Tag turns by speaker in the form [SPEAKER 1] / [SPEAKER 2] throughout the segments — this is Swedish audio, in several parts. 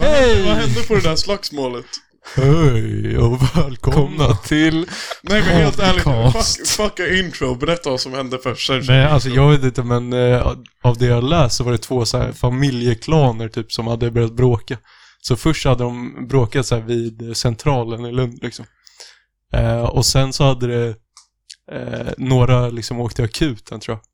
[SPEAKER 1] Hej!
[SPEAKER 2] Vad hände på det där slagsmålet?
[SPEAKER 1] Hej och välkomna till...
[SPEAKER 2] Nej men helt ärligt,
[SPEAKER 1] Podcast.
[SPEAKER 2] fuck, fucka intro. Berätta vad som hände först. Sen
[SPEAKER 1] Nej, alltså jag vet inte men eh, av det jag läst så var det två så här familjeklaner typ som hade börjat bråka. Så först hade de bråkat så här vid centralen i Lund liksom. Eh, och sen så hade det... Eh, några liksom åkte akuten tror jag.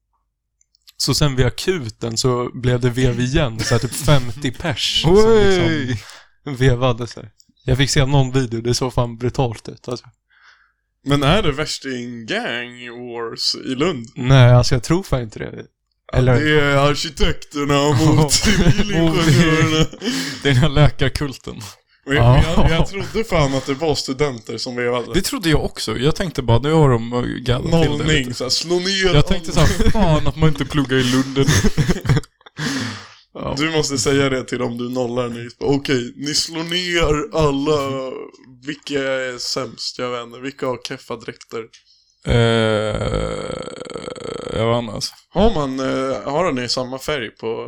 [SPEAKER 1] Så sen vid akuten så blev det vev igen, så här typ 50 pers. som liksom
[SPEAKER 3] Oj!
[SPEAKER 1] vevade sig. Jag fick se någon video, det såg fan brutalt ut alltså.
[SPEAKER 2] Men är det värsting gang wars i Lund?
[SPEAKER 1] Nej, alltså jag tror fan inte det. Eller,
[SPEAKER 2] Det är arkitekterna
[SPEAKER 3] Oh,
[SPEAKER 2] mot civilingenjörerna.
[SPEAKER 3] Det är den här läkarkulten.
[SPEAKER 2] Men jag, jag, jag trodde fan att det var studenter som vevade.
[SPEAKER 3] Det trodde jag också. Jag tänkte bara, nu har de eh, gaddat till det lite.
[SPEAKER 2] Nollning, såhär, slå ner
[SPEAKER 3] Jag tänkte såhär, fan att man inte pluggar i Lunden.
[SPEAKER 2] alla. Du måste säga det till dem du nollar nu. Okej, ni slår ner alla. Vilka är sämst? Jag vet inte. Vilka har keffa dräkter?
[SPEAKER 3] Eh, jag vet inte alltså.
[SPEAKER 2] Har man, eh, har ni samma färg på...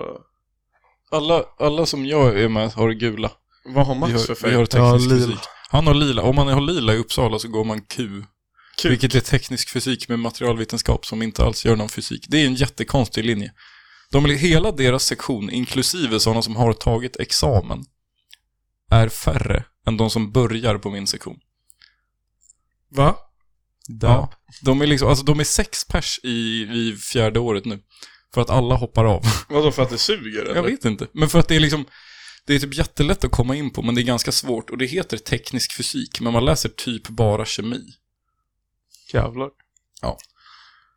[SPEAKER 3] Alla, alla som jag är med har gula.
[SPEAKER 2] Vad har
[SPEAKER 3] Vi
[SPEAKER 2] Max för
[SPEAKER 3] har,
[SPEAKER 2] färg?
[SPEAKER 3] vi har teknisk
[SPEAKER 1] Ja, lila.
[SPEAKER 3] fysik. Han har lila. Om man har lila i Uppsala så går man Q.
[SPEAKER 2] Q.
[SPEAKER 3] Vilket är teknisk fysik med materialvetenskap som inte alls gör någon fysik. Det är en jättekonstig linje. De, hela deras sektion, inklusive sådana som har tagit examen, är färre än de som börjar på min sektion.
[SPEAKER 2] Va?
[SPEAKER 3] Ja. De är liksom, alltså de är sex pers i, i fjärde året nu. För att alla hoppar av.
[SPEAKER 2] Vadå för att det suger eller?
[SPEAKER 3] Jag vet inte. Men för att det är liksom, det är typ jättelätt att komma in på, men det är ganska svårt. Och det heter teknisk fysik, men man läser typ bara kemi.
[SPEAKER 1] jävlar.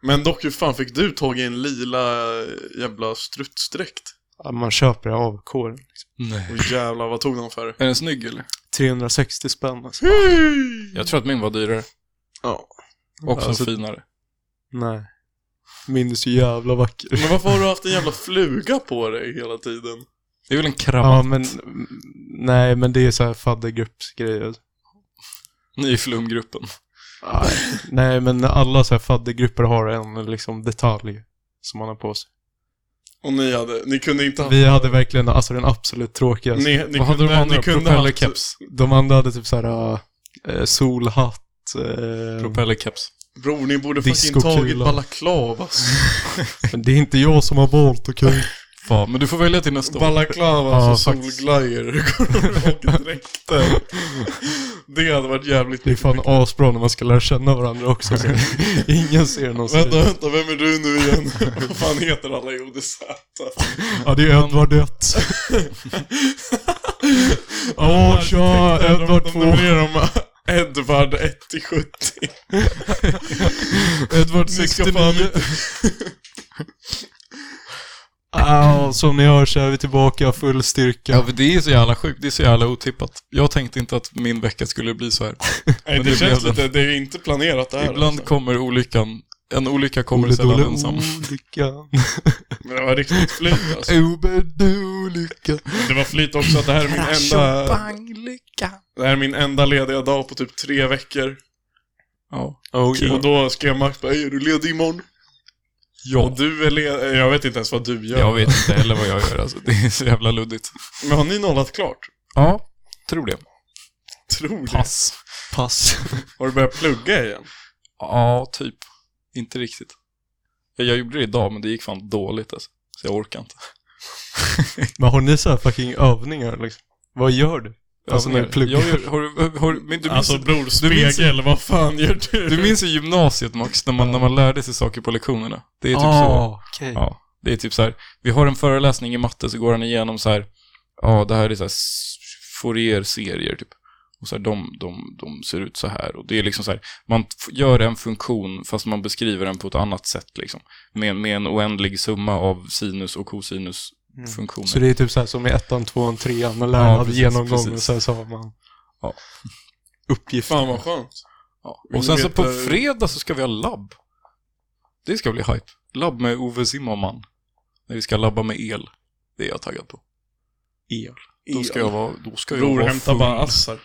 [SPEAKER 2] Men dock hur fan fick du tag i en lila eh, jävla strutsdräkt?
[SPEAKER 1] Ja, Man köper det av kåren.
[SPEAKER 3] Nej.
[SPEAKER 2] Och jävlar vad tog de för?
[SPEAKER 3] Är den snygg eller?
[SPEAKER 1] 360 spänn alltså.
[SPEAKER 3] Jag tror att min var dyrare.
[SPEAKER 2] Ja.
[SPEAKER 3] Och
[SPEAKER 1] Alltså-
[SPEAKER 3] finare.
[SPEAKER 1] Nej. Min är så jävla vacker.
[SPEAKER 2] Men varför har du haft en jävla fluga på dig hela tiden?
[SPEAKER 3] Det är väl en krabba?
[SPEAKER 1] Ja, men mm, nej, men det är så här faddergruppsgrejer.
[SPEAKER 3] Ni i flumgruppen.
[SPEAKER 1] Nej. nej, men alla så här faddergrupper har en liksom detalj som man har på sig.
[SPEAKER 2] Och ni hade, ni kunde inte ha...
[SPEAKER 1] Vi hade verkligen alltså den absolut tråkigaste.
[SPEAKER 2] Ni, ni
[SPEAKER 3] Vad hade de
[SPEAKER 2] kunde,
[SPEAKER 3] andra?
[SPEAKER 2] ni kunde haft,
[SPEAKER 3] Propellerkeps?
[SPEAKER 1] De andra hade typ så här äh, solhatt. Äh,
[SPEAKER 3] Propellerkeps.
[SPEAKER 2] Bror ni borde fucking
[SPEAKER 1] Diskokula.
[SPEAKER 2] tagit balaklavas.
[SPEAKER 1] men det är inte jag som har valt, okej?
[SPEAKER 3] Fan, men du får välja till nästa år.
[SPEAKER 2] Balaklavas
[SPEAKER 1] Ja,
[SPEAKER 2] och
[SPEAKER 1] faktiskt.
[SPEAKER 2] solglajjor och dräkter. Det hade varit jävligt
[SPEAKER 1] Det är fan asbra när man ska lära känna varandra också. Så. Ingen ser någon
[SPEAKER 2] Vänta,
[SPEAKER 3] Typ.
[SPEAKER 1] seriös.
[SPEAKER 2] vänta, vem är du nu igen? Vad fan heter alla i ODZ?
[SPEAKER 1] Ja, det är Edvard 1. Åh, tja! Edvard
[SPEAKER 2] De
[SPEAKER 1] 2.
[SPEAKER 2] numrerar dem äh, Edvard 1 till 70.
[SPEAKER 1] Edvard
[SPEAKER 2] Ni ska fan inte...
[SPEAKER 1] Ah, som ni hör så är vi tillbaka full
[SPEAKER 3] Ja,
[SPEAKER 1] styrka.
[SPEAKER 3] för det är så jävla sjukt. Det är så jävla otippat. Jag tänkte inte att min vecka skulle bli så här.
[SPEAKER 2] Nej,
[SPEAKER 3] Men
[SPEAKER 2] det
[SPEAKER 3] det
[SPEAKER 2] känns
[SPEAKER 3] blev
[SPEAKER 2] lite... Det är inte planerat det här.
[SPEAKER 3] Ibland
[SPEAKER 2] alltså.
[SPEAKER 3] kommer olyckan. En olycka kommer sällan ensam.
[SPEAKER 1] olyckan.
[SPEAKER 2] Men det var riktigt flyt alltså.
[SPEAKER 1] Obedolyckan.
[SPEAKER 2] Det var flyt också att det här är min enda...
[SPEAKER 3] lycka.
[SPEAKER 2] Det här är min enda lediga dag på typ tre veckor.
[SPEAKER 3] Oh, Ja.
[SPEAKER 2] Och då skrev Max bara, "Ey, är du ledig imorgon? Och
[SPEAKER 3] ja.
[SPEAKER 2] du är ledig... Jag vet inte ens vad du gör.
[SPEAKER 3] Jag vet inte heller vad jag gör alltså. Det är så jävla luddigt.
[SPEAKER 2] Men har ni nollat klart?
[SPEAKER 3] Ja, tror det.
[SPEAKER 2] Tror det.
[SPEAKER 3] Pass.
[SPEAKER 1] Pass.
[SPEAKER 2] Har du börjat plugga igen?
[SPEAKER 3] Ja, typ. Inte riktigt. Jag, jag gjorde det idag, men det gick fan dåligt alltså. Så jag orkar inte.
[SPEAKER 1] Men har ni så här fucking övningar liksom? Vad gör du? Alltså när du pluggar.
[SPEAKER 3] Jag gör, har, du- har, du- men du, minns,
[SPEAKER 2] Alltså bror,
[SPEAKER 3] minns-
[SPEAKER 2] spegel, vad fan gör du?
[SPEAKER 3] du minns i gymnasiet Max, när man, när man lärde sig saker på lektionerna. Det är typ så.
[SPEAKER 1] ah, okej.
[SPEAKER 3] Ja, det är typ så här. Vi har en föreläsning i matte, så går han igenom så här. Ja, det här är så här Fourier-serier typ. Och så här, de, de, de ser ut så här. Och det är liksom så här, man f- gör en funktion fast man beskriver den på ett annat sätt liksom. Med, med en oändlig summa av sinus och
[SPEAKER 1] Mm.
[SPEAKER 3] cosinusfunktioner.
[SPEAKER 1] Så det är typ så här som i ettan, tvåan, trean. Man lärde
[SPEAKER 3] Ja,
[SPEAKER 1] ja,
[SPEAKER 3] precis,
[SPEAKER 1] genomgång
[SPEAKER 3] precis.
[SPEAKER 1] och sen så har man
[SPEAKER 3] Ja.
[SPEAKER 1] uppgifter.
[SPEAKER 2] Fan vad skönt.
[SPEAKER 3] Ja.
[SPEAKER 2] Vill
[SPEAKER 3] Och sen
[SPEAKER 2] du
[SPEAKER 3] så på
[SPEAKER 2] veta-
[SPEAKER 3] fredag så ska vi ha labb. Det ska bli hype. Labb med Ove Zimmermann. När vi ska labba med el. Det är jag taggad på.
[SPEAKER 1] El.
[SPEAKER 3] Då ska jag vara, då ska jag
[SPEAKER 2] Bror,
[SPEAKER 3] vara
[SPEAKER 2] hämta
[SPEAKER 3] full.
[SPEAKER 2] bara assar.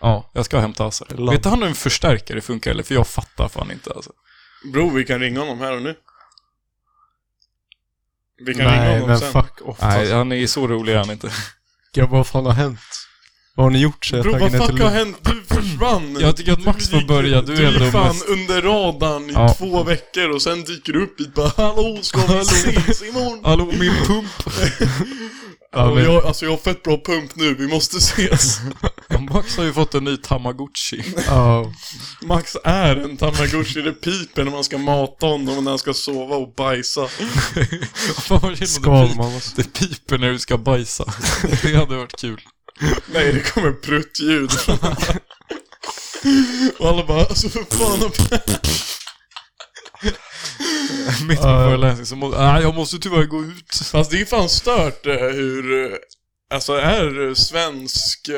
[SPEAKER 3] Ja, jag ska hämta Assar.
[SPEAKER 1] Labb.
[SPEAKER 3] Vet han hur en förstärkare funkar eller? För jag fattar fan inte alltså.
[SPEAKER 2] Bror, vi kan ringa honom här och nu. Vi kan ringa
[SPEAKER 1] Nej,
[SPEAKER 2] honom
[SPEAKER 1] men
[SPEAKER 2] sen.
[SPEAKER 1] fuck off.
[SPEAKER 3] Nej,
[SPEAKER 1] alltså.
[SPEAKER 3] han är så rolig är han inte.
[SPEAKER 1] vecka, vad fan har hänt? Vad har ni gjort sen
[SPEAKER 2] Bro,
[SPEAKER 1] jag
[SPEAKER 2] vad
[SPEAKER 1] tagit ner
[SPEAKER 2] fuck
[SPEAKER 1] till
[SPEAKER 2] har
[SPEAKER 1] Lund?
[SPEAKER 2] hänt? Du försvann!
[SPEAKER 3] Jag tycker att Max får
[SPEAKER 2] gick-
[SPEAKER 3] börja, du är
[SPEAKER 2] gick
[SPEAKER 3] ändå
[SPEAKER 2] fan
[SPEAKER 3] mest-
[SPEAKER 2] under radarn i
[SPEAKER 3] Ja.
[SPEAKER 2] två veckor och sen dyker du upp hit bara Hallå, ska vi
[SPEAKER 3] Hallå.
[SPEAKER 2] ses imorgon?
[SPEAKER 3] Hallå, min pump!
[SPEAKER 1] Ja,
[SPEAKER 2] och
[SPEAKER 1] men-
[SPEAKER 2] jag, alltså jag har fett bra pump nu, vi måste ses.
[SPEAKER 3] Max har ju fått en ny Tamagotchi.
[SPEAKER 1] Ja.
[SPEAKER 2] Max är en tamagotchi, det piper när man ska mata honom och när han ska sova och bajsa.
[SPEAKER 3] Fan vad kul om det, pip,
[SPEAKER 1] Skalman alltså.
[SPEAKER 3] det piper när du ska bajsa. Det hade varit kul.
[SPEAKER 2] Nej, det kommer pruttljud. och alla bara alltså för fan har-
[SPEAKER 3] Mitt på
[SPEAKER 1] Ja.
[SPEAKER 3] föreläsning så måste... Nej, jag måste tyvärr gå ut.
[SPEAKER 2] Fast det är fan stört eh, hur, eh, alltså är eh, svensk, eh,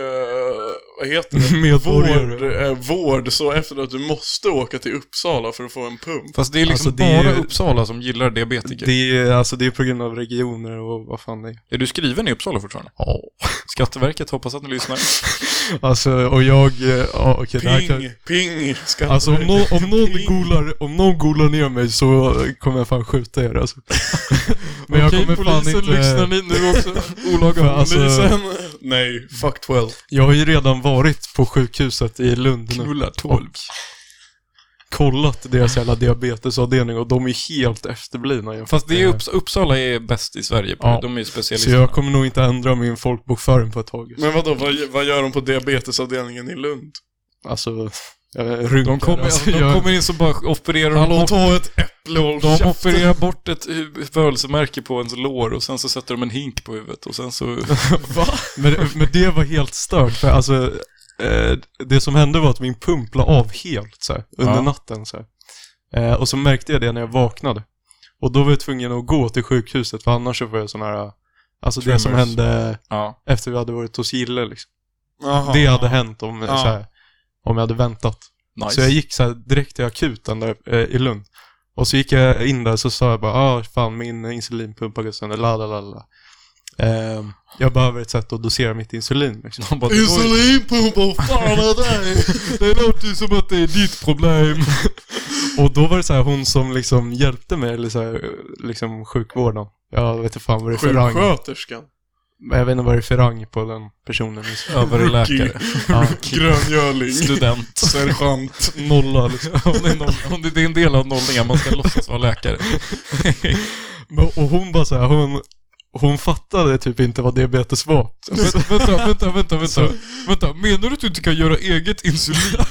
[SPEAKER 2] vad heter det? Vård,
[SPEAKER 1] Medborgare.
[SPEAKER 2] eh, vård så efter att du måste åka till Uppsala för att få en pump.
[SPEAKER 3] Fast det är liksom
[SPEAKER 1] Alltså, det är
[SPEAKER 3] bara
[SPEAKER 1] ju-
[SPEAKER 3] Uppsala som gillar diabetiker.
[SPEAKER 1] Det är, alltså, det är på grund av regioner och vad fan det är.
[SPEAKER 3] Är du skriven i Uppsala fortfarande? Ja. Skatteverket, hoppas att ni lyssnar.
[SPEAKER 1] Alltså, och jag... eh, Ja, okej, det här kan...
[SPEAKER 2] Ping, ping, ska
[SPEAKER 1] Alltså om, nå- om någon
[SPEAKER 2] Ping.
[SPEAKER 1] golar, om någon golar ner mig så kommer jag fan skjuta er alltså. Men jag
[SPEAKER 3] Okej,
[SPEAKER 1] kommer fan
[SPEAKER 3] polisen,
[SPEAKER 1] inte...
[SPEAKER 3] lyssnar ni nu också? Olaga
[SPEAKER 1] För alltså-
[SPEAKER 2] polisen, nej, fuck 12.
[SPEAKER 1] Jag har ju redan varit på sjukhuset i Lund nu.
[SPEAKER 3] Knulla tolv.
[SPEAKER 1] kollat deras jävla diabetesavdelning och de är helt efterblivna jämfört
[SPEAKER 3] Fast det är
[SPEAKER 1] med-
[SPEAKER 3] Upps- Uppsala är bäst i Sverige på
[SPEAKER 1] Ja.
[SPEAKER 3] det. De är liksom- ju
[SPEAKER 1] Så
[SPEAKER 3] specialister.
[SPEAKER 1] jag kommer nog inte ändra min folkbokföring på ett tag.
[SPEAKER 2] Men vadå, vad, gö- vad gör de på diabetesavdelningen i Lund?
[SPEAKER 1] Alltså, jag rynkar.
[SPEAKER 3] De kommer,
[SPEAKER 1] alltså,
[SPEAKER 3] alltså, de
[SPEAKER 1] jag,
[SPEAKER 3] kommer in så bara opererar de
[SPEAKER 2] Hallå,
[SPEAKER 3] bort,
[SPEAKER 2] ta ett äpple och håll
[SPEAKER 3] de
[SPEAKER 2] käften.
[SPEAKER 3] opererar bort ett hu- födelsemärke på ens lår och sen så sätter de en hink på huvudet och sen så...
[SPEAKER 1] men, men det var helt stört för alltså, eh, det som hände var att min pump la av helt så här, under
[SPEAKER 3] Ja.
[SPEAKER 1] natten så här. Eh, och så märkte jag det när jag vaknade. Och då var jag tvungen att gå till sjukhuset för annars så får jag sån här, alltså det som
[SPEAKER 3] Tremors.
[SPEAKER 1] hände
[SPEAKER 3] Ja.
[SPEAKER 1] efter vi hade varit hos Gille liksom.
[SPEAKER 2] Jaha.
[SPEAKER 1] Det hade hänt om,
[SPEAKER 2] Ja.
[SPEAKER 1] så här, om jag hade väntat.
[SPEAKER 3] Nice.
[SPEAKER 1] Så jag gick så här direkt till akuten där eh, i Lund. Och så gick jag in där så sa jag bara, ah fan min insulinpump har gått sönder, la la la la. Ehm, jag behöver ett sätt att dosera mitt insulin liksom.
[SPEAKER 3] De bara, det, går, ju-
[SPEAKER 2] Insulinpump, vad fan är det?
[SPEAKER 1] Det låter ju som att det är ditt problem. och då var det så här hon som liksom hjälpte mig, eller så här, eh, liksom sjukvården. Jag vet inte fan vad det är för rang.
[SPEAKER 2] Sjuksköterskan.
[SPEAKER 1] Jag vet inte vad det är för rang på den personen. Liksom.
[SPEAKER 3] överläkare,
[SPEAKER 1] Ja,
[SPEAKER 2] Gröngöling.
[SPEAKER 3] student.
[SPEAKER 2] Sergeant.
[SPEAKER 1] nolla liksom.
[SPEAKER 3] Om det, är någon, om det det är en del av nollningar, man ska låtsas vara läkare.
[SPEAKER 1] Men- Och hon bara så här, hon, hon fattade typ inte vad diabetes var.
[SPEAKER 3] vänta, vänta, vänta, vänta, vänta. vänta. Menar du att du inte kan göra eget insulin?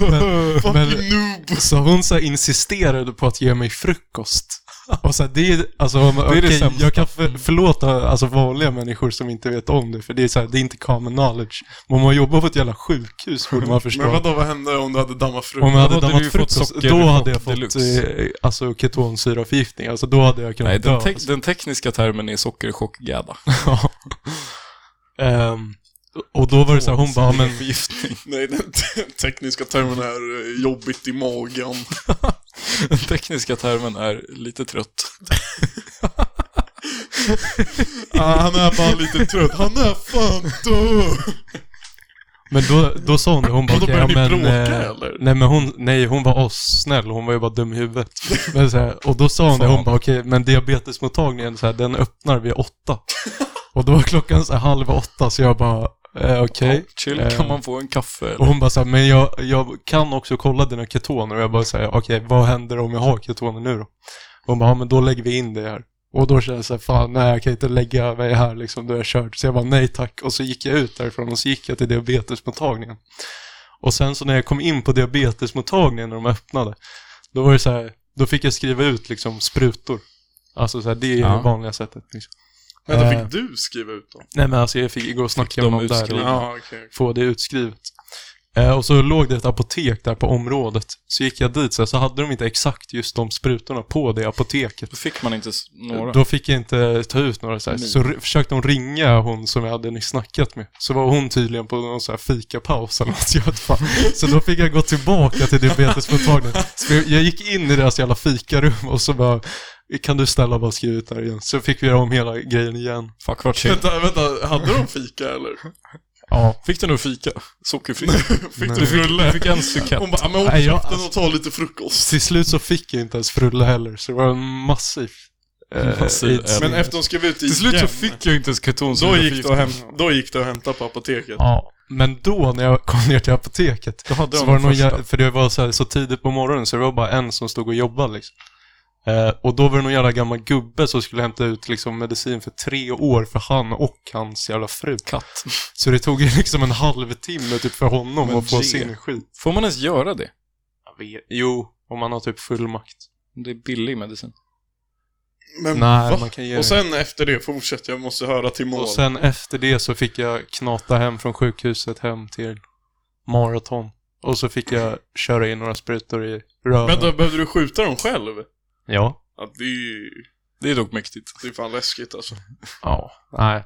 [SPEAKER 1] Men, men,
[SPEAKER 2] Fucking noob.
[SPEAKER 1] Så hon så här insisterade på att ge mig frukost. Och så här, det är, alltså, om,
[SPEAKER 3] är det
[SPEAKER 1] okej,
[SPEAKER 3] sämsta. Mm.
[SPEAKER 1] jag kan för, förlåta alltså, vanliga människor som inte vet om det, för det är, så här, det är inte common knowledge. Men om man jobbar på ett jävla sjukhus borde man förstå.
[SPEAKER 2] Men vadå, vad hände om du hade dammat frukt?
[SPEAKER 1] om jag hade
[SPEAKER 3] hade du ju
[SPEAKER 1] dammat
[SPEAKER 3] fått
[SPEAKER 1] frukost,
[SPEAKER 3] sockerchock
[SPEAKER 1] då hade jag fått
[SPEAKER 3] deluxe.
[SPEAKER 1] eh, alltså, ketonsyraförgiftning. Alltså då hade jag kunnat
[SPEAKER 3] Nej,
[SPEAKER 1] dö. alltså.
[SPEAKER 3] den, te- den tekniska termen är sockerchockgädda.
[SPEAKER 1] Ehm, och då var det så här, hon bara, "Ja, men
[SPEAKER 3] Förgiftning.
[SPEAKER 2] Nej, den te- tekniska termen är eh, jobbigt i magen.
[SPEAKER 3] Den tekniska termen är lite trött.
[SPEAKER 2] Ah, han är bara lite trött. Han är fan död.
[SPEAKER 1] Men då, då sa hon det, hon bara
[SPEAKER 2] Och då
[SPEAKER 1] "Okej,
[SPEAKER 2] började ni
[SPEAKER 1] men,
[SPEAKER 2] bråka,
[SPEAKER 1] eh,
[SPEAKER 2] eller?
[SPEAKER 1] Nej men hon, nej hon var assnäll, hon var ju bara dum i huvudet. Men så här, och då sa hon det,
[SPEAKER 3] Fan.
[SPEAKER 1] hon bara okej men diabetesmottagningen så här, den öppnar vid åtta. Och då var klockan så här, halv åtta så jag bara eh, okej.
[SPEAKER 3] Ja, chill,
[SPEAKER 1] Eh.
[SPEAKER 3] kan man få en kaffe?
[SPEAKER 1] Och
[SPEAKER 3] Eller?
[SPEAKER 1] hon bara så här, men jag, jag kan också kolla dina ketoner och jag bara säger okej vad händer om jag har ketoner nu då? Hon bara ja men då lägger vi in det här. Och då kände jag så här, fan nej jag kan inte lägga mig här liksom, då är jag körd. Så jag bara nej tack. Och så gick jag ut därifrån och så gick jag till diabetesmottagningen. Och sen så när jag kom in på diabetesmottagningen när de öppnade, då var det så här, då fick jag skriva ut liksom sprutor. Alltså så här, det är
[SPEAKER 3] Ja.
[SPEAKER 1] det vanliga sättet. Liksom.
[SPEAKER 2] Vänta,
[SPEAKER 1] Eh.
[SPEAKER 2] fick du skriva ut dem?
[SPEAKER 1] Nej men alltså jag fick gå och snacka
[SPEAKER 3] de
[SPEAKER 1] med dem där.
[SPEAKER 3] utskrivna?
[SPEAKER 1] Och,
[SPEAKER 2] Ja, ah, okej.
[SPEAKER 1] få det utskrivet. Eh, och så låg det ett apotek där på området. Så gick jag dit så, här, så hade de inte exakt just de sprutorna på det apoteket.
[SPEAKER 3] Då fick man inte s- några.
[SPEAKER 1] Då fick jag inte ta ut några så här.
[SPEAKER 3] Nej.
[SPEAKER 1] Så r- försökte hon ringa hon som jag hade nyss snackat med. Så var hon tydligen på någon så här fikapaus eller något. Jag vet fan. Så då fick jag gå tillbaka till diabetesmottagningen. Så jag- jag gick in i deras jävla fikarum och så bara kan du snälla bara skriva ut det här igen? Så fick vi göra om hela grejen igen.
[SPEAKER 3] Fuck vad chill.
[SPEAKER 2] Vänta, vänta, hade de fika eller?
[SPEAKER 1] Ja.
[SPEAKER 3] Fick du nog fika? Sockerfri?
[SPEAKER 2] Fick
[SPEAKER 1] Nej.
[SPEAKER 2] du
[SPEAKER 3] Du fick,
[SPEAKER 2] frulle?
[SPEAKER 3] du fick en sukett.
[SPEAKER 2] Hon bara, "Ah, men håll
[SPEAKER 1] Nej, jag- alltså-
[SPEAKER 2] käften och ta lite frukost.
[SPEAKER 1] Till slut så fick jag inte ens frulle heller, så det var en massiv eh,
[SPEAKER 3] Massiv
[SPEAKER 1] aids.
[SPEAKER 3] eld.
[SPEAKER 2] Men efter de skrev ut det
[SPEAKER 3] Till slut så
[SPEAKER 2] igen,
[SPEAKER 3] fick jag inte
[SPEAKER 2] då
[SPEAKER 3] ens
[SPEAKER 2] gick, det att
[SPEAKER 3] ketonsyra
[SPEAKER 2] hämta, då gick det att hämta på apoteket.
[SPEAKER 1] Ja, men då när jag kom ner till apoteket
[SPEAKER 3] Då hade
[SPEAKER 1] så
[SPEAKER 3] de
[SPEAKER 1] var det
[SPEAKER 3] den
[SPEAKER 1] någon,
[SPEAKER 3] första.
[SPEAKER 1] jä- för det var så, här, så tidigt på morgonen så det var bara en som stod och jobbade liksom. Eh, och då var det någon jävla gammal gubbe som skulle hämta ut liksom, medicin för tre år för han och hans jävla fru.
[SPEAKER 3] Katt.
[SPEAKER 1] Så det tog ju liksom en halvtimme typ för honom
[SPEAKER 3] Men
[SPEAKER 1] att få
[SPEAKER 3] det-
[SPEAKER 1] sin skit.
[SPEAKER 3] Får man ens göra det?
[SPEAKER 1] Jo, om man har typ full makt.
[SPEAKER 3] Det är billig medicin.
[SPEAKER 2] Men
[SPEAKER 1] Nej,
[SPEAKER 2] va?
[SPEAKER 1] man kan ge
[SPEAKER 2] Och sen efter det fortsätter jag måste höra till mål.
[SPEAKER 1] och sen efter det så fick jag knata hem från sjukhuset hem till maraton. Och så fick jag köra in några sprutor i röven.
[SPEAKER 2] Vänta, behövde du skjuta dem själv?
[SPEAKER 1] Ja.
[SPEAKER 2] Ja, det är ju...
[SPEAKER 3] Det är dock mäktigt.
[SPEAKER 2] Det är fan läskigt alltså.
[SPEAKER 1] Ja, nej.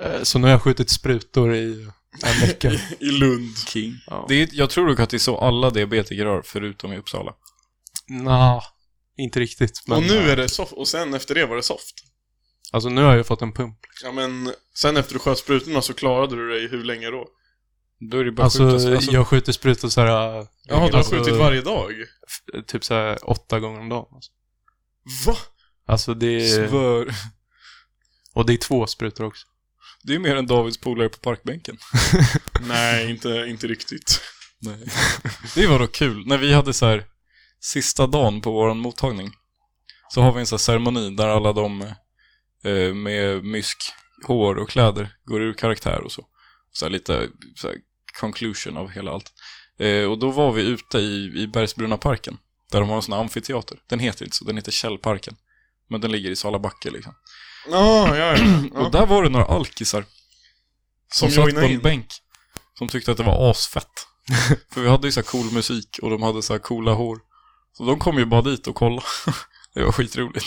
[SPEAKER 1] Eh, Så nu har jag skjutit sprutor i en vecka.
[SPEAKER 2] I Lund.
[SPEAKER 3] King.
[SPEAKER 1] Ja.
[SPEAKER 3] Det är, jag tror dock att det är så alla diabetiker har, förutom i Uppsala.
[SPEAKER 1] Nå, inte riktigt. Men,
[SPEAKER 2] Och nu är det soft, och sen efter det var det soft.
[SPEAKER 1] Alltså nu har jag fått en pump.
[SPEAKER 2] Ja men, sen efter du sköt sprutorna så klarade du dig hur länge då?
[SPEAKER 3] Då är det bara
[SPEAKER 1] Alltså,
[SPEAKER 3] att skjuta sig. Alltså,
[SPEAKER 1] jag skjuter sprutor så här... eh,
[SPEAKER 2] Jaha, du har
[SPEAKER 1] alltså,
[SPEAKER 2] skjutit varje dag?
[SPEAKER 1] f- Typ så här åtta gånger om dagen. Alltså,
[SPEAKER 2] Va?
[SPEAKER 1] alltså det är...
[SPEAKER 3] Svör.
[SPEAKER 1] Och det är två sprutor också.
[SPEAKER 3] Det är mer än Davids polare på parkbänken.
[SPEAKER 2] Nej, inte, inte riktigt.
[SPEAKER 3] Nej. Det var dock kul. När vi hade så här sista dagen på vår mottagning så har vi en så här ceremoni där alla de eh, med mysk, hår och kläder går ur karaktär och så. Så här lite så här conclusion av hela allt. Eh, och då var vi ute i, i Bergsbruna parken där de har en sån här amfiteater. Den heter inte så, den heter Källparken. Men den ligger i Salabacke liksom.
[SPEAKER 2] Ja, ja, ja. ja.
[SPEAKER 3] Och där var det några alkisar
[SPEAKER 2] Som
[SPEAKER 3] som satt på
[SPEAKER 2] joinade
[SPEAKER 3] en
[SPEAKER 2] in.
[SPEAKER 3] bänk. Som tyckte att det var asfett. För vi hade ju så här cool musik och de hade så här coola hår. Så de kom ju bara dit och kollade. Det var skitroligt.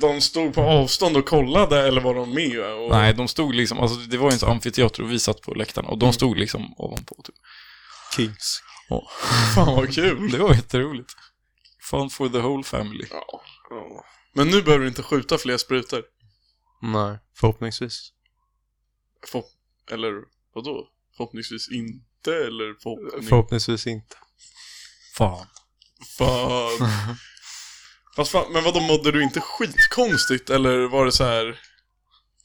[SPEAKER 2] De stod på avstånd och kollade, eller var de med? Och...
[SPEAKER 3] Nej, de stod liksom, alltså det var ju en sån amfiteater och vi satt på läktaren och de stod liksom ovanpå. Typ. Mm,
[SPEAKER 1] Kings.
[SPEAKER 2] Fan vad kul.
[SPEAKER 3] Det var jätteroligt. Fun for the whole family.
[SPEAKER 2] Ja. ja. Men nu behöver du inte skjuta fler sprutor.
[SPEAKER 1] Nej, förhoppningsvis.
[SPEAKER 2] Förhopp... Eller vadå? Förhoppningsvis inte, eller förhoppningsvis...
[SPEAKER 1] Förhoppningsvis inte.
[SPEAKER 3] Fan.
[SPEAKER 2] Fan. Fast fan, men vadå, mådde du inte skitkonstigt, eller var det så här...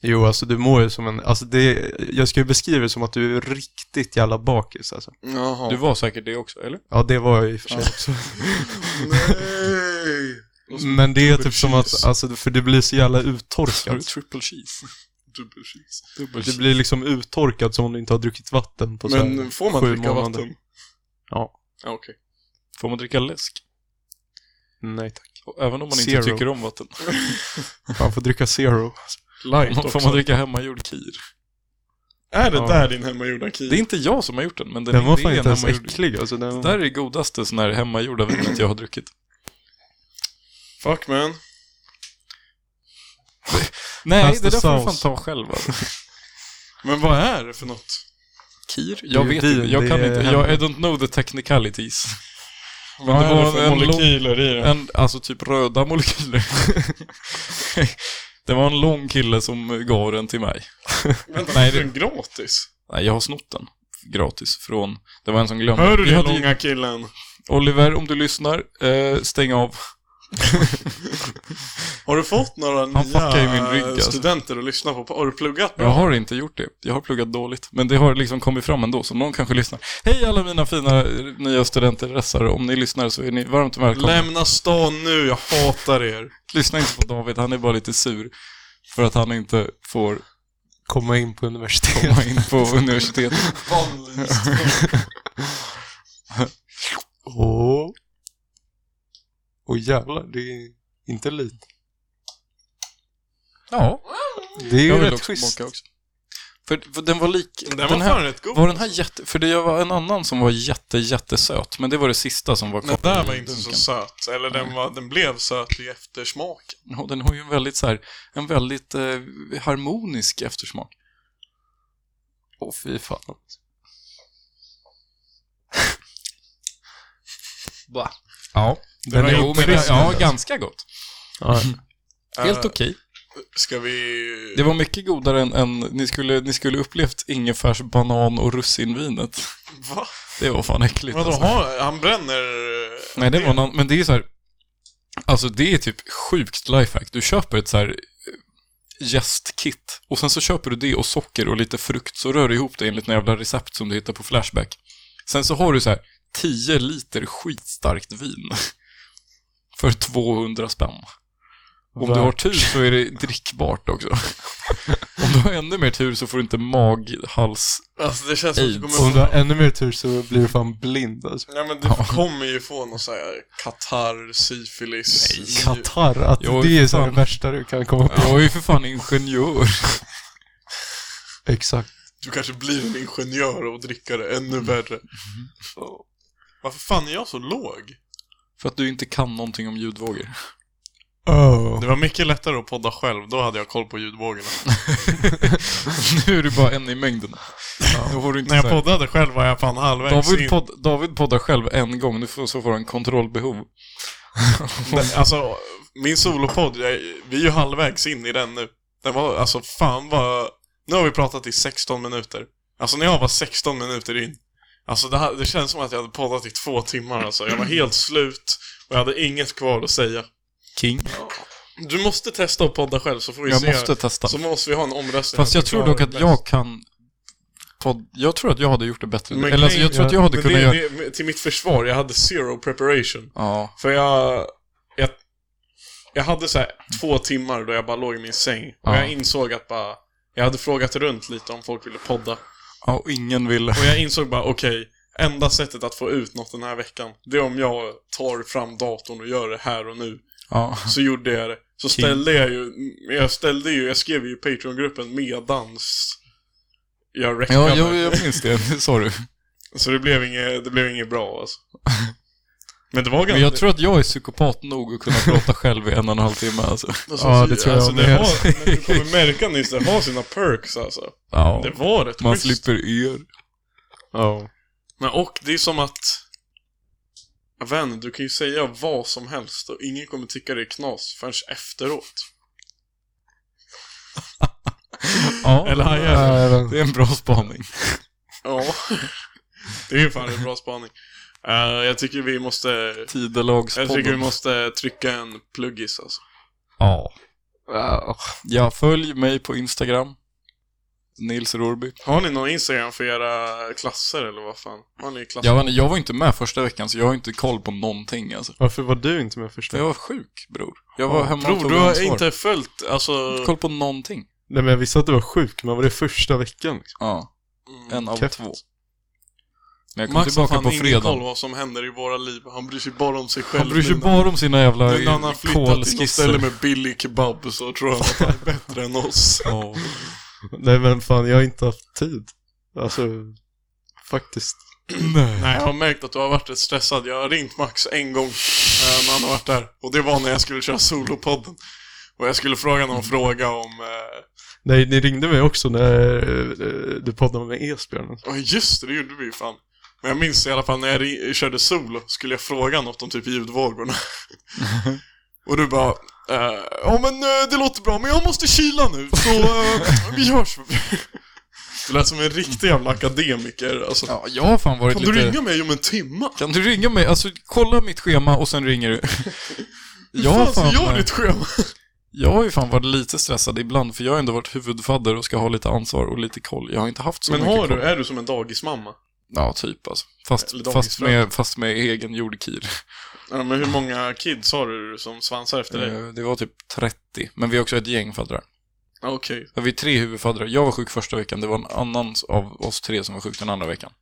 [SPEAKER 1] Jo, alltså du mår ju som en... Alltså det... Jag ska ju beskriva det som att du är riktigt jävla bakis alltså.
[SPEAKER 2] Jaha.
[SPEAKER 3] Du var säkert det också, eller?
[SPEAKER 1] Ja, det var jag i och för sig också.
[SPEAKER 2] Nej! Alltså, Och så
[SPEAKER 1] Men det är
[SPEAKER 2] dubbel
[SPEAKER 1] typ som att,
[SPEAKER 2] cheese.
[SPEAKER 1] alltså, för du blir så jävla
[SPEAKER 3] Var det
[SPEAKER 1] uttorkad.
[SPEAKER 3] triple cheese?
[SPEAKER 2] Dubbel cheese.
[SPEAKER 3] Dubbel
[SPEAKER 1] Du
[SPEAKER 3] cheese.
[SPEAKER 1] blir liksom uttorkad som om du inte har druckit vatten på så här
[SPEAKER 2] Men får man
[SPEAKER 1] sju
[SPEAKER 2] dricka
[SPEAKER 1] månader.
[SPEAKER 2] vatten?
[SPEAKER 1] Ja.
[SPEAKER 2] Ja, okej.
[SPEAKER 3] Får man dricka läsk?
[SPEAKER 1] Nej tack.
[SPEAKER 3] Och även om man
[SPEAKER 1] Zero.
[SPEAKER 3] inte tycker om vatten.
[SPEAKER 1] Man får dricka zero.
[SPEAKER 2] Light också.
[SPEAKER 3] Får man dricka hemmagjord kir?
[SPEAKER 2] Är det
[SPEAKER 1] Ja.
[SPEAKER 2] där din hemmagjorda kir?
[SPEAKER 3] Det är inte jag som har gjort den, men den,
[SPEAKER 1] Den var
[SPEAKER 3] är
[SPEAKER 1] fan inte ens
[SPEAKER 3] hemmagjord.
[SPEAKER 1] äcklig. Alltså, den...
[SPEAKER 3] Det där är det godaste sån här hemmagjorda vinet jag har druckit.
[SPEAKER 2] Fuck man.
[SPEAKER 3] Nej,
[SPEAKER 1] Pasta
[SPEAKER 3] det där får du fan
[SPEAKER 1] saus.
[SPEAKER 3] ta själv alltså.
[SPEAKER 2] Men vad är det för något?
[SPEAKER 3] Kir? Jag
[SPEAKER 1] Det är
[SPEAKER 3] vet
[SPEAKER 1] vin,
[SPEAKER 3] inte, jag
[SPEAKER 1] det
[SPEAKER 3] kan
[SPEAKER 1] är
[SPEAKER 3] inte. Jag, I don't know the technicalities. Men det var en, en lång,
[SPEAKER 2] molekyler i den?
[SPEAKER 3] en, alltså typ röda molekyler. det var en lång kille som gav den till mig.
[SPEAKER 2] Vänta,
[SPEAKER 3] Nej,
[SPEAKER 2] nej, det... den gratis?
[SPEAKER 3] Nej, jag har snott den gratis från, det var en som glömde.
[SPEAKER 2] Hör du
[SPEAKER 3] Vi
[SPEAKER 2] det
[SPEAKER 3] hade ju-
[SPEAKER 2] långa killen?
[SPEAKER 3] Oliver, om du lyssnar, eh, stäng av.
[SPEAKER 2] Har du fått några
[SPEAKER 3] fuckar ju
[SPEAKER 2] nya
[SPEAKER 3] min rygg, alltså.
[SPEAKER 2] studenter att lyssna på? Har du pluggat bra?
[SPEAKER 3] Jag har inte gjort det. Jag har pluggat dåligt. Men det har liksom kommit fram ändå, så någon kanske lyssnar. Hej alla mina fina eh, nya studenter, rassare. Om ni lyssnar så är ni varmt välkomna.
[SPEAKER 2] Lämna stan nu, jag hatar er.
[SPEAKER 3] Lyssna inte på David, han är bara lite sur. För att han inte får
[SPEAKER 1] Komma in på universitet.
[SPEAKER 3] komma in på universitetet.
[SPEAKER 1] Åh. Åh jävlar, det är inte lite.
[SPEAKER 3] Ja,
[SPEAKER 1] Det är
[SPEAKER 3] jag
[SPEAKER 1] ju
[SPEAKER 3] vill
[SPEAKER 1] rätt
[SPEAKER 3] också
[SPEAKER 1] schysst.
[SPEAKER 3] smaka också. För, för den var lik...
[SPEAKER 2] Den var
[SPEAKER 3] här,
[SPEAKER 2] fan rätt god.
[SPEAKER 3] var den här jätte... För det var en annan som var jätte, jättesöt. Men det var det sista som var
[SPEAKER 2] Den
[SPEAKER 3] kvar.
[SPEAKER 2] där
[SPEAKER 3] i
[SPEAKER 2] var inte så
[SPEAKER 3] dunken.
[SPEAKER 2] söt. Eller den, var, den blev söt i eftersmaken.
[SPEAKER 3] Ja, den har ju en väldigt så här, en väldigt eh, harmonisk eftersmak.
[SPEAKER 1] Åh fy fan.
[SPEAKER 3] Va? Ja.
[SPEAKER 1] Den är
[SPEAKER 3] jo, men,
[SPEAKER 1] otrist,
[SPEAKER 3] ja,
[SPEAKER 1] alltså.
[SPEAKER 3] ganska gott.
[SPEAKER 1] Ja.
[SPEAKER 2] Eh,
[SPEAKER 3] Helt okej.
[SPEAKER 2] Ska vi...
[SPEAKER 3] Det var mycket godare än, än ni, skulle, ni skulle upplevt ingefärs, banan och russinvinet.
[SPEAKER 2] Va?
[SPEAKER 3] Det var fan äckligt.
[SPEAKER 2] Vadå,
[SPEAKER 3] alltså.
[SPEAKER 2] ha, han bränner...
[SPEAKER 3] Nej, det var någon, men det är ju så här. Alltså det är typ sjukt lifehack. Du köper ett så här eh, jästkit och sen så köper du det och socker och lite frukt så rör du ihop det enligt några jävla recept som du hittar på Flashback. Sen så har du så här 10 liter skitstarkt vin för 200 spänn. Om du har tur så är det drickbart också. Om du har ännu mer tur så får du inte mag, hals...
[SPEAKER 2] Alltså det känns som att du
[SPEAKER 3] Aids.
[SPEAKER 1] Om
[SPEAKER 2] kommer
[SPEAKER 1] du har
[SPEAKER 2] få...
[SPEAKER 1] ännu mer tur så blir du fan blind alltså.
[SPEAKER 2] Nej men du
[SPEAKER 3] Ja.
[SPEAKER 2] kommer ju få någon sån här katarr, syfilis...
[SPEAKER 3] Nej,
[SPEAKER 1] Katarr, att
[SPEAKER 3] Jo,
[SPEAKER 1] det är så här
[SPEAKER 3] fan.
[SPEAKER 1] det värsta du kan komma på.
[SPEAKER 3] Jag är ju för fan ingenjör.
[SPEAKER 1] Exakt.
[SPEAKER 2] Du kanske blir en ingenjör och dricker det ännu värre. Så. Varför fan är jag så låg?
[SPEAKER 3] För att du inte kan någonting om ljudvågor.
[SPEAKER 1] Oh.
[SPEAKER 2] Det var mycket lättare att podda själv, då hade jag koll på ljudvågorna.
[SPEAKER 3] nu är du bara en i mängden. Då får du inte
[SPEAKER 2] När jag
[SPEAKER 3] så här-
[SPEAKER 2] poddade själv var jag fan halvvägs in.
[SPEAKER 3] David, podd, David poddar själv en gång, nu får, så får han kontrollbehov.
[SPEAKER 2] Nej, Alltså, min solopodd, jag, vi är ju halvvägs in i den nu. Den var, alltså fan vad... Nu har vi pratat i 16 minuter. Alltså när jag var 16 minuter in. Alltså det, här, det känns som att jag hade poddat i två timmar alltså. Jag var helt slut och jag hade inget kvar att säga.
[SPEAKER 3] King.
[SPEAKER 2] Du måste testa att podda själv så får vi
[SPEAKER 3] Jag
[SPEAKER 2] se.
[SPEAKER 3] måste testa.
[SPEAKER 2] Så måste vi ha en omröstning.
[SPEAKER 3] Fast jag
[SPEAKER 2] Vem
[SPEAKER 3] tror
[SPEAKER 2] klarar
[SPEAKER 3] dock att
[SPEAKER 2] det
[SPEAKER 3] jag
[SPEAKER 2] bäst.
[SPEAKER 3] kan... Podd, jag tror att jag hade gjort det bättre.
[SPEAKER 2] Men
[SPEAKER 3] Eller alltså, jag
[SPEAKER 2] grejen-
[SPEAKER 3] tror att jag hade
[SPEAKER 2] Men
[SPEAKER 3] kunnat
[SPEAKER 2] det,
[SPEAKER 3] göra...
[SPEAKER 2] det, till mitt försvar, jag hade zero preparation.
[SPEAKER 3] Ja.
[SPEAKER 2] För jag, jag, jag hade så här två timmar då jag bara låg i min säng. Och
[SPEAKER 3] Ja.
[SPEAKER 2] jag insåg att bara, jag hade frågat runt lite om folk ville podda.
[SPEAKER 3] ja, och ingen ville.
[SPEAKER 2] Och jag insåg bara, okej, enda sättet att få ut något den här veckan, det är om jag tar fram datorn och gör det här och nu.
[SPEAKER 3] Ja.
[SPEAKER 2] Så gjorde jag det. Så
[SPEAKER 3] King.
[SPEAKER 2] ställde jag ju, jag ställde ju, jag skrev ju i Patreon-gruppen medans jag
[SPEAKER 3] Ja,
[SPEAKER 2] räckade.
[SPEAKER 3] jag, jag minns det. Det sa du.
[SPEAKER 2] Så det blev inget, det blev inget bra alltså. Men det var ganska...
[SPEAKER 3] Men jag tror att jag är psykopat nog att kunna prata själv i en och en halv timme alltså.
[SPEAKER 2] Alltså,
[SPEAKER 1] Ja, det tror jag
[SPEAKER 2] alltså, det
[SPEAKER 1] med.
[SPEAKER 2] har, men Du kommer märka Nils, det har sina perks alltså.
[SPEAKER 3] Ja.
[SPEAKER 2] Det var rätt
[SPEAKER 3] Man
[SPEAKER 2] schysst.
[SPEAKER 3] slipper er.
[SPEAKER 1] Ja.
[SPEAKER 2] Men och det är som att... Jag vet inte, du kan ju säga vad som helst och ingen kommer tycka det är knas förrän efteråt.
[SPEAKER 3] Ja.
[SPEAKER 2] Eller han gör det.
[SPEAKER 1] Äh, men-
[SPEAKER 3] Det är en bra spaning.
[SPEAKER 2] Ja. Det är ju fan en bra spaning. Eh, jag tycker vi måste... Jag tycker vi
[SPEAKER 3] Tidelagspodden.
[SPEAKER 2] måste trycka en pluggis alltså.
[SPEAKER 3] Ja. Ja, följ mig på Instagram. Nils Rorby.
[SPEAKER 2] Har ni någon Instagram för era klasser eller vad fan? Har ni klasser?
[SPEAKER 3] Jag, vet inte, jag var inte med första veckan, så jag har inte koll på någonting alltså.
[SPEAKER 1] Varför var du inte med först?
[SPEAKER 3] För jag var sjuk, bror. Jag var hemma och
[SPEAKER 2] Bror,
[SPEAKER 3] tog
[SPEAKER 2] du har
[SPEAKER 3] ansvar.
[SPEAKER 2] inte följt, alltså...
[SPEAKER 3] koll på någonting.
[SPEAKER 1] Nej men jag visste att du var sjuk, men var det första veckan? Liksom?
[SPEAKER 3] Ja,
[SPEAKER 2] Mm.
[SPEAKER 3] en av
[SPEAKER 1] Keft.
[SPEAKER 3] två. Men jag kom
[SPEAKER 2] Max har
[SPEAKER 3] tillbaka
[SPEAKER 2] fan
[SPEAKER 3] på
[SPEAKER 2] ingen koll
[SPEAKER 3] fredag.
[SPEAKER 2] vad som händer i våra liv. Han bryr sig bara om sig själv.
[SPEAKER 3] Han bryr sig
[SPEAKER 2] nu
[SPEAKER 3] bara om sina jävla
[SPEAKER 2] när, nu när han har flyttat till något ställe
[SPEAKER 3] kolskisser.
[SPEAKER 2] med billig kebab så tror han att han är bättre än oss.
[SPEAKER 3] Ja.
[SPEAKER 1] Nej men fan, jag har inte haft tid. Alltså, faktiskt.
[SPEAKER 3] Nej.
[SPEAKER 2] Nej, jag har märkt att du har varit rätt stressad. Jag har ringt Max en gång eh, när han har varit där. Och det var när jag skulle köra solopodden. Och jag skulle fråga någon fråga om... eh,
[SPEAKER 1] Nej, ni ringde mig också när eh, du poddade med Esbjörn.
[SPEAKER 2] Ja, just det, det gjorde vi ju fan. Men jag minns i alla fall när jag ri- körde solo skulle jag fråga något om typ ljudvågorna. Och du bara... eh, ja men eh, det låter bra, men jag måste kila nu så eh, vi hörs. Du lät som en riktig jävla akademiker alltså.
[SPEAKER 3] Ja, jag har fan varit
[SPEAKER 2] Kan
[SPEAKER 3] lite...
[SPEAKER 2] du ringa mig om en timma?
[SPEAKER 3] Kan du ringa mig? Alltså, kolla mitt schema och sen ringer du. Jag har
[SPEAKER 2] Fan, så gör
[SPEAKER 3] fan,
[SPEAKER 2] ditt schema.
[SPEAKER 3] jag har ju fan varit lite stressad ibland, för jag har ändå varit huvudfadder och ska ha lite ansvar och lite koll. Jag har inte haft så
[SPEAKER 2] Men
[SPEAKER 3] mycket
[SPEAKER 2] har
[SPEAKER 3] koll.
[SPEAKER 2] du, är du som en dagismamma?
[SPEAKER 3] Ja, typ alltså. Fast,
[SPEAKER 2] Eller
[SPEAKER 3] fast,
[SPEAKER 2] dagisfröken.
[SPEAKER 3] med, fast med egen jordkir.
[SPEAKER 2] Ja, men hur många kids har du som svansar efter dig?
[SPEAKER 3] Eh, Det var typ 30, men vi är också ett gäng faddrar.
[SPEAKER 2] Okej.
[SPEAKER 3] Ja, Vi är tre huvudfaddrar. Jag var sjuk första veckan, det var en annan av oss tre som var sjuk den andra veckan.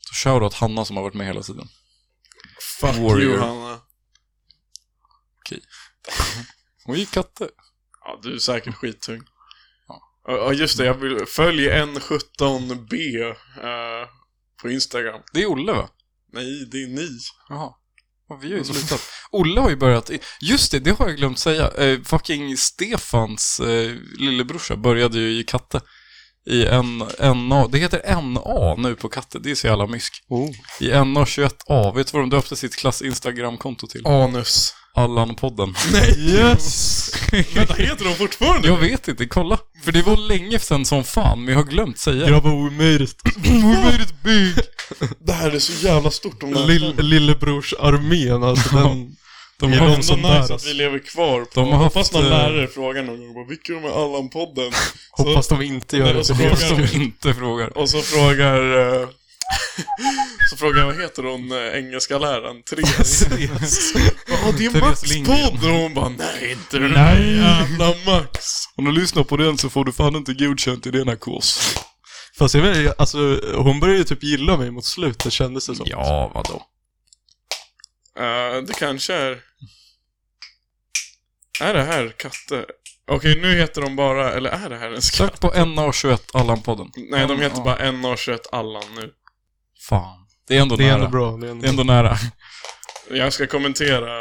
[SPEAKER 3] Så shoutout Hanna som har varit med hela tiden.
[SPEAKER 2] Fuck
[SPEAKER 3] Warrior.
[SPEAKER 2] you Hanna.
[SPEAKER 3] Hon gick katte.
[SPEAKER 2] Ja, du är säkert skittung.
[SPEAKER 3] Ja.
[SPEAKER 2] Ja, just det. Jag vill följ N17B eh, på Instagram.
[SPEAKER 3] Det är Olle va?
[SPEAKER 2] Nej, det är ni.
[SPEAKER 3] Jaha. Ja, vi har ju
[SPEAKER 2] Alltså,
[SPEAKER 3] slutat. Olle har ju börjat... i- Just det, det har jag glömt säga. Eh, fucking Stefans eh, lillebrorsa började ju i katte. I en, NA. Det heter NA nu på katte. Det är så jävla mysk.
[SPEAKER 1] Oh.
[SPEAKER 3] I NA21A. Vet du vad de döpte sitt klass Instagram-konto till?
[SPEAKER 2] Anus.
[SPEAKER 3] Allan-podden.
[SPEAKER 1] Yes!
[SPEAKER 2] Vänta, heter de fortfarande
[SPEAKER 3] Jag vet inte, kolla. För det var länge sedan som fan, men jag har glömt säga det.
[SPEAKER 1] Grabbar, omöjligt.
[SPEAKER 3] Omöjligt bygg!
[SPEAKER 2] Det här är så jävla stort om det här
[SPEAKER 1] Lill, lillebrors armén, alltså den...
[SPEAKER 3] De
[SPEAKER 2] Det
[SPEAKER 3] har
[SPEAKER 2] är
[SPEAKER 3] en sån
[SPEAKER 2] ändå
[SPEAKER 3] där,
[SPEAKER 2] nice att
[SPEAKER 3] alltså.
[SPEAKER 2] vi lever kvar på.
[SPEAKER 3] De har
[SPEAKER 2] Hoppas
[SPEAKER 3] haft,
[SPEAKER 2] någon
[SPEAKER 3] eh,
[SPEAKER 2] lärare frågar någon gång bara, vilka är de här Allan-podden?
[SPEAKER 1] Hoppas de inte
[SPEAKER 2] Nej,
[SPEAKER 1] gör det.
[SPEAKER 2] och så
[SPEAKER 1] för det är
[SPEAKER 2] frågar-
[SPEAKER 1] så-
[SPEAKER 3] Som inte frågar.
[SPEAKER 2] Och så frågar... eh, så frågar jag, vad heter hon, eh, engelska läraren? Therese? Ja, det är
[SPEAKER 3] Therese
[SPEAKER 2] Max
[SPEAKER 3] Lindgren.
[SPEAKER 2] podd! Och hon bara, nej inte den här jävla Max!
[SPEAKER 3] Om du lyssnar på den så får du fan inte godkänt i denna kurs.
[SPEAKER 1] Fast jag vet, alltså, hon började ju typ gilla mig mot slutet kändes det som.
[SPEAKER 3] Ja, vadå?
[SPEAKER 2] Eh, det kanske är... Är det här katter? Okej, nu heter de bara... Eller är det här en skatt?
[SPEAKER 3] Sök på NA21 Allan-podden.
[SPEAKER 2] Nej, de heter
[SPEAKER 3] Ja.
[SPEAKER 2] bara NA21 Allan nu.
[SPEAKER 3] Fan. Det är ändå
[SPEAKER 1] Det är
[SPEAKER 3] nära.
[SPEAKER 1] ändå bra. Det är
[SPEAKER 3] Det
[SPEAKER 1] ändå
[SPEAKER 3] är ändå nära.
[SPEAKER 2] Jag ska kommentera.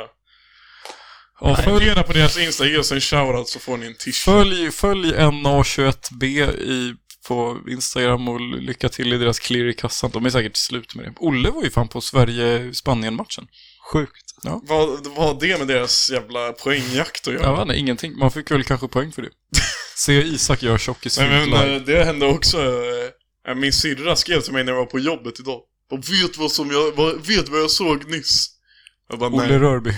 [SPEAKER 3] Ja, följ,
[SPEAKER 2] Kommentera på deras Insta, ge oss en shoutout så får ni en t-shirt.
[SPEAKER 3] följ, följ NA21B i, på Instagram och lycka till i deras clear i kassan. De är säkert slut med det. Olle var ju fan på Sverige-Spanien-matchen.
[SPEAKER 1] sjukt.
[SPEAKER 2] Vad vad har det med deras jävla poängjakt att göra?
[SPEAKER 3] Jag vet inte, ingenting. Man fick väl kanske poäng för det. Se Isak gör tjockis
[SPEAKER 2] Nej, men
[SPEAKER 3] live.
[SPEAKER 2] eh, det hände också. eh, Min syrra skrev till mig när jag var på jobbet idag. Och vet vad som jag, vad, vet vad jag såg nyss? Jag bara, nej.
[SPEAKER 3] Olle Rörby.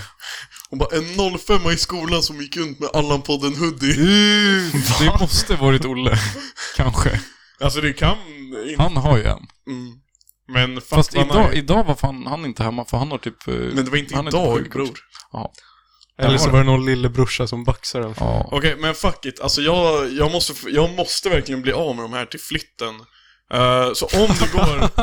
[SPEAKER 2] Hon bara, en 05 i skolan som gick runt med Allan-podden hoodie.
[SPEAKER 3] Det måste varit Olle. Kanske.
[SPEAKER 2] Alltså det kan... In...
[SPEAKER 3] Han har ju en.
[SPEAKER 2] Mm. Men fuck
[SPEAKER 3] Fast
[SPEAKER 2] vad
[SPEAKER 3] idag,
[SPEAKER 2] nice.
[SPEAKER 3] idag var fan han inte hemma för han har typ... eh,
[SPEAKER 2] Men det var inte
[SPEAKER 3] han är
[SPEAKER 2] idag,
[SPEAKER 3] sjuk.
[SPEAKER 2] bror.
[SPEAKER 1] Eller så
[SPEAKER 3] var
[SPEAKER 1] var det någon lillebrorsa som baxade den.
[SPEAKER 3] Ja.
[SPEAKER 2] Okej, men fuck it. Alltså jag, jag, måste, jag måste verkligen bli av med de här till flytten. Eh, så om det går...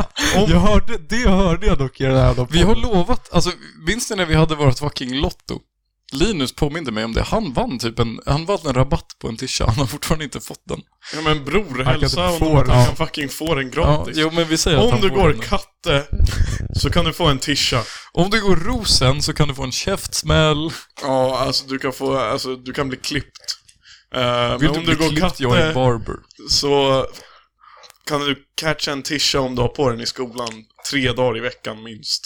[SPEAKER 2] om,
[SPEAKER 1] Jag hörde, det hörde jag dock i den här jävla
[SPEAKER 3] Vi har
[SPEAKER 1] podden.
[SPEAKER 3] lovat, alltså minns ni när vi hade vårt fucking Lotto? Linus påminde mig om det. Han vann typ en, han vann en rabatt på en tisha. Han har fortfarande inte fått den.
[SPEAKER 2] Ja men bror,
[SPEAKER 1] kan
[SPEAKER 2] hälsa
[SPEAKER 1] inte få
[SPEAKER 2] honom att
[SPEAKER 1] den.
[SPEAKER 2] han fucking får den
[SPEAKER 3] Ja,
[SPEAKER 2] gratis.
[SPEAKER 3] jo, men vi säger att
[SPEAKER 2] om
[SPEAKER 3] han
[SPEAKER 2] du
[SPEAKER 3] får
[SPEAKER 2] går
[SPEAKER 3] den.
[SPEAKER 2] katte så kan du få en tisha.
[SPEAKER 3] Om du går rosen så kan du få en käftsmäll.
[SPEAKER 2] Ja, alltså du kan få, alltså du kan bli klippt. Eh,
[SPEAKER 3] Vill
[SPEAKER 2] men
[SPEAKER 3] du
[SPEAKER 2] om du
[SPEAKER 3] bli
[SPEAKER 2] går
[SPEAKER 3] klippt, jag är
[SPEAKER 2] katte
[SPEAKER 3] barber.
[SPEAKER 2] så kan du catcha en tisha om du har på den i skolan tre dagar i veckan minst.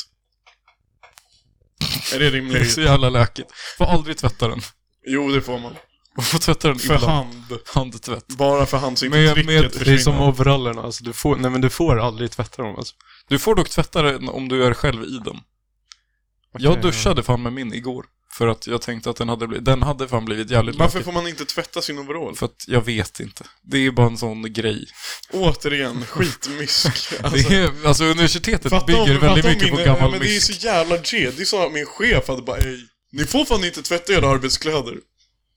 [SPEAKER 2] Är det
[SPEAKER 3] Det är
[SPEAKER 2] rimligt?
[SPEAKER 3] så jävla läkigt. Får aldrig tvätta den.
[SPEAKER 2] Jo, det får man.
[SPEAKER 3] Man får tvätta den
[SPEAKER 2] För
[SPEAKER 3] ibland.
[SPEAKER 2] hand.
[SPEAKER 3] Handtvätt.
[SPEAKER 2] Bara för hand så inte
[SPEAKER 3] Med-
[SPEAKER 2] trycket
[SPEAKER 3] med-
[SPEAKER 1] Det är
[SPEAKER 2] försvinner.
[SPEAKER 1] som overallerna, alltså du får, nej men du får aldrig tvätta dem alltså.
[SPEAKER 3] Du får dock tvätta den om du är själv i den. Jag
[SPEAKER 1] Okej, ja.
[SPEAKER 3] duschade fan med min igår. För att jag tänkte att den hade blivit, den hade fan blivit jävligt
[SPEAKER 2] Varför
[SPEAKER 3] läkig.
[SPEAKER 2] får man inte tvätta sin overall?
[SPEAKER 3] För att jag vet inte. Det är bara en sån grej.
[SPEAKER 2] Återigen, skitmysk. Alltså,
[SPEAKER 3] det är, alltså universitetet
[SPEAKER 2] fatta om-
[SPEAKER 3] bygger
[SPEAKER 2] fatta
[SPEAKER 3] väldigt
[SPEAKER 2] om
[SPEAKER 3] mycket
[SPEAKER 2] min- eh,
[SPEAKER 3] på gammal
[SPEAKER 2] Men det är
[SPEAKER 3] mysk.
[SPEAKER 2] så jävla G. Det är så att min chef hade bara Ej, ni får fan inte tvätta era arbetskläder.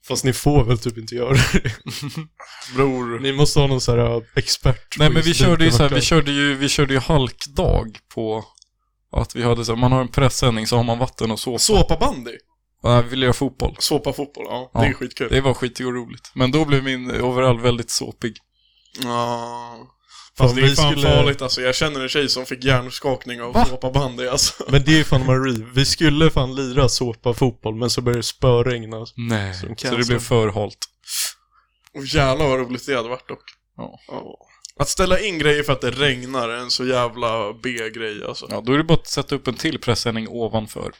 [SPEAKER 1] Fast ni får väl typ inte göra det.
[SPEAKER 2] Bror.
[SPEAKER 1] Ni måste ha någon sån här uh, expert.
[SPEAKER 3] Nej
[SPEAKER 1] på
[SPEAKER 3] men vi
[SPEAKER 1] just
[SPEAKER 3] körde ju
[SPEAKER 1] det.
[SPEAKER 3] så här, vi körde ju, vi körde ju halkdag på att vi hade så här, man har en pressändning så har man vatten och såpa.
[SPEAKER 2] Såpabandy.
[SPEAKER 3] Nej, vi ville göra fotboll.
[SPEAKER 2] Såpafotboll, ja.
[SPEAKER 3] Ja.
[SPEAKER 2] Det är skitkul.
[SPEAKER 3] Det var skitoroligt. Men då blev min overall väldigt såpig.
[SPEAKER 2] Ja.
[SPEAKER 1] Fan,
[SPEAKER 2] Fast det är
[SPEAKER 1] vi
[SPEAKER 2] fan
[SPEAKER 1] skulle-
[SPEAKER 2] farligt alltså. Jag känner en tjej som fick hjärnskakning av
[SPEAKER 3] Va?
[SPEAKER 2] såpabandy alltså.
[SPEAKER 1] Men det är fan Marie. Vi skulle fan lira såpa fotboll, men så började det spöregna. alltså.
[SPEAKER 3] Nej.
[SPEAKER 1] Som
[SPEAKER 3] Så det
[SPEAKER 1] cancer.
[SPEAKER 3] blev för halt.
[SPEAKER 2] Och jävlar vad roligt det hade varit dock.
[SPEAKER 3] Ja.
[SPEAKER 2] Att ställa in grejer för att det regnar är en så jävla B-grej alltså.
[SPEAKER 3] Ja, då är det bara att sätta upp en till pressändning ovanför.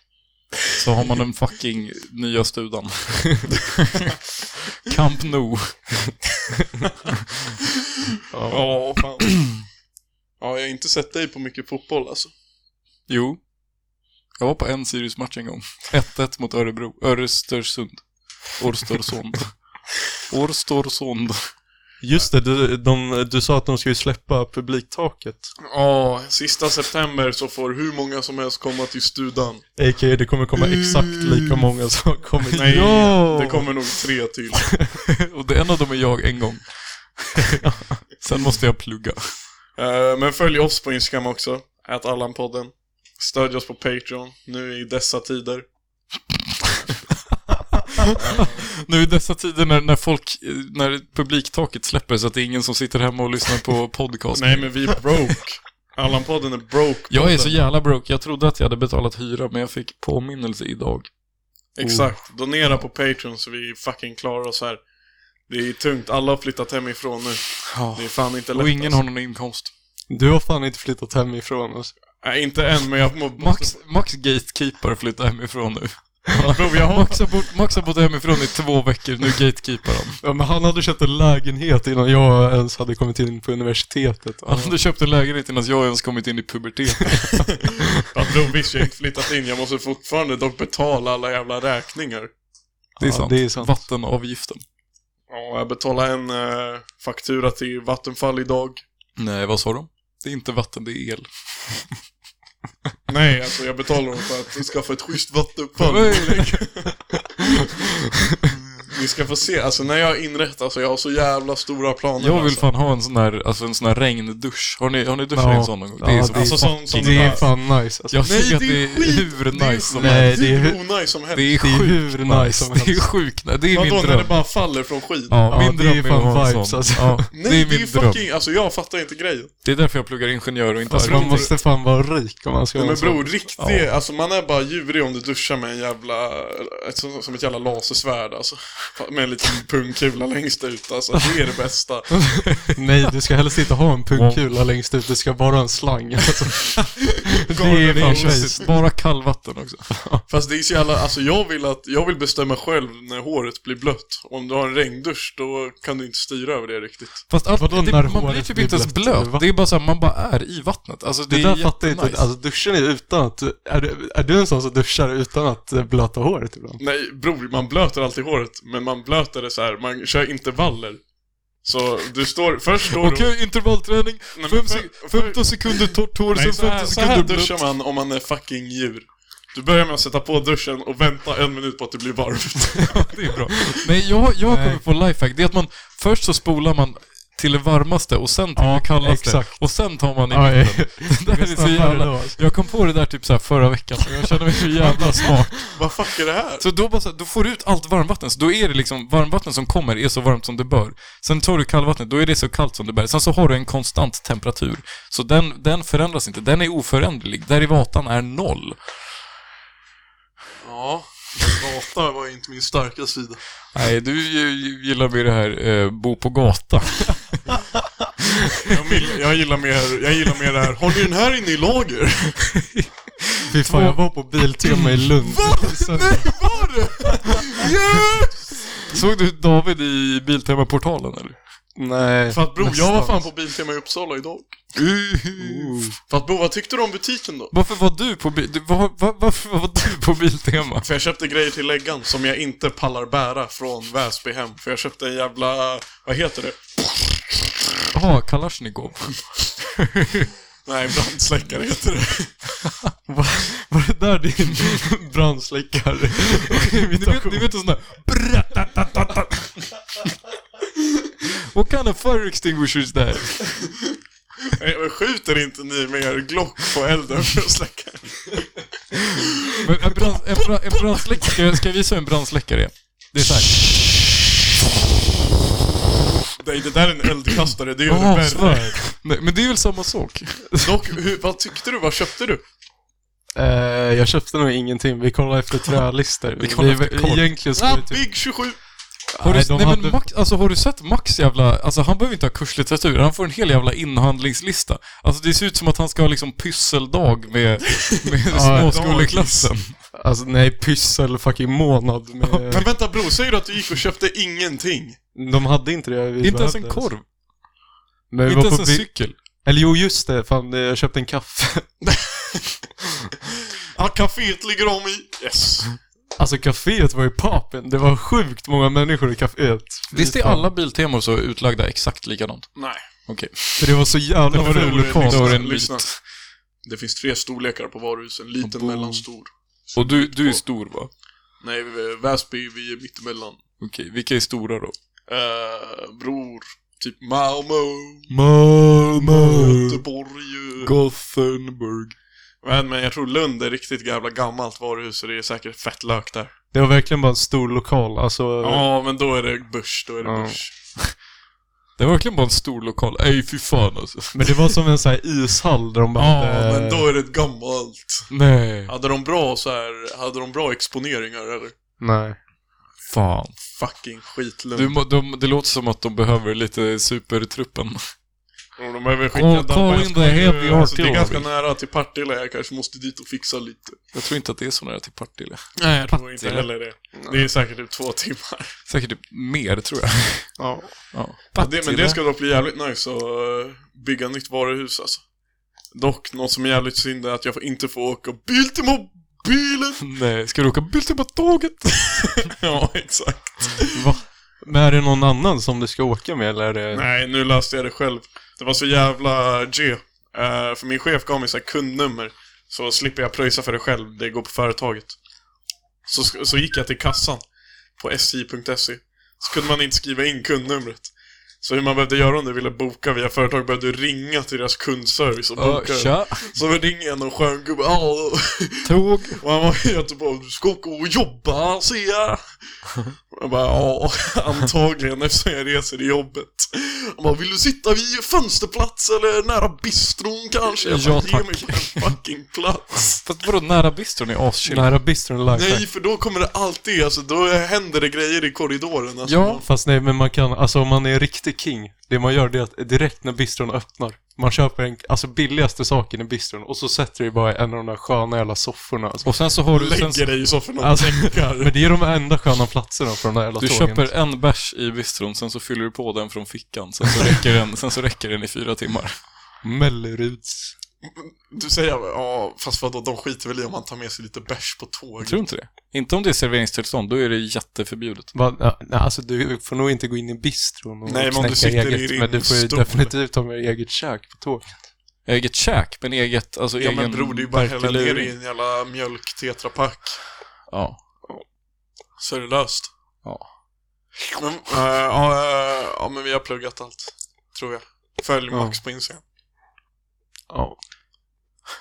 [SPEAKER 3] Så har man den fucking nya studan. Camp Nou.
[SPEAKER 1] Ja.
[SPEAKER 2] Ja, fan. Ja, jag har inte sett dig på mycket fotboll alltså.
[SPEAKER 3] Jo. Jag var på en Sirius-match en gång. 1-1 mot Örebro. Örestersund. Orstorsund. Orstorsund.
[SPEAKER 1] Just det, du, de, du sa att de skulle släppa publiktaket.
[SPEAKER 2] Ja, sista september så får hur många som helst komma till studan.
[SPEAKER 1] A.k.a. det kommer komma exakt
[SPEAKER 2] Mm.
[SPEAKER 1] lika många som har kommit.
[SPEAKER 2] Nej,
[SPEAKER 1] Ja!
[SPEAKER 2] det kommer nog tre till.
[SPEAKER 3] Och det en av dem är jag en gång. Sen måste jag plugga.
[SPEAKER 2] Eh, men följ oss på Instagram också, att Allan-podden. Stödj oss på Patreon, nu i dessa tider.
[SPEAKER 3] Nu i dessa tider när, när folk, eh, när publiktaket släpper så att det är ingen som sitter hemma och lyssnar på podcast.
[SPEAKER 2] Nej, men vi är broke. Allan-podden är broke.
[SPEAKER 3] Jag är så jävla broke. Jag trodde att jag hade betalat hyra, men jag fick påminnelse idag.
[SPEAKER 2] Exakt. Donera på Patreon så vi fucking klarar oss här. Det är tungt, alla har flyttat hemifrån nu. Det är fan inte lätt
[SPEAKER 3] Och ingen
[SPEAKER 2] alltså.
[SPEAKER 3] har någon inkomst.
[SPEAKER 1] Du har fan inte flyttat hemifrån alltså.
[SPEAKER 2] Nej, inte än, men jag må- måste...
[SPEAKER 3] Max, Max Gatekeeper flyttar hemifrån nu.
[SPEAKER 2] Bro, jag har...
[SPEAKER 3] Max har, bott, Max har bott hemifrån i två veckor, nu gatekeepar han.
[SPEAKER 1] Ja, men han hade köpt en lägenhet innan jag ens hade kommit in på universitetet.
[SPEAKER 3] Han hade köpt en lägenhet innan jag ens kommit in i puberteten.
[SPEAKER 2] Ja, bror, visst, jag har inte flyttat in. Jag måste fortfarande dock betala alla jävla räkningar.
[SPEAKER 3] Det är
[SPEAKER 1] Ja,
[SPEAKER 3] sant.
[SPEAKER 1] det är sant.
[SPEAKER 3] Vattenavgiften.
[SPEAKER 2] Ja, jag betalade en eh, faktura till Vattenfall idag.
[SPEAKER 3] Nej, vad sa de? Det är inte vatten, det är el.
[SPEAKER 2] Nej, alltså jag betalar dem för att vi ska få ett schysst vattenuppfall.
[SPEAKER 3] Nej,
[SPEAKER 2] Vi ska få se, alltså när jag inrättar så jag har så jävla stora planer.
[SPEAKER 3] Jag vill
[SPEAKER 2] alltså.
[SPEAKER 3] fan ha en sån här, alltså en sån här regndusch. Har ni, har ni duschat i en
[SPEAKER 1] Ja.
[SPEAKER 3] sån någon gång?
[SPEAKER 1] Ja,
[SPEAKER 3] det är så
[SPEAKER 2] Alltså sån,
[SPEAKER 1] Det
[SPEAKER 2] sån den
[SPEAKER 1] är
[SPEAKER 2] här.
[SPEAKER 1] fan nice. Alltså,
[SPEAKER 3] Jag
[SPEAKER 2] Nej,
[SPEAKER 3] tycker att
[SPEAKER 2] det är
[SPEAKER 3] det är
[SPEAKER 2] skit.
[SPEAKER 3] hur
[SPEAKER 2] Det är ju
[SPEAKER 3] nice som
[SPEAKER 1] Nej,
[SPEAKER 3] helst.
[SPEAKER 2] Det är
[SPEAKER 1] det
[SPEAKER 2] hur
[SPEAKER 1] är-
[SPEAKER 2] onajs som helst.
[SPEAKER 3] Det är
[SPEAKER 1] det är
[SPEAKER 3] sjukt
[SPEAKER 1] hur
[SPEAKER 3] nice.
[SPEAKER 1] nice som
[SPEAKER 3] det är
[SPEAKER 1] helst.
[SPEAKER 3] sjukt nice. Det är
[SPEAKER 2] Vadå
[SPEAKER 3] min
[SPEAKER 2] när det
[SPEAKER 3] dröm.
[SPEAKER 2] bara faller från skid?
[SPEAKER 3] Ja,
[SPEAKER 1] Ja,
[SPEAKER 3] min
[SPEAKER 1] det
[SPEAKER 3] dröm
[SPEAKER 1] är
[SPEAKER 3] är att
[SPEAKER 1] fan
[SPEAKER 3] ha en
[SPEAKER 1] vibes,
[SPEAKER 3] sån.
[SPEAKER 1] alltså.
[SPEAKER 3] Ja,
[SPEAKER 2] Nej,
[SPEAKER 3] det är min dröm.
[SPEAKER 2] fucking, alltså jag fattar inte grejen.
[SPEAKER 3] Det är därför jag pluggar ingenjör och inte
[SPEAKER 1] Alltså, man
[SPEAKER 3] arkitektur.
[SPEAKER 1] måste fan vara rik om man ska
[SPEAKER 2] Nej,
[SPEAKER 1] ha
[SPEAKER 2] men
[SPEAKER 1] en sån.
[SPEAKER 2] bror, riktig, alltså man är bara djurig om du duschar med en jävla, ett, som som ett jävla lasersvärd alltså. Med en liten pungkula längst ut alltså, det är det bästa.
[SPEAKER 1] Nej, du ska helst inte ha en pungkula längst ut. Du ska bara ha en slang. Alltså, det är
[SPEAKER 3] Fan,
[SPEAKER 1] fan nice.
[SPEAKER 3] shit. Bara kallvatten också.
[SPEAKER 2] Fast det är så jävla, alltså jag vill att, jag vill bestämma själv när håret blir blött. Om du har en regndusch då kan du inte styra över det riktigt.
[SPEAKER 3] Fast allt,
[SPEAKER 1] Vadå,
[SPEAKER 3] det,
[SPEAKER 1] när
[SPEAKER 3] man blir
[SPEAKER 1] håret
[SPEAKER 3] typ
[SPEAKER 1] blir
[SPEAKER 3] inte ens
[SPEAKER 1] blött?
[SPEAKER 3] blöt.
[SPEAKER 1] Va?
[SPEAKER 3] Det är bara så här, man bara är i vattnet. Alltså det,
[SPEAKER 1] Det,
[SPEAKER 3] är
[SPEAKER 1] där fattar jag inte.
[SPEAKER 3] jättenice.
[SPEAKER 1] Alltså duschen är utan att... Är du, är du en sån som duschar utan att eh, blöta håret ibland?
[SPEAKER 2] Nej bror, man blöter alltid håret, men man blöter det så här. man kör intervaller. Så du står, först står du...
[SPEAKER 3] Okej, intervallträning.
[SPEAKER 2] Nej, men
[SPEAKER 3] Fem
[SPEAKER 2] för-
[SPEAKER 3] sek- 15 sekunder torrt hår,
[SPEAKER 2] Nej,
[SPEAKER 3] sen
[SPEAKER 2] så här,
[SPEAKER 3] 15
[SPEAKER 2] så här
[SPEAKER 3] sekunder blött.
[SPEAKER 2] duschar man om man är fucking djur. Du börjar med att sätta på duschen och vänta en minut på att det blir varmt.
[SPEAKER 3] Det är bra. Nej, jag, jag
[SPEAKER 1] Nej.
[SPEAKER 3] kommer på lifehack. Det är att man först så spolar man till det varmaste och sen till
[SPEAKER 1] Ja,
[SPEAKER 3] det kallaste.
[SPEAKER 1] exakt.
[SPEAKER 3] Och sen tar man i
[SPEAKER 1] Ja,
[SPEAKER 3] mitten.
[SPEAKER 1] ja.
[SPEAKER 3] Det där är så jävla... Jag kom på det där typ så här förra veckan och jag känner mig så jävla smart.
[SPEAKER 2] Vad fuck är det här?
[SPEAKER 3] Så då bara så här, då får du ut allt varmvatten. Så då är det liksom, varmvatten som kommer är så varmt som det bör. Sen tar du kallvattnet, då är det så kallt som det bör. Sen så har du en konstant temperatur. Så den, den förändras inte, den är oföränderlig. Derivatan är noll.
[SPEAKER 2] Ja, data var ju inte min starka sida.
[SPEAKER 3] Nej, du ju- gillar mer det här eh, bo på gata.
[SPEAKER 2] Jag, vill, jag, gillar mer, jag gillar mer det här, har ni den här inne i lager?
[SPEAKER 1] Fy fan, jag var på Biltema i Lund. Så-
[SPEAKER 3] Såg du David i Biltema-portalen eller?
[SPEAKER 1] Nej.
[SPEAKER 2] För att bror, jag var
[SPEAKER 1] Nästan.
[SPEAKER 2] fan på Biltema i Uppsala idag. För att bror, vad tyckte du om butiken då?
[SPEAKER 3] Varför var du på bil... du- var, var, varför var du på Biltema?
[SPEAKER 2] För jag köpte grejer till läggan som jag inte pallar bära från Väsby hem. För jag köpte en jävla, vad heter det?
[SPEAKER 3] Jaha, Kalashnikov.
[SPEAKER 2] Nej, brandsläckare heter det.
[SPEAKER 1] Var, var det där din brandsläckare?
[SPEAKER 3] ni, vet, ni vet en sån där... Bra-ta-ta-ta-ta. What kind of fire extinguisher is that?
[SPEAKER 2] Nej, men Skjuter inte ni med er Glock på elden för att släcka den?
[SPEAKER 3] Men en, brand, en, bra, en brandsläckare, ska jag, ska jag visa hur en brandsläckare är? Det är såhär...
[SPEAKER 2] Nej, det där är en eldkastare, det gör det
[SPEAKER 3] Jaha,
[SPEAKER 2] värre.
[SPEAKER 3] svär. Nej, men det är väl samma sak?
[SPEAKER 2] Dock, hur, vad tyckte du? Vad köpte du?
[SPEAKER 1] Eh, jag köpte nog ingenting. Vi kollade efter trälistor.
[SPEAKER 3] Vi kollade efter korv.
[SPEAKER 1] Egentligen så var det typ...
[SPEAKER 2] Big 27!
[SPEAKER 3] Har du,
[SPEAKER 1] Nej,
[SPEAKER 3] nej,
[SPEAKER 1] de
[SPEAKER 3] men
[SPEAKER 1] hade-
[SPEAKER 3] Max, alltså, har du sett Max jävla... Alltså han behöver inte ha kurslitteratur, han får en hel jävla inhandlingslista. Alltså det ser ut som att han ska ha liksom pysseldag med, med småskoleklassen.
[SPEAKER 1] Alltså nej, pyssel fucking månad.
[SPEAKER 2] Men
[SPEAKER 1] Med...
[SPEAKER 2] vänta bror, säger du att du gick och köpte ingenting?
[SPEAKER 1] De hade inte det vi
[SPEAKER 3] Inte ens en
[SPEAKER 1] behövde,
[SPEAKER 3] korv,
[SPEAKER 1] Men vi
[SPEAKER 3] inte
[SPEAKER 1] var
[SPEAKER 3] ens
[SPEAKER 1] på
[SPEAKER 3] en
[SPEAKER 1] bi-
[SPEAKER 3] cykel.
[SPEAKER 1] Eller jo, just det. Fan, eh, jag köpte en kaffe.
[SPEAKER 2] Ja, kaféet ligger om i... Yes!
[SPEAKER 1] Alltså kaféet var ju papen. Det var sjukt många människor i kaféet.
[SPEAKER 3] Visst är
[SPEAKER 1] Fy fan.
[SPEAKER 3] alla biltemor så utlagda exakt likadant?
[SPEAKER 2] Nej.
[SPEAKER 3] Okej.
[SPEAKER 1] För det var så jävla
[SPEAKER 2] var det
[SPEAKER 1] ful
[SPEAKER 2] roligt.
[SPEAKER 1] lokal.
[SPEAKER 2] Det
[SPEAKER 3] Då
[SPEAKER 2] var
[SPEAKER 3] är det
[SPEAKER 2] en
[SPEAKER 3] en
[SPEAKER 2] lyssna.
[SPEAKER 3] myt.
[SPEAKER 2] Det finns tre storlekar på varuhusen, liten,
[SPEAKER 3] Boom.
[SPEAKER 2] mellanstor.
[SPEAKER 3] Och du, du är stor va?
[SPEAKER 2] Nej, vi- Väsby, vi är mittemellan.
[SPEAKER 3] Okej, vilka är stora då?
[SPEAKER 2] Uh, bror, typ Malmö,
[SPEAKER 1] Malmö.
[SPEAKER 2] Göteborg.
[SPEAKER 3] Gothenburg.
[SPEAKER 2] Men, men jag tror Lund är riktigt jävla gammalt varuhus så det är säkert fett lök där.
[SPEAKER 1] Det var verkligen bara en stor lokal. Alltså,
[SPEAKER 2] Ja, men då är det börs, då är det
[SPEAKER 1] Ja.
[SPEAKER 2] börs.
[SPEAKER 3] Det var verkligen bara en stor lokal. Ej, fy fan alltså.
[SPEAKER 1] men det var som en sån här ishall där de bara
[SPEAKER 2] Ja,
[SPEAKER 1] hade-
[SPEAKER 2] men då är det gammalt.
[SPEAKER 3] Nej.
[SPEAKER 2] Hade de bra så här, hade de bra exponeringar eller?
[SPEAKER 1] Nej.
[SPEAKER 3] Fan.
[SPEAKER 2] Fucking skitlund.
[SPEAKER 3] Du, må- de, det låter som att de behöver lite supertruppen.
[SPEAKER 2] Och de behöver skicka
[SPEAKER 3] Call- call in the head
[SPEAKER 2] Dambergs
[SPEAKER 3] yard
[SPEAKER 2] alltså, Det är
[SPEAKER 3] till
[SPEAKER 2] ganska
[SPEAKER 3] Arvik.
[SPEAKER 2] nära till Partille, jag kanske måste dit och fixa lite.
[SPEAKER 3] Jag tror inte att det är så nära till Partille.
[SPEAKER 2] Nej, jag tror inte
[SPEAKER 3] Partille.
[SPEAKER 2] heller det. Det är säkert typ två timmar.
[SPEAKER 3] Säkert typ mer, tror jag.
[SPEAKER 2] Ja.
[SPEAKER 3] Ja.
[SPEAKER 2] Det, men det ska dock bli jävligt nice att eh, bygga nytt varuhus alltså. Dock, något som är jävligt synd är att jag inte får åka bil till mobilen!
[SPEAKER 3] Nej, ska du åka bil på tåget?
[SPEAKER 2] ja, exakt.
[SPEAKER 1] Men är det någon annan som du ska åka med eller? Är det...
[SPEAKER 2] Nej, nu löste jag det själv. Det var så jävla G. Eh, för min chef gav mig så här kundnummer. Så slipper jag pröjsa för det själv, det går på företaget. Så, sk- så gick jag till kassan på sj.se. E. Så kunde man inte skriva in kundnumret. Så hur man behövde göra om du ville boka via företag behövde du ringa till deras kundservice och
[SPEAKER 3] Ja,
[SPEAKER 2] boka.
[SPEAKER 3] tja,
[SPEAKER 2] så ringer jag någon skön gubbe. "Ja,
[SPEAKER 3] tåg.
[SPEAKER 2] Och han var i Göteborg, du ska åka och jobba ser jag. Och jag bara, ja, antagligen eftersom jag reser i jobbet. Han bara, vill du sitta vid fönsterplats eller nära bistron kanske? Jag bara,
[SPEAKER 3] Ja,
[SPEAKER 2] Ge
[SPEAKER 3] tack.
[SPEAKER 2] mig en fucking plats.
[SPEAKER 3] Fast vadå, nära bistron är aschill.
[SPEAKER 1] Nära bistron life.
[SPEAKER 2] Nej, för då kommer det alltid, alltså då händer det grejer i korridoren. Alltså,
[SPEAKER 3] Ja.
[SPEAKER 1] Fast nej, men man kan, alltså om man är en riktig king, det man gör det är att direkt när bistron öppnar, man köper en, alltså billigaste saken i bistron och så sätter du bara i en av de där sköna jävla sofforna. Alltså.
[SPEAKER 3] Och sen så har
[SPEAKER 2] Du
[SPEAKER 3] du...
[SPEAKER 2] lägger
[SPEAKER 3] Sen,
[SPEAKER 2] dig i soffan och
[SPEAKER 1] Alltså,
[SPEAKER 2] tänker.
[SPEAKER 1] Men det är de enda sköna platserna på de där jävla
[SPEAKER 3] du
[SPEAKER 1] tågen.
[SPEAKER 3] köper en bärs i bistron, sen så fyller du på den från fickan. Sen så räcker den, sen så räcker den i fyra timmar.
[SPEAKER 1] Melleruds.
[SPEAKER 2] Du säger, ja, fast vadå, de skiter väl i om man tar med sig lite bärs på tåg.
[SPEAKER 3] Jag tror inte det. Inte om det är serveringstillstånd, då är det jätteförbjudet.
[SPEAKER 1] Va, ja, nej, alltså du får nog inte gå in i bistron och
[SPEAKER 2] Nej, men om
[SPEAKER 1] knäcka
[SPEAKER 2] du sitter i
[SPEAKER 1] eget,
[SPEAKER 2] din
[SPEAKER 1] men du får ju
[SPEAKER 2] stol.
[SPEAKER 1] definitivt ta med dig eget kök på tåg.
[SPEAKER 3] Eget käk, men eget... Alltså
[SPEAKER 2] Ja
[SPEAKER 3] egen
[SPEAKER 2] men bror, det är ju bara att hälla ner
[SPEAKER 3] verklig-
[SPEAKER 2] i en jävla mjölk-tetrapack.
[SPEAKER 3] Ja.
[SPEAKER 2] Så är det löst.
[SPEAKER 3] Ja.
[SPEAKER 2] Men, eh, ja, eh, ja, men vi har pluggat allt. Tror jag. Följ Max på Instagram.
[SPEAKER 1] Ja.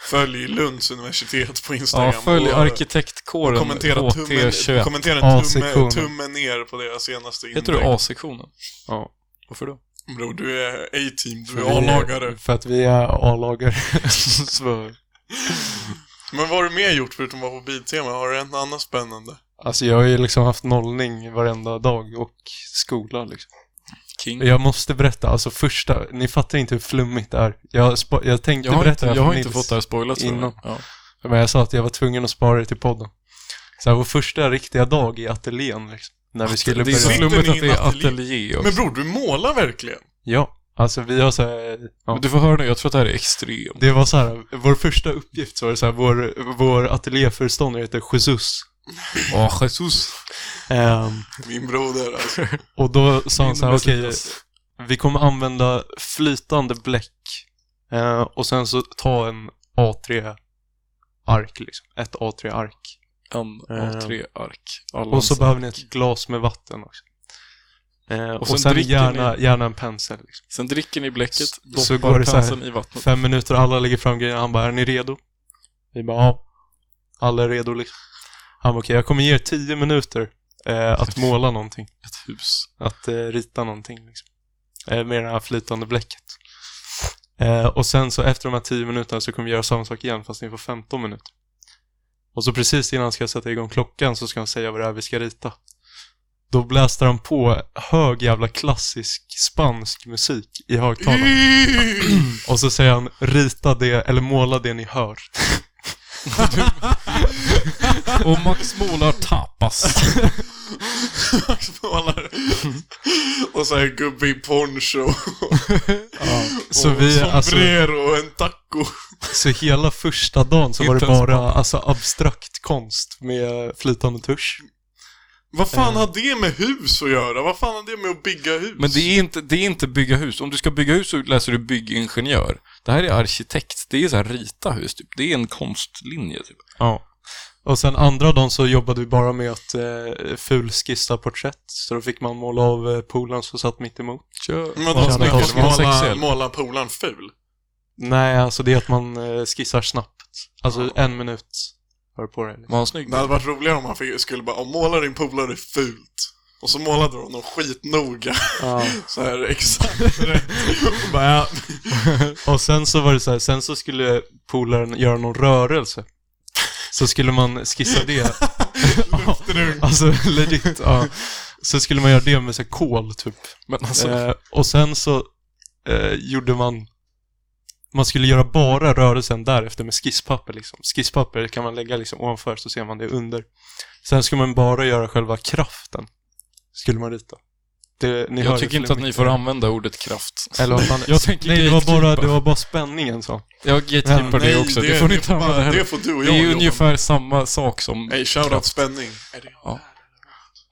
[SPEAKER 2] Följ Lunds universitet på Instagram.
[SPEAKER 3] ja, följ
[SPEAKER 2] och, eh,
[SPEAKER 3] arkitektkåren,
[SPEAKER 2] Kommentera tummen,
[SPEAKER 3] HT21.
[SPEAKER 2] kommentera tumme,
[SPEAKER 1] A-sektionen.
[SPEAKER 2] tummen ner på deras senaste inlägg.
[SPEAKER 3] Heter du A-sektionen?
[SPEAKER 1] Ja.
[SPEAKER 3] Varför då?
[SPEAKER 2] Bror, du är A-team, du
[SPEAKER 1] För
[SPEAKER 2] är
[SPEAKER 1] vi-
[SPEAKER 2] A-lagare.
[SPEAKER 1] För att vi är A-lagare. Så-
[SPEAKER 2] Men vad har du mer gjort förutom att vara på Biltema? Har du en annan spännande?
[SPEAKER 1] Alltså jag har ju liksom haft nollning varenda dag och skola liksom.
[SPEAKER 3] King?
[SPEAKER 1] Jag måste berätta, alltså första, ni fattar inte hur flummigt det är. Jag, spa- jag tänkte
[SPEAKER 3] Jag har
[SPEAKER 1] berätta
[SPEAKER 3] inte,
[SPEAKER 1] det här
[SPEAKER 3] jag har
[SPEAKER 1] för
[SPEAKER 3] inte
[SPEAKER 1] Nils,
[SPEAKER 3] fått det här spoilat för mig.
[SPEAKER 1] innan.
[SPEAKER 3] Ja.
[SPEAKER 1] Men jag sa att jag var tvungen att spara det till podden. Så här, vår första riktiga dag i ateljén liksom, När vi skulle
[SPEAKER 3] Alltså, Det är så
[SPEAKER 2] Sitter
[SPEAKER 1] börja.
[SPEAKER 3] flummigt
[SPEAKER 2] ni i
[SPEAKER 3] att det är
[SPEAKER 2] ateljé?
[SPEAKER 3] ateljé också.
[SPEAKER 2] Men bror, du målar verkligen!
[SPEAKER 1] Ja, alltså vi har så här, ja.
[SPEAKER 3] Men Du får höra nu, jag tror att det här är extremt.
[SPEAKER 1] Det var så här, vår första uppgift så var det så här, vår, vår ateljéföreståndare heter Jesus.
[SPEAKER 3] Åh, Jesus.
[SPEAKER 1] Ehm,
[SPEAKER 2] Min broder alltså.
[SPEAKER 1] och då sa han så här, okej,
[SPEAKER 3] Mesias.
[SPEAKER 1] vi kommer använda flytande bläck eh, och sen så ta en A3-ark liksom. Ett A3-ark.
[SPEAKER 3] En A3-ark.
[SPEAKER 1] Och så behöver ni ett glas med vatten också. Eh, och,
[SPEAKER 3] sen
[SPEAKER 1] sen, sen
[SPEAKER 3] dricker
[SPEAKER 1] gärna, gärna en pensel. Liksom.
[SPEAKER 3] Sen dricker ni bläcket,
[SPEAKER 1] Så-
[SPEAKER 3] doppar
[SPEAKER 1] så går det så här.
[SPEAKER 3] penseln i vattnet.
[SPEAKER 1] Fem minuter, alla lägger fram grejerna. Han bara, är ni redo? Vi bara, ja. Alla är redo liksom. Han bara, okej, jag kommer ge er tio minuter eh, att måla någonting.
[SPEAKER 3] Ett hus.
[SPEAKER 1] Att eh, rita någonting liksom. eh, Med det här flytande bläcket eh, Och sen så efter de här 10 minuterna så kommer vi göra samma sak igen fast ni får 15 minuter Och så precis innan han ska sätta igång klockan så ska han säga vad det är vi ska rita Då blästar han på hög jävla klassisk spansk musik i högtalaren
[SPEAKER 3] Mm.
[SPEAKER 1] Och så säger han rita det eller måla det ni hör
[SPEAKER 3] Och Max målar tapas.
[SPEAKER 2] Max målar. Och så här gubbe i poncho.
[SPEAKER 1] Så
[SPEAKER 2] och
[SPEAKER 1] vi, alltså,
[SPEAKER 2] sombrero och en taco.
[SPEAKER 1] så hela första dagen så var
[SPEAKER 3] Inte
[SPEAKER 1] det
[SPEAKER 3] ens
[SPEAKER 1] bara alltså, abstrakt konst med flytande tusch
[SPEAKER 2] Vad fan har det med hus att göra? Vad fan har det med att bygga hus?
[SPEAKER 3] Eh. Men det är, inte, det är inte bygga hus. Om du ska bygga hus så läser du byggingenjör. Det här är arkitekt. Det är så här rita hus, typ. Det är en konstlinje, typ.
[SPEAKER 1] Ja. Och sen andra dagen så jobbade vi bara med att eh, fulskissa porträtt. Så då fick man måla av eh, polaren som satt mitt emot.
[SPEAKER 3] Kör.
[SPEAKER 2] Men då
[SPEAKER 1] Ja,
[SPEAKER 2] snackar
[SPEAKER 1] men-
[SPEAKER 2] vi om att måla,
[SPEAKER 3] sexuell.
[SPEAKER 2] måla polaren ful.
[SPEAKER 1] Nej, alltså det är att man eh, skissar snabbt. Alltså en minut har du på dig.
[SPEAKER 3] Var han snygg?
[SPEAKER 2] Det hade varit roligare om han fick, skulle bara, "Ja, måla din polare fult. Och så målade de honom skitnoga.
[SPEAKER 1] Ja.
[SPEAKER 2] Så här exakt rätt. Och bara, ja.
[SPEAKER 1] Och sen så var det så här, sen så skulle polaren göra någon rörelse. Så skulle man skissa det.
[SPEAKER 2] Luftrunk.
[SPEAKER 1] Alltså legit. Ja. Så skulle man göra det med så här, kol typ.
[SPEAKER 3] Men alltså,
[SPEAKER 1] Eh, och sen så eh, gjorde man... Man skulle göra bara rörelsen därefter med skisspapper. Liksom. Skisspapper kan man lägga liksom ovanför så ser man det under. Sen skulle man bara göra själva kraften. Skulle man rita. Det, ni hör
[SPEAKER 3] Jag tycker
[SPEAKER 1] ju
[SPEAKER 3] inte att ni får
[SPEAKER 1] fler-
[SPEAKER 3] använda ordet kraft.
[SPEAKER 1] Eller vad fan-
[SPEAKER 3] Jag tänker
[SPEAKER 1] Nej, det var, bara,
[SPEAKER 3] gatekeeper.
[SPEAKER 1] det var bara spänningen så.
[SPEAKER 3] Jag gatekeepar det också. Det, får ni inte använda
[SPEAKER 2] bara-
[SPEAKER 3] heller.
[SPEAKER 2] Det får du och
[SPEAKER 3] Det
[SPEAKER 2] jag
[SPEAKER 3] är ju
[SPEAKER 2] jobba med.
[SPEAKER 3] ungefär samma sak som
[SPEAKER 2] Nej, shoutout spänning.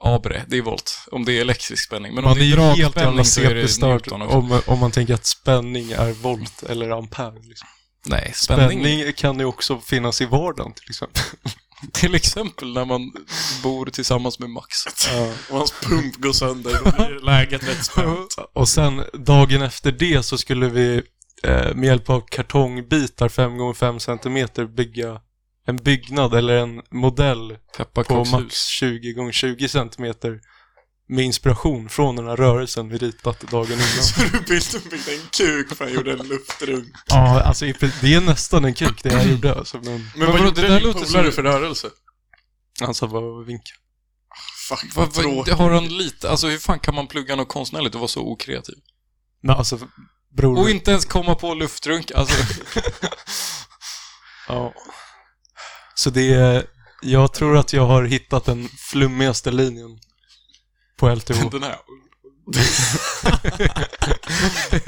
[SPEAKER 3] Abre, det är volt. Om det är elektrisk spänning. Men om
[SPEAKER 1] Man
[SPEAKER 3] det
[SPEAKER 1] är
[SPEAKER 3] är
[SPEAKER 1] ju helt jävla
[SPEAKER 3] dragspänning så är det
[SPEAKER 1] CP-störd
[SPEAKER 3] Newton också.
[SPEAKER 1] om, om man tänker att spänning är volt eller ampere. Liksom.
[SPEAKER 3] Nej,
[SPEAKER 1] Spänning.
[SPEAKER 3] spänning.
[SPEAKER 1] kan ju också finnas i vardagen till exempel.
[SPEAKER 3] Till exempel när man bor tillsammans med Max.
[SPEAKER 2] Om hans pump går sönder, då blir läget rätt spänt.
[SPEAKER 1] Och sen dagen efter det så skulle vi eh, med hjälp av kartongbitar 5x5 cm bygga en byggnad eller en modell på
[SPEAKER 3] Pepparkakshus.
[SPEAKER 1] max 20x20 cm med inspiration från den här rörelsen vi ritat dagen innan.
[SPEAKER 2] Så du byggde byggde en kuk för han gjorde en luftrunk.
[SPEAKER 1] Ja, alltså i prin- det är nästan en kuk det jag gjorde alltså, men
[SPEAKER 2] Men,
[SPEAKER 3] vadå,
[SPEAKER 2] vad gjorde
[SPEAKER 3] det där
[SPEAKER 2] din
[SPEAKER 3] låter
[SPEAKER 2] polare
[SPEAKER 3] som-
[SPEAKER 2] för rörelse?
[SPEAKER 1] han sa bara vinka.
[SPEAKER 2] Fuck,
[SPEAKER 3] Vad-
[SPEAKER 2] vad
[SPEAKER 3] vad-
[SPEAKER 2] tråkigt.
[SPEAKER 3] det har han lite, alltså hur fan kan man plugga något konstnärligt och vara så okreativ?
[SPEAKER 1] Men alltså bror.
[SPEAKER 3] Och inte ens komma på luftrunk, alltså.
[SPEAKER 1] ja. Så det är, jag tror att jag har hittat den flummigaste linjen på LTH.
[SPEAKER 3] den här.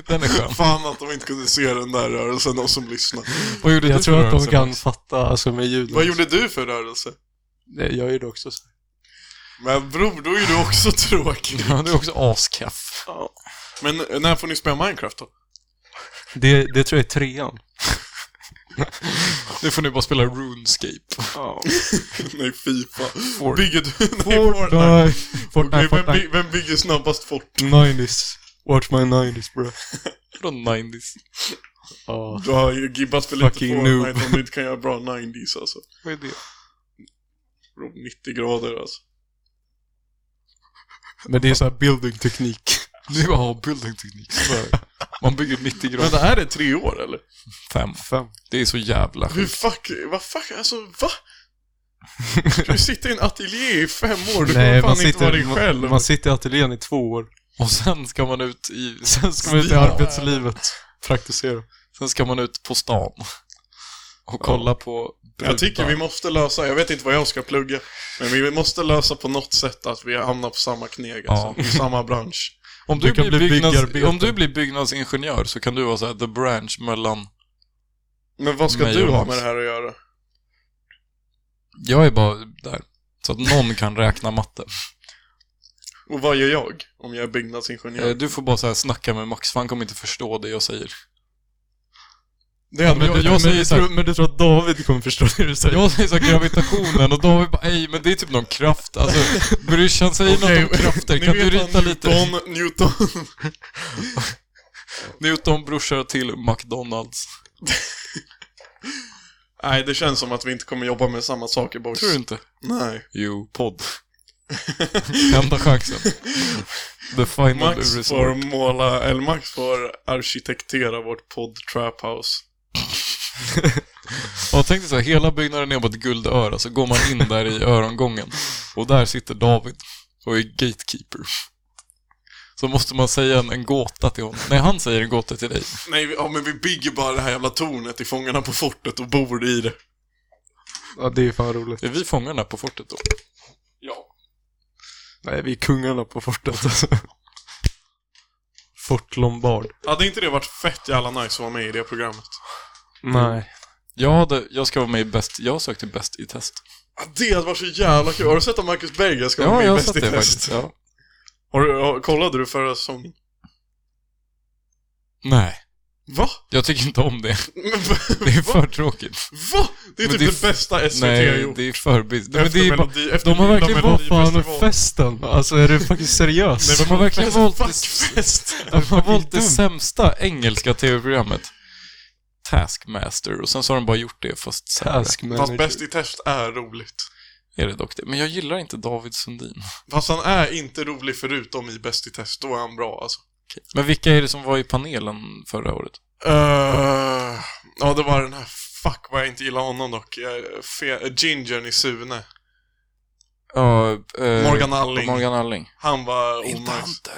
[SPEAKER 3] den är skön.
[SPEAKER 2] Fan att de inte kunde se den där rörelsen, de som lyssnar.
[SPEAKER 3] Vad gjorde
[SPEAKER 1] Jag
[SPEAKER 3] du
[SPEAKER 1] tror
[SPEAKER 3] för
[SPEAKER 1] att de
[SPEAKER 3] rörelse,
[SPEAKER 1] kan
[SPEAKER 3] Max?
[SPEAKER 1] fatta alltså med ljud.
[SPEAKER 2] Vad gjorde du för rörelse?
[SPEAKER 1] Nej, Jag gjorde också så.
[SPEAKER 2] Men bror, då är du också tråkig.
[SPEAKER 3] Ja, du är också askaff.
[SPEAKER 2] Men eh, när får ni spela Minecraft då?
[SPEAKER 1] Det, det tror jag är trean.
[SPEAKER 3] Nu får ni bara spela RuneScape.
[SPEAKER 2] Nej, Fifa.
[SPEAKER 3] Fort.
[SPEAKER 2] Bygger du... Nej, Fortnite. Okej, vem, by- vem bygger snabbast fort?
[SPEAKER 1] 90s. Watch my 90s bro.
[SPEAKER 3] Från 90s.
[SPEAKER 1] Ja.
[SPEAKER 2] Du har ju gibbat för lite
[SPEAKER 1] Fucking
[SPEAKER 2] Fortnite
[SPEAKER 1] noob.
[SPEAKER 2] om du inte kan göra bra 90s alltså.
[SPEAKER 3] Vad är det?
[SPEAKER 2] Bro, 90 grader alltså.
[SPEAKER 1] Men det är så här building teknik.
[SPEAKER 3] Nu har building teknik. Man bygger 90 grader.
[SPEAKER 2] Vänta, är det tre år eller?
[SPEAKER 3] Fem.
[SPEAKER 1] Fem.
[SPEAKER 3] Det är så jävla
[SPEAKER 2] Hur
[SPEAKER 3] sjukt.
[SPEAKER 2] fuck, vad fuck, alltså va? Ska du sitta i en ateljé i fem år? Du kommer
[SPEAKER 1] Nej, man
[SPEAKER 2] fan inte vara dig
[SPEAKER 1] sitter,
[SPEAKER 2] själv.
[SPEAKER 1] man, man sitter i ateljén i två år.
[SPEAKER 3] Och sen ska man ut i...
[SPEAKER 1] Sen ska man ut i arbetslivet. Praktisera.
[SPEAKER 3] Sen ska man ut på stan. Och kolla på brudar.
[SPEAKER 2] Jag tycker vi måste lösa, jag vet inte vad jag ska plugga, men vi måste lösa på något sätt att vi hamnar på samma kneg alltså, i samma bransch.
[SPEAKER 3] Om du,
[SPEAKER 1] Du kan
[SPEAKER 3] blir
[SPEAKER 1] bli
[SPEAKER 3] byggnads...
[SPEAKER 1] byggarbetare.
[SPEAKER 3] Om du blir byggnadsingenjör så kan du vara så här the branch mellan...
[SPEAKER 2] Men vad ska
[SPEAKER 3] Men
[SPEAKER 2] du ha
[SPEAKER 3] Jonas.
[SPEAKER 2] med det här att göra?
[SPEAKER 3] Jag är bara där. Så att någon kan räkna matte.
[SPEAKER 2] Och vad gör jag om jag är byggnadsingenjör?
[SPEAKER 3] Eh, Du får bara så här snacka med Max, för han kommer inte förstå det jag säger.
[SPEAKER 2] det är
[SPEAKER 3] men jag- jag säger
[SPEAKER 1] men, du
[SPEAKER 3] så här-
[SPEAKER 1] tror, men du tror att David kommer förstå det du säger?
[SPEAKER 3] Jag säger så här, gravitationen och David bara ej men det är typ någon kraft. Alltså brorsan säger något om krafter. Kan du rita lite?
[SPEAKER 2] Newton, Newton.
[SPEAKER 3] Newton brorsar till McDonalds.
[SPEAKER 2] Nej, det känns som att vi inte kommer jobba med samma saker boys.
[SPEAKER 3] Tror du inte?
[SPEAKER 2] Nej.
[SPEAKER 3] Jo, podd. Enda chansen. The final
[SPEAKER 2] Max får
[SPEAKER 3] resort.
[SPEAKER 2] måla, eller Max får arkitektera vårt podd Trap House.
[SPEAKER 3] Och jag tänkte så här, hela byggnaden är på ett guldöra, så går man in där i örongången. Och där sitter David och är gatekeeper. Så måste man säga en, en gåta till honom. Nej, han säger en gåta till dig.
[SPEAKER 2] Nej, vi- ja, men vi bygger bara det här jävla tornet i Fångarna på fortet och bor i det.
[SPEAKER 1] Ja, det är fan roligt.
[SPEAKER 3] Är vi fångarna på fortet då?
[SPEAKER 2] Ja.
[SPEAKER 1] Nej, vi är kungarna på fortet alltså. Fort Lombard.
[SPEAKER 2] Hade inte det varit fett jävla nice att vara med i det programmet?
[SPEAKER 1] Nej.
[SPEAKER 3] Jag, hade, jag ska vara med i Bäst, jag sökte Bäst i test.
[SPEAKER 2] Ja, det hade varit så jävla kul. Har du sett att Marcus Berggren ska vara med i Bäst i test?
[SPEAKER 3] Ja.
[SPEAKER 2] Har du, har, kollade du förra säsongen?
[SPEAKER 3] Nej,
[SPEAKER 2] Va?
[SPEAKER 3] jag tycker inte om det.
[SPEAKER 2] Men,
[SPEAKER 3] Det är
[SPEAKER 2] va?
[SPEAKER 3] för tråkigt.
[SPEAKER 2] va? Det är
[SPEAKER 3] Men
[SPEAKER 2] typ det,
[SPEAKER 3] det är f-
[SPEAKER 2] bästa SVT har
[SPEAKER 3] Nej,
[SPEAKER 2] gjort.
[SPEAKER 3] det är för... Nej, men
[SPEAKER 2] Efter
[SPEAKER 3] det är,
[SPEAKER 2] melodi, efter
[SPEAKER 3] de har
[SPEAKER 2] Lilla
[SPEAKER 3] verkligen-
[SPEAKER 1] Vad fan är
[SPEAKER 2] Melodifestival.
[SPEAKER 1] festen? Alltså är du faktiskt seriös?
[SPEAKER 2] Nej,
[SPEAKER 3] de har verkligen
[SPEAKER 2] men
[SPEAKER 3] valt
[SPEAKER 2] fuck
[SPEAKER 3] det-
[SPEAKER 2] festen.
[SPEAKER 3] De har valt det
[SPEAKER 1] dumt.
[SPEAKER 3] sämsta engelska tv-programmet. Taskmaster. Och sen så har de bara gjort det fast sämre.
[SPEAKER 1] Task
[SPEAKER 2] Fast
[SPEAKER 1] manager.
[SPEAKER 2] Bäst i test är roligt.
[SPEAKER 3] Är det dock det. Men jag gillar inte David Sundin.
[SPEAKER 2] Fast han är inte rolig förutom i Bäst i test. Då är han bra alltså.
[SPEAKER 3] Men vilka är det som var i panelen förra året?
[SPEAKER 2] Eh, ja, det var den här... Fuck vad jag inte gillar honom dock. Uh, fe- eh, Gingern i Sune.
[SPEAKER 3] Ja, eh,
[SPEAKER 2] Morgan Alling.
[SPEAKER 3] Morgan Alling.
[SPEAKER 2] eh, Han var
[SPEAKER 3] Är inte han
[SPEAKER 2] onajs.
[SPEAKER 3] död?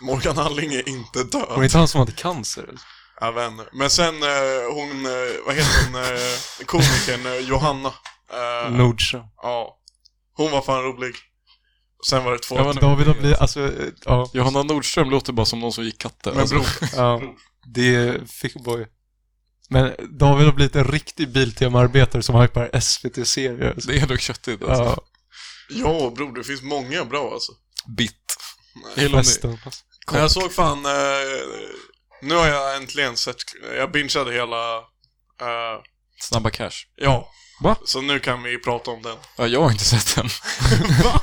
[SPEAKER 2] Morgan Halling är inte
[SPEAKER 1] Var det
[SPEAKER 2] död.
[SPEAKER 1] inte han som hade cancer? eller?
[SPEAKER 2] Jag vet inte. Men sen eh, hon, eh, vad heter hon, eh, komikern eh, Johanna. Eh,
[SPEAKER 1] Nordström.
[SPEAKER 2] Ja. Hon var fan rolig. Sen var det två...
[SPEAKER 1] Ja, men David har blivit, alltså, eh, ja.
[SPEAKER 3] Johanna Nordström låter bara som någon som gick katter.
[SPEAKER 2] men
[SPEAKER 3] Alltså,
[SPEAKER 2] bror,
[SPEAKER 1] ja det är fickboy. Men David har blivit en riktig Biltema-arbetare som hypar SVT-serier.
[SPEAKER 3] det är ändå köttigt. Alltså.
[SPEAKER 1] Ja,
[SPEAKER 2] ja bror, det finns många bra alltså.
[SPEAKER 3] Bitt.
[SPEAKER 2] Nej.
[SPEAKER 3] Jag gillar om det-
[SPEAKER 1] festen. alltså.
[SPEAKER 2] Men Jag såg fan... Eh, nu har jag äntligen sett... Jag bingeade hela... Eh,
[SPEAKER 3] Snabba cash.
[SPEAKER 2] ja.
[SPEAKER 3] Va?
[SPEAKER 2] Så nu kan vi prata om den.
[SPEAKER 3] Ja, jag har inte sett den.
[SPEAKER 2] Va?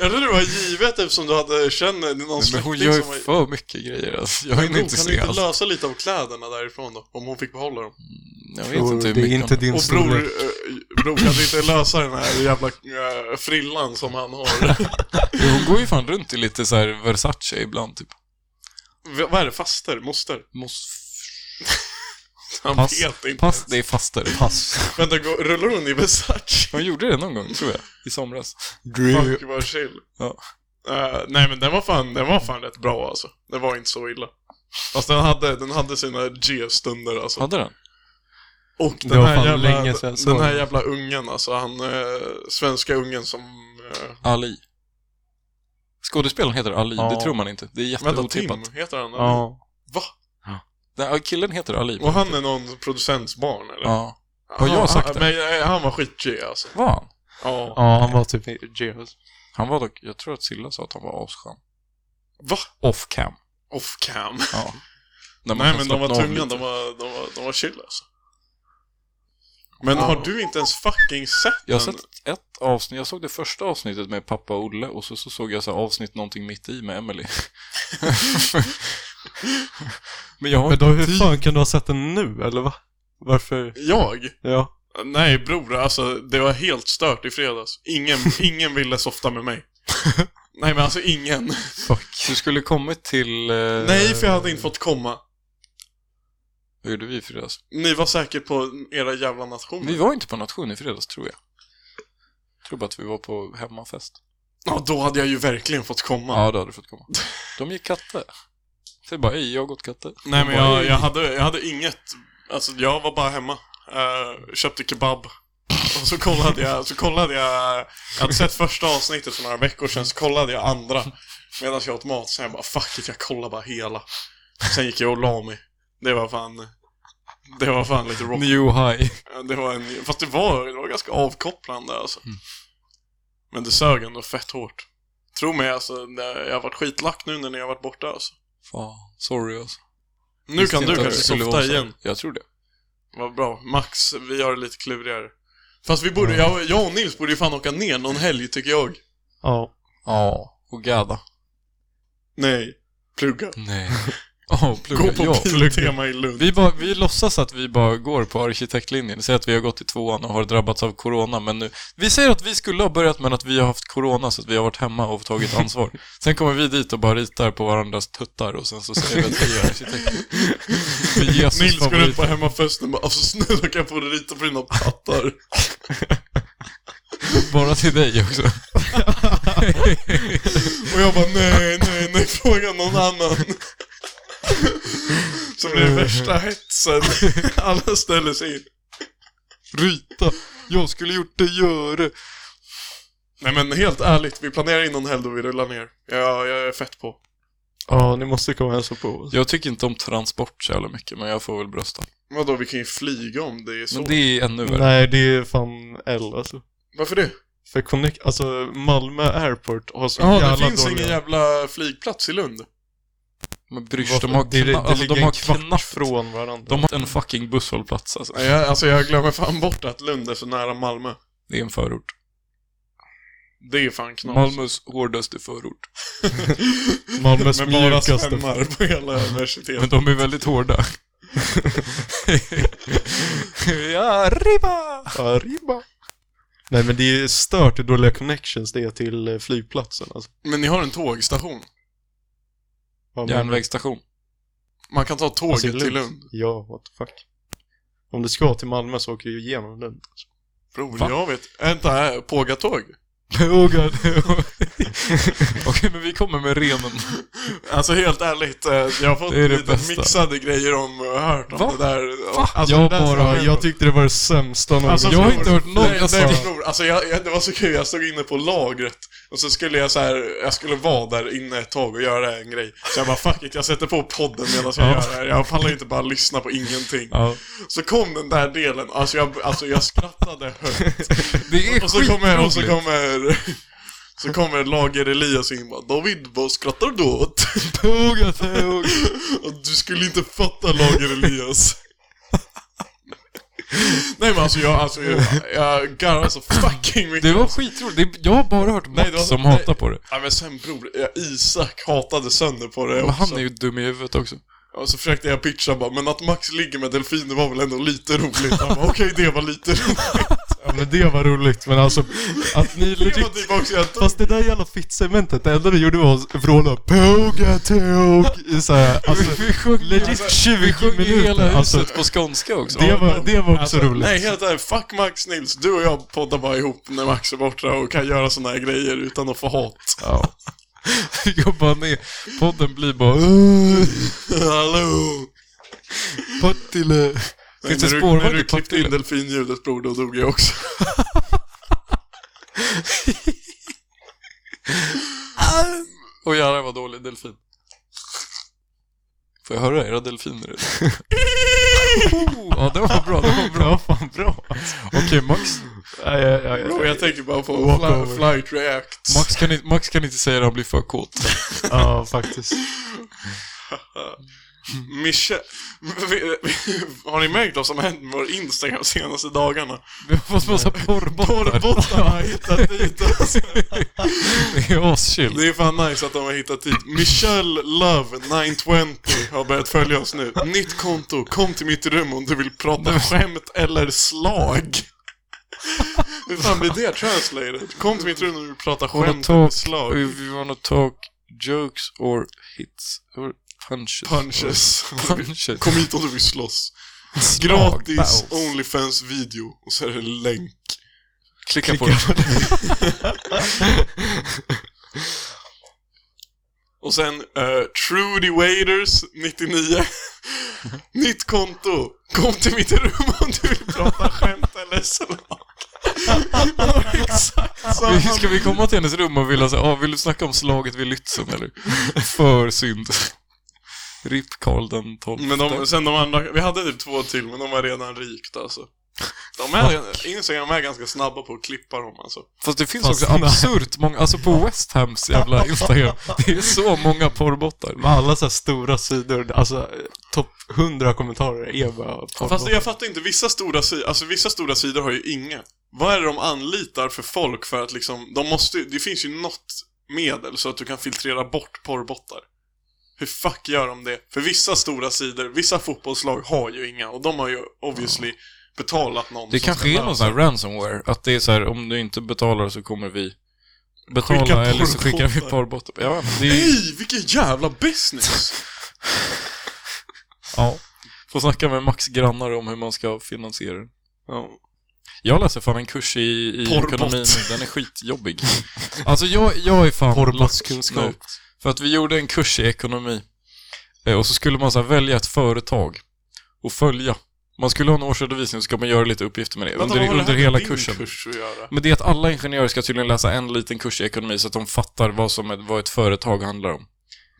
[SPEAKER 2] Jag trodde det var givet eftersom du hade känner någon
[SPEAKER 3] Men hon
[SPEAKER 2] släkting
[SPEAKER 3] gör ju
[SPEAKER 2] som var...
[SPEAKER 3] för mycket grejer alltså. Jag
[SPEAKER 2] Men
[SPEAKER 3] hinner
[SPEAKER 2] bror,
[SPEAKER 3] inte
[SPEAKER 2] kan
[SPEAKER 3] se
[SPEAKER 2] du inte
[SPEAKER 3] allt.
[SPEAKER 2] lösa lite av kläderna därifrån då? Om hon fick behålla dem.
[SPEAKER 3] Jag vet inte typ hur
[SPEAKER 1] det är
[SPEAKER 3] mycket
[SPEAKER 1] inte
[SPEAKER 3] inte...
[SPEAKER 1] din
[SPEAKER 2] Och bror,
[SPEAKER 1] storlek.
[SPEAKER 2] eh, bror kan du inte lösa den här jävla eh, frillan som han har?
[SPEAKER 3] Hon går ju fan runt i lite så här Versace ibland typ.
[SPEAKER 2] V- Vad är det? Faster? Moster?
[SPEAKER 3] Måste...
[SPEAKER 2] Han
[SPEAKER 3] Pass.
[SPEAKER 2] vet inte.
[SPEAKER 3] Pass, det är fastare.
[SPEAKER 1] Pass.
[SPEAKER 2] Vänta, gå- rullar hon i Versace?
[SPEAKER 3] Hon gjorde det någon gång, tror jag. I somras.
[SPEAKER 1] Drew.
[SPEAKER 2] Fuck vad chill.
[SPEAKER 3] Ja.
[SPEAKER 2] Eh, nej men den var, fan, den var fan rätt bra alltså. Det var inte så illa. Fast den hade, den hade sina G-stunder alltså.
[SPEAKER 3] Hade den?
[SPEAKER 2] Och
[SPEAKER 1] Det
[SPEAKER 2] den
[SPEAKER 1] var
[SPEAKER 2] här,
[SPEAKER 1] fan
[SPEAKER 2] jävla,
[SPEAKER 1] länge sedan jag såg
[SPEAKER 2] den här
[SPEAKER 1] den.
[SPEAKER 2] jävla ungen alltså, han eh, svenska ungen som... Eh,
[SPEAKER 3] Ali. Skådespelaren heter Ali,
[SPEAKER 1] Ja.
[SPEAKER 3] det tror man inte. Det är
[SPEAKER 2] vänta, Tim
[SPEAKER 3] jätteotippat.
[SPEAKER 2] heter han? eller?
[SPEAKER 1] Ja.
[SPEAKER 2] Va?
[SPEAKER 3] Den- ja, Killen heter Ali.
[SPEAKER 2] Och han är någon producents barn eller?
[SPEAKER 3] Ja.
[SPEAKER 2] Har
[SPEAKER 3] Har jag sagt det?
[SPEAKER 2] Men eh, han var skitg alltså.
[SPEAKER 3] Var han?
[SPEAKER 2] Ja.
[SPEAKER 1] ja, han var typ Geos.
[SPEAKER 3] Han var dock, jag tror att Silla sa att han var asskön.
[SPEAKER 2] Va?
[SPEAKER 3] Off cam.
[SPEAKER 2] Off cam.
[SPEAKER 3] Ja. När man
[SPEAKER 2] Nej
[SPEAKER 3] kan
[SPEAKER 2] men de var
[SPEAKER 3] slappna av
[SPEAKER 2] tunga,
[SPEAKER 3] lite.
[SPEAKER 2] de var, de, var, de var chill alltså. Men
[SPEAKER 3] Ja.
[SPEAKER 2] har du inte ens fucking sett
[SPEAKER 3] Jag har
[SPEAKER 2] den?
[SPEAKER 3] sett ett avsnitt, jag såg det första avsnittet med pappa och Olle och så, så såg jag så här avsnitt någonting mitt i med Emily. Men jag har
[SPEAKER 1] Men då, hur fan kan du ha sett den nu, eller va? Varför?
[SPEAKER 2] Jag?
[SPEAKER 1] Ja.
[SPEAKER 2] Nej bror, alltså det var helt stört i fredags. Ingen, ingen ville softa med mig. Nej men alltså ingen.
[SPEAKER 3] Eh. Fuck. Du skulle kommit till... eh,
[SPEAKER 2] Nej för jag hade inte fått komma.
[SPEAKER 3] Vad gjorde vi i fredags?
[SPEAKER 2] Ni var säkert på era jävla nationer.
[SPEAKER 3] Vi var inte på nation i fredags, tror jag. Jag tror bara att vi var på hemmafest.
[SPEAKER 2] Ja, då hade jag ju verkligen fått komma.
[SPEAKER 3] Ja, då hade du fått komma. De gick katte. Säg bara, hej, jag har gått katte.
[SPEAKER 2] Nej men
[SPEAKER 3] De bara,
[SPEAKER 2] jag,
[SPEAKER 3] "Hej."
[SPEAKER 2] jag, hade, jag hade inget, alltså jag var bara hemma. Eh, köpte kebab. Och så kollade jag, så kollade jag, jag hade sett första avsnittet för några veckor sedan, så kollade jag andra. Medan jag åt mat, sen jag bara fuck it, jag kollar bara hela. Sen gick jag och la mig. Det var fan, det var fan lite rock.
[SPEAKER 3] New high.
[SPEAKER 2] Det var en, fast det var, det var ganska avkopplande alltså.
[SPEAKER 3] Mm.
[SPEAKER 2] Men det sög ändå fett hårt. Tro mig alltså, det- jag har varit skitlack nu när ni har varit borta alltså.
[SPEAKER 3] Fan, sorry alltså.
[SPEAKER 2] Nu
[SPEAKER 3] Visste
[SPEAKER 2] kan
[SPEAKER 3] inte
[SPEAKER 2] du
[SPEAKER 3] att
[SPEAKER 2] kanske
[SPEAKER 3] det skulle
[SPEAKER 2] softa
[SPEAKER 3] vara så.
[SPEAKER 2] igen.
[SPEAKER 3] Jag tror det.
[SPEAKER 2] Vad bra. Max, vi gör det lite klurigare. Fast vi borde, jag, jag och Nils borde ju fan åka ner någon helg tycker jag.
[SPEAKER 1] Ja.
[SPEAKER 3] Ja. Och gada.
[SPEAKER 2] Nej. Plugga.
[SPEAKER 3] Nej. Ja, plugga.
[SPEAKER 2] Gå på
[SPEAKER 3] ja.
[SPEAKER 2] biltema i Lund.
[SPEAKER 3] Vi, bara, vi låtsas att vi bara går på arkitektlinjen. Säg att vi har gått i tvåan och har drabbats av corona, men nu... Vi säger att vi skulle ha börjat, men att vi har haft corona, så att vi har varit hemma och tagit ansvar. Sen kommer vi dit och bara ritar på varandras tuttar och sen så säger vi att vi är arkitekter. Det är Jesus
[SPEAKER 2] Nils går
[SPEAKER 3] favorit.
[SPEAKER 2] ut på hemmafesten och bara alltså snälla kan jag få rita på dina pattar?
[SPEAKER 3] Bara till dig också.
[SPEAKER 2] Och jag bara nej, nej, nej, fråga någon annan. Så blir det värsta hetsen. Alla ställer sig in.
[SPEAKER 3] Rita. Jag skulle gjort det, gör det.
[SPEAKER 2] Nej men helt ärligt, vi planerar in någon helg då vi rullar ner. Jag, jag är fett på.
[SPEAKER 1] Ja, ni måste komma och hälsa på oss.
[SPEAKER 3] Jag tycker inte om transport så jävla mycket, men jag får väl brösta.
[SPEAKER 2] Vadå, vi kan ju flyga om det är så.
[SPEAKER 3] Men det är ännu värre.
[SPEAKER 1] Nej, det är fan L alltså.
[SPEAKER 2] Varför det?
[SPEAKER 1] För Connect, alltså Malmö Airport har så
[SPEAKER 2] Ja,
[SPEAKER 1] jävla
[SPEAKER 2] det finns
[SPEAKER 1] dåliga...
[SPEAKER 2] ingen jävla flygplats i Lund.
[SPEAKER 3] Men brysch,
[SPEAKER 1] Varför?
[SPEAKER 3] de har,
[SPEAKER 1] Det- det, det
[SPEAKER 3] kna- alltså,
[SPEAKER 1] ligger
[SPEAKER 3] de har
[SPEAKER 1] en kvart
[SPEAKER 3] knappt
[SPEAKER 1] från varandra.
[SPEAKER 3] De har en fucking busshållplats alltså.
[SPEAKER 2] Nej, jag, alltså jag glömmer fan bort att Lund är så nära Malmö.
[SPEAKER 3] Det är en förort.
[SPEAKER 2] Det är fan knas.
[SPEAKER 3] Malmös hårdaste förort.
[SPEAKER 1] Malmös
[SPEAKER 2] Men bara
[SPEAKER 1] mjukaste.
[SPEAKER 2] svemmar på hela
[SPEAKER 3] Men
[SPEAKER 2] universitetet.
[SPEAKER 3] de är väldigt hårda. ja, riba!
[SPEAKER 1] Arriba. Nej men det är stört hur dåliga connections det är till eh, flygplatsen alltså.
[SPEAKER 2] Men ni har en tågstation.
[SPEAKER 1] Vad menar du?
[SPEAKER 3] Järnvägsstation.
[SPEAKER 2] Man kan ta tåget
[SPEAKER 1] Alltså, i
[SPEAKER 2] till Lund.
[SPEAKER 1] Ja, what the fuck. Om du ska till Malmö så åker du igenom Lund.
[SPEAKER 2] Bror,
[SPEAKER 3] Va?
[SPEAKER 2] äh, jag vet. Vänta, här, pågatåg?
[SPEAKER 3] oh god. Okej, men vi kommer med renen.
[SPEAKER 2] Alltså helt ärligt, eh, jag har fått
[SPEAKER 3] Det är det
[SPEAKER 2] lite
[SPEAKER 3] bästa.
[SPEAKER 2] mixade grejer om och hört om
[SPEAKER 3] Va?
[SPEAKER 2] det där. Alltså, det
[SPEAKER 1] jag,
[SPEAKER 2] där
[SPEAKER 1] bara,
[SPEAKER 2] framöver.
[SPEAKER 1] jag tyckte det var det sämsta någonsin.
[SPEAKER 2] Alltså,
[SPEAKER 3] jag har
[SPEAKER 2] bror,
[SPEAKER 3] inte hört någon-
[SPEAKER 2] Nej,
[SPEAKER 3] alltså-
[SPEAKER 2] nej, bror, alltså jag, jag, det var så kul, jag stod inne på lagret och så skulle jag så här, jag skulle vara där inne ett tag och göra en grej. Så jag bara fuck it, jag sätter på podden medan jag
[SPEAKER 3] Ja.
[SPEAKER 2] gör det här. Jag pallar inte bara lyssna på ingenting.
[SPEAKER 3] Ja.
[SPEAKER 2] Så kom den där delen, alltså jag, alltså jag skrattade högt.
[SPEAKER 3] Det är
[SPEAKER 2] Och så kommer, och så
[SPEAKER 3] skitroligt.
[SPEAKER 2] kommer, så kommer Lager Elias in och bara David, vad skrattar du åt?
[SPEAKER 1] tog jag
[SPEAKER 2] Oh
[SPEAKER 1] tog.
[SPEAKER 2] Och du skulle inte fatta Lager Elias. Nej men alltså jag, alltså jag, jag garvar så fucking mycket.
[SPEAKER 3] Det var skitroligt. Det, jag har bara hört Max
[SPEAKER 2] Nej, det var-
[SPEAKER 3] som
[SPEAKER 2] nej.
[SPEAKER 3] hatar på det.
[SPEAKER 2] Ja, men sen bror, jag, Isak hatade sönder på det
[SPEAKER 3] Men
[SPEAKER 2] också.
[SPEAKER 3] han är ju dum i huvudet också.
[SPEAKER 2] Och så försökte jag pitcha bara, men att Max ligger med delfiner var väl ändå lite roligt. Han bara, okej det var lite roligt.
[SPEAKER 1] Ja, men det var roligt, men alltså att ni
[SPEAKER 2] Det var
[SPEAKER 1] legit...
[SPEAKER 2] typ också jag
[SPEAKER 1] Fast det där jävla fittsegmentet, det enda vi gjorde var att vråla Poga tog i såhär, alltså
[SPEAKER 3] vi sjunger,
[SPEAKER 1] legit 20
[SPEAKER 3] sjunger hela
[SPEAKER 1] minuter.
[SPEAKER 3] huset
[SPEAKER 1] Alltså,
[SPEAKER 3] på skånska också.
[SPEAKER 1] det var, det var också
[SPEAKER 2] Alltså,
[SPEAKER 1] roligt.
[SPEAKER 2] Nej, helt ärligt. Fuck Max Nils. Du och jag poddar bara ihop när Max är borta och kan göra såna här grejer utan att få hat.
[SPEAKER 3] Ja. jag bara ner. Podden blir bara...
[SPEAKER 1] Uh,
[SPEAKER 2] Hallå!
[SPEAKER 1] Partille.
[SPEAKER 2] Nej,
[SPEAKER 3] Finns
[SPEAKER 2] när
[SPEAKER 3] det
[SPEAKER 2] du,
[SPEAKER 3] spårvagn
[SPEAKER 2] när
[SPEAKER 3] i
[SPEAKER 2] du klippte in
[SPEAKER 3] Partille?
[SPEAKER 2] delfinljudet bror, då dog jag också.
[SPEAKER 3] Och jävlar vad dålig delfin. Får jag höra era delfiner? ja, det var bra. Det var bra.
[SPEAKER 1] Bra, fan bra.
[SPEAKER 3] Okej, Max.
[SPEAKER 1] Ja, ja, ja, ja.
[SPEAKER 2] Och jag tänker bara på
[SPEAKER 1] Walkover.
[SPEAKER 2] fly, flight react.
[SPEAKER 3] Max kan, inte- Max kan inte säga det, han blir för kåt.
[SPEAKER 1] ja faktiskt.
[SPEAKER 2] Michel... Har ni märkt vad som har hänt med vår Instagram de senaste dagarna?
[SPEAKER 3] Vi har fått massa porrbottar.
[SPEAKER 2] Porrbottarna har hittat dit oss.
[SPEAKER 3] Det är aschill.
[SPEAKER 2] Det är fan nice att de har hittat dit. Michelle Love 920 har börjat följa oss nu. Nytt konto, kom till mitt rum om du vill prata skämt eller slag. Hur fan blir det translated? Kom till mitt rum om du vill prata
[SPEAKER 3] Wanna
[SPEAKER 2] skämt eller
[SPEAKER 3] talk,
[SPEAKER 2] slag.
[SPEAKER 3] if you wanna talk jokes or hits or punches.
[SPEAKER 2] Punches.
[SPEAKER 3] Punches.
[SPEAKER 2] Kom hit om du vill slåss.
[SPEAKER 3] Slag,
[SPEAKER 2] Gratis
[SPEAKER 3] bounce.
[SPEAKER 2] Onlyfans-video. Och så är det en länk.
[SPEAKER 3] Klicka på det.
[SPEAKER 2] Och sen eh, Trudy Waiters 99 Nytt konto Kom till mitt rum om du vill prata skämt eller slag Hon har Exakt samma
[SPEAKER 3] Vi- Ska vi komma till hennes rum och vilja säga, ah, vill du snacka om slaget vid Lützen eller? För synd. RIP Karl den tolfte.
[SPEAKER 2] Men de, sen de andra, vi hade typ två till men de var redan rikt alltså de är, Instagram är ganska snabba på att klippa dem alltså.
[SPEAKER 3] Fast det finns
[SPEAKER 1] Fast
[SPEAKER 3] också
[SPEAKER 1] nej.
[SPEAKER 3] absurt många, alltså på West Hams jävla Instagram, det är så många porrbottar.
[SPEAKER 1] Med alla så här stora sidor, alltså topp 100 kommentarer är bara
[SPEAKER 2] Fast jag fattar inte, vissa stora, si- alltså, vissa stora sidor har ju inga. Vad är det de anlitar för folk för att liksom, de måste ju- det finns ju något medel så att du kan filtrera bort porrbottar. Hur fuck gör de det? För vissa stora sidor, vissa fotbollslag har ju inga och de har ju obviously betalat någon
[SPEAKER 3] Det
[SPEAKER 2] som
[SPEAKER 3] kanske
[SPEAKER 2] ska
[SPEAKER 3] är
[SPEAKER 2] lösa
[SPEAKER 3] någon sån här ransomware, att det är så här, om du inte betalar så kommer vi betala
[SPEAKER 2] Skicka
[SPEAKER 3] eller så skickar vi
[SPEAKER 2] porrbottar.
[SPEAKER 3] porrbottar. Ja, det är,
[SPEAKER 2] Nej, vilken jävla business!
[SPEAKER 3] ja. Får snacka med Max grannar om hur man ska finansiera det.
[SPEAKER 2] ja.
[SPEAKER 3] Jag läser fan en kurs i, i
[SPEAKER 2] Porrbott.
[SPEAKER 3] ekonomi nu, den är skitjobbig. Alltså jag, jag är fan
[SPEAKER 1] Porrbottskunskap.
[SPEAKER 3] lack nu. För att vi gjorde en kurs i ekonomi Eh, och så skulle man så här, välja ett företag och följa. Man skulle ha en årsredovisning och så ska man göra lite uppgifter med det
[SPEAKER 2] Vänta, vad
[SPEAKER 3] under,
[SPEAKER 2] har det
[SPEAKER 3] under
[SPEAKER 2] här med
[SPEAKER 3] hela
[SPEAKER 2] din
[SPEAKER 3] kursen.
[SPEAKER 2] Kurs att göra?
[SPEAKER 3] Men det är att alla ingenjörer ska tydligen läsa en liten kurs i ekonomi så att de fattar vad, som ett, vad ett företag handlar om.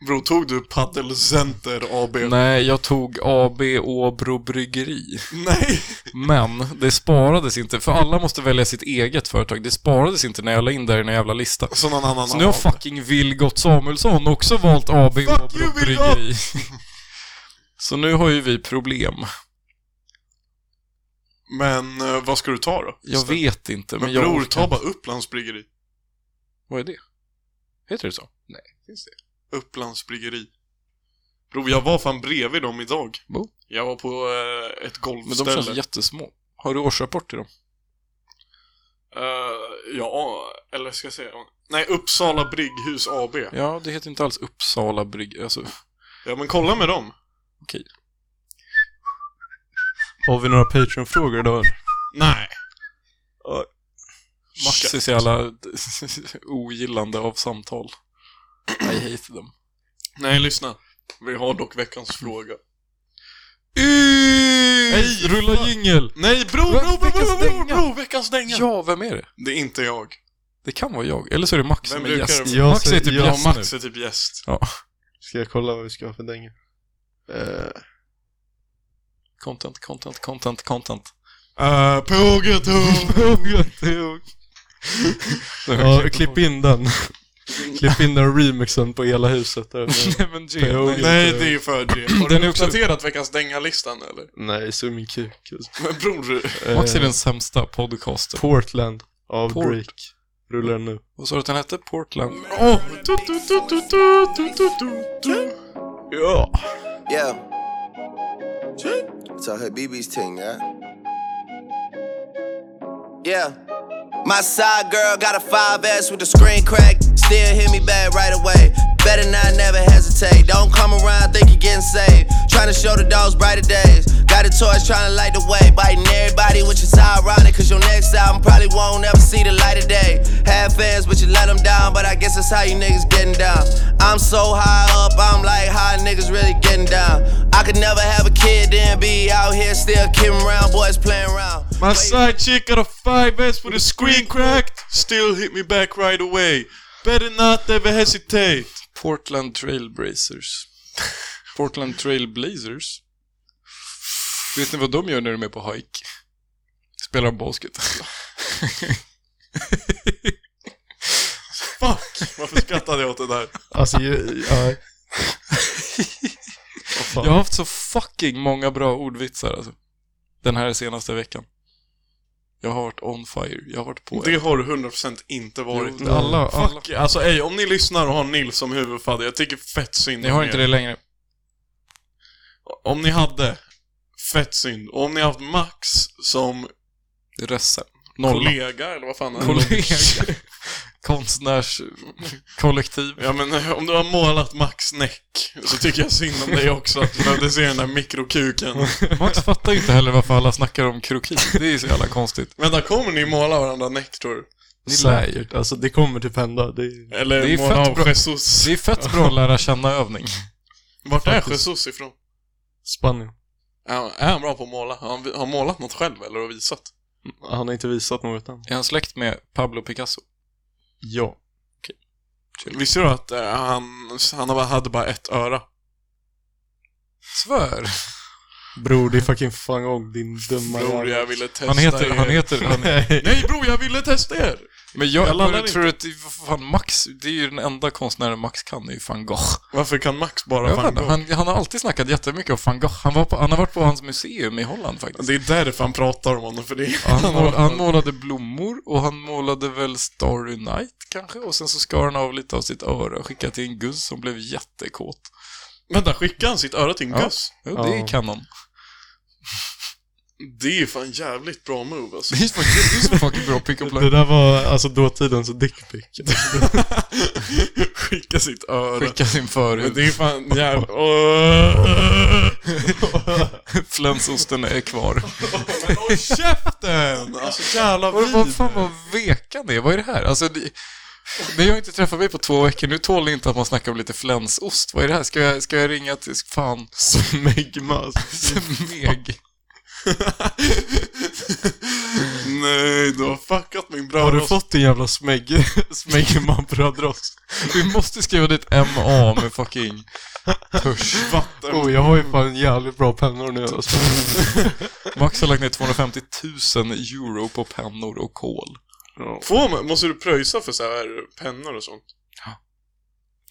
[SPEAKER 2] Bro, tog du Paddelcenter AB?
[SPEAKER 3] Nej, jag tog AB Åbro Bryggeri.
[SPEAKER 2] Nej.
[SPEAKER 3] Men det sparades inte, för alla måste välja sitt eget företag. Det sparades inte när jag la in det här i den jävla listan.
[SPEAKER 2] Så någon annan
[SPEAKER 3] Så nu har
[SPEAKER 2] annan.
[SPEAKER 3] fucking Vilgot Samuelsson också valt AB Åbro
[SPEAKER 2] you,
[SPEAKER 3] Bryggeri. Så nu har ju vi problem.
[SPEAKER 2] Men eh, vad ska du ta då?
[SPEAKER 3] Jag vet inte, men,
[SPEAKER 2] Men
[SPEAKER 3] jag
[SPEAKER 2] bror,
[SPEAKER 3] orkar
[SPEAKER 2] ta
[SPEAKER 3] inte.
[SPEAKER 2] bara Upplands Bryggeri.
[SPEAKER 3] Vad är det? Heter det så? Nej, finns det?
[SPEAKER 2] Upplands Bryggeri. Bror, jag var fan bredvid dem idag.
[SPEAKER 3] Bo?
[SPEAKER 2] Jag var på eh, ett
[SPEAKER 3] Men de
[SPEAKER 2] golfställe.
[SPEAKER 3] känns jättesmå. Har du årsrapport till dem?
[SPEAKER 2] Eh, ja, eller ska jag säga... Nej, Uppsala Brygghus AB. Ja,
[SPEAKER 3] Ja, det heter inte alls Uppsala Brygg... Alltså,
[SPEAKER 2] men kolla med dem.
[SPEAKER 1] Har vi några Patreon-frågor då?
[SPEAKER 2] Nej.
[SPEAKER 3] Max är så jävla ogillande av samtal. I hate them.
[SPEAKER 2] Nej, lyssna. Vi har dock veckans fråga.
[SPEAKER 1] Hej, rulla jingel!
[SPEAKER 2] Nej, bro, bro,
[SPEAKER 3] Va?
[SPEAKER 2] bro, bro,
[SPEAKER 3] Veckans
[SPEAKER 2] bro, bro,
[SPEAKER 3] dänga.
[SPEAKER 2] bro, veckans dänga!
[SPEAKER 3] Ja, vem är det?
[SPEAKER 2] Det är inte jag.
[SPEAKER 3] Det kan vara jag. Eller så är det Max
[SPEAKER 2] Vem
[SPEAKER 3] som är
[SPEAKER 2] brukar
[SPEAKER 3] gäst.
[SPEAKER 2] det
[SPEAKER 1] vara?
[SPEAKER 3] Max är typ
[SPEAKER 1] Jag-
[SPEAKER 2] Ja,
[SPEAKER 3] gäst
[SPEAKER 2] Max
[SPEAKER 3] nu.
[SPEAKER 2] är typ gäst.
[SPEAKER 1] Ska jag kolla vad vi ska ha för Eh, dänga?
[SPEAKER 3] Content, content, content, content.
[SPEAKER 1] Eh,
[SPEAKER 2] Uh, Pågatåg!
[SPEAKER 1] ja, klipp in den. klipp in den remixen på hela huset. Där.
[SPEAKER 3] Nej men G,
[SPEAKER 1] Per Ogren.
[SPEAKER 3] nej.
[SPEAKER 2] Nej, det är ju för det. Har
[SPEAKER 3] Den
[SPEAKER 2] du
[SPEAKER 3] är också-
[SPEAKER 2] uppdaterat veckans dänga-listan eller?
[SPEAKER 1] Nej, så är min kuk. alltså.
[SPEAKER 2] Men bror,
[SPEAKER 3] Max är
[SPEAKER 1] Eh,
[SPEAKER 3] den sämsta podcasten.
[SPEAKER 1] Portland av
[SPEAKER 3] Port.
[SPEAKER 1] Drake. Rullar den nu.
[SPEAKER 3] Vad sa du att den hette? Portland?
[SPEAKER 2] Åh! Tu, tu, tu, tu, tu, tu, tu, tu, tu. Ja.
[SPEAKER 4] Yeah. It's all her BB's ting, yeah. Yeah. My side girl got a 5S with the screen crack. Still hit me back right away. Better not never hesitate. Don't come around thinking getting saved. Trying to show the dogs brighter days. Got a torch trying to light the way. Biting everybody, which is ironic. Cause your next album probably won't ever see the light of day. Have fans, but you let them down. But I guess that's how you niggas getting down. I'm so high up, I'm like how niggas really getting down. I could never have a kid, then be out here still kidding around, boys playing around.
[SPEAKER 2] My side chick got a 5S with a screen cracked. Still hit me back right away. Better not ever hesitate.
[SPEAKER 3] Portland Trailblazers. Portland Trailblazers? Vet ni vad de gör när de är på hike? Spelar basket.
[SPEAKER 2] Fuck! Varför skrattade jag åt det där?
[SPEAKER 1] Alltså, ju- ja.
[SPEAKER 3] Jag har haft så fucking många bra ordvitsar alltså. Den här senaste veckan. Jag har varit on fire. Jag har varit på
[SPEAKER 2] Det har du 100% inte varit.
[SPEAKER 3] Jo, alla- alla-
[SPEAKER 2] Fuck, alltså ej, om ni lyssnar och har Nils som huvudfadder, jag tycker fett synd
[SPEAKER 3] Ni
[SPEAKER 2] om
[SPEAKER 3] har
[SPEAKER 2] er.
[SPEAKER 3] inte det längre.
[SPEAKER 2] Om ni hade, fett synd. Och om ni har haft Max som
[SPEAKER 3] Det är resten. Nolla.
[SPEAKER 2] kollega, eller vad fan han är.
[SPEAKER 3] Kollega. Konstnärskollektiv.
[SPEAKER 2] Ja men eh, om du har målat Max näck, så tycker jag synd om dig också att du behövde se den där mikrokuken.
[SPEAKER 3] Max fattar ju inte heller varför alla snackar om kroki. Det är ju så jävla konstigt.
[SPEAKER 2] Vänta, kommer ni måla varandra näck tror du?
[SPEAKER 3] Ni lär ju.
[SPEAKER 1] Säkert. Alltså, det kommer typ hända. Det är...
[SPEAKER 2] Eller
[SPEAKER 3] Det är
[SPEAKER 2] måla
[SPEAKER 3] fett
[SPEAKER 2] av
[SPEAKER 3] bra.
[SPEAKER 2] Jesus?
[SPEAKER 3] Det är fett bra att lära känna-övning.
[SPEAKER 2] Vart är
[SPEAKER 1] faktiskt-
[SPEAKER 2] Jesus ifrån?
[SPEAKER 1] Spanien.
[SPEAKER 2] Är han, är han bra på att måla? Har han, har han målat något själv eller har visat?
[SPEAKER 1] Han har inte visat något än.
[SPEAKER 3] Är han släkt med Pablo Picasso?
[SPEAKER 1] Ja.
[SPEAKER 2] Visste du att eh, han, han hade bara ett öra?
[SPEAKER 3] Svär!
[SPEAKER 1] Bror, det är fucking fan gång din dumma
[SPEAKER 2] Bror,
[SPEAKER 1] jävel.
[SPEAKER 2] jag ville testa
[SPEAKER 3] Han heter,
[SPEAKER 2] er.
[SPEAKER 3] han heter, han
[SPEAKER 2] Nej bror, jag ville testa er!
[SPEAKER 3] Men jag,
[SPEAKER 2] Jag
[SPEAKER 3] jag
[SPEAKER 2] landar
[SPEAKER 3] men, tror att, det- vad fan Max, det är ju den enda konstnären Max kan, är ju van Gogh.
[SPEAKER 2] Varför kan Max bara
[SPEAKER 3] Jag vet
[SPEAKER 2] van
[SPEAKER 3] inte,
[SPEAKER 2] Gogh?
[SPEAKER 3] han, han har alltid snackat jättemycket om van Gogh. Han, var på, han har varit på hans museum i Holland faktiskt.
[SPEAKER 2] Det är därför han pratar om honom, för det är...
[SPEAKER 3] Han, mål, han målade blommor och han målade väl Starry Night kanske och sen så skar han av lite av sitt öra och skickade till en gus som blev jättekåt.
[SPEAKER 2] Vänta, skickar han sitt öra till en
[SPEAKER 3] Ja.
[SPEAKER 2] guss?
[SPEAKER 3] Jo, det
[SPEAKER 1] Ja.
[SPEAKER 3] är kanon.
[SPEAKER 2] Det är fan jävligt bra move alltså.
[SPEAKER 3] Det är faktiskt det är så fucking bra pick up
[SPEAKER 1] Det
[SPEAKER 3] line.
[SPEAKER 1] där var alltså dåtidens dickpic.
[SPEAKER 2] Skicka sitt öra.
[SPEAKER 3] Skicka sin
[SPEAKER 2] Men
[SPEAKER 3] förhud.
[SPEAKER 2] det är fan jävligt...
[SPEAKER 3] Flänsosten är kvar.
[SPEAKER 2] Men håll käften! Alltså jävla
[SPEAKER 3] Vad, vad
[SPEAKER 2] vid.
[SPEAKER 3] fan vad vekan det är? Vad är det här? Alltså, det, ni har inte träffat mig på två veckor. Nu tål ni inte att man snackar om lite flänsost. Vad är det här? Ska jag, ska jag ringa till... Fan.
[SPEAKER 1] Smegma.
[SPEAKER 3] Smeg.
[SPEAKER 2] Nej, du har fuckat min bröd.
[SPEAKER 1] Har du fått din jävla smeg... Smegma-brödrost?
[SPEAKER 3] Vi måste skriva dit MA med fucking... Törs.
[SPEAKER 2] vatten?
[SPEAKER 1] Oh, jag har ju fan jävligt bra pennor nu. Alltså.
[SPEAKER 3] Max har lagt ner 250 000 euro på pennor och kol.
[SPEAKER 2] Får man, måste du pröjsa för så här pennor och sånt?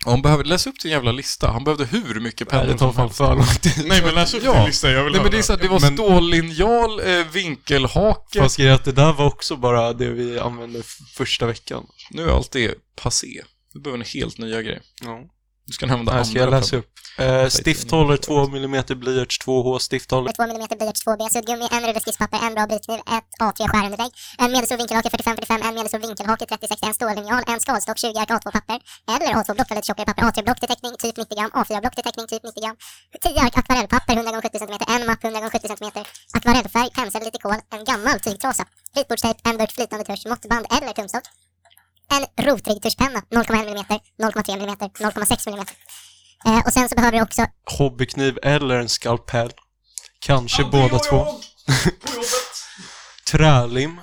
[SPEAKER 3] Och Han behöver, läs upp din jävla lista. Han behövde hur mycket pennor
[SPEAKER 1] Det tar
[SPEAKER 3] som
[SPEAKER 1] fan
[SPEAKER 3] helst.
[SPEAKER 1] för lång tid.
[SPEAKER 2] Nej men läs upp
[SPEAKER 3] Ja.
[SPEAKER 2] din lista, jag vill
[SPEAKER 3] Nej
[SPEAKER 2] höra.
[SPEAKER 3] men det är så här, det var
[SPEAKER 1] Men-
[SPEAKER 3] stållinjal, eh, vinkelhake.
[SPEAKER 1] Fast grejen är att det där var också bara det vi använde f- första veckan.
[SPEAKER 3] Nu är allt det passé. Nu behöver en helt nya grej.
[SPEAKER 1] Ja.
[SPEAKER 3] Du ska använda
[SPEAKER 1] Här
[SPEAKER 3] andra
[SPEAKER 1] ska jag läsa
[SPEAKER 3] problem.
[SPEAKER 1] upp. Eh, stifthållare 2 mm blyerts 2H stifthållare.
[SPEAKER 5] 2 mm blyerts, 2B suddgummi, en rulle skisspapper, en bra brytkniv, ett A3 skärunderlägg, en medelstor vinkelhake 45-45, en medelstor vinkelhake 30-60, en stållinjal, en skalstock 20 ark A2-papper, eller A2-block eller lite tjockare papper, A3-block till täckning, typ 90 gram, A4-block till täckning, typ 90 gram, 10 ark akvarellpapper 100 x 70 cm, en mapp 100 x 70 cm, akvarellfärg, pensel, lite kol, en gammal tygtrasa, ritbordstejp, en burk flytande tusch, måttband eller tumstock, en rotrygg tuschpenna 0,1 mm, 0,3 mm, 0,6 mm. Eh, och sen så behöver du också
[SPEAKER 1] Hobbykniv eller en skalpell. Kanske båda två.
[SPEAKER 2] På jobbet!
[SPEAKER 1] Trälim.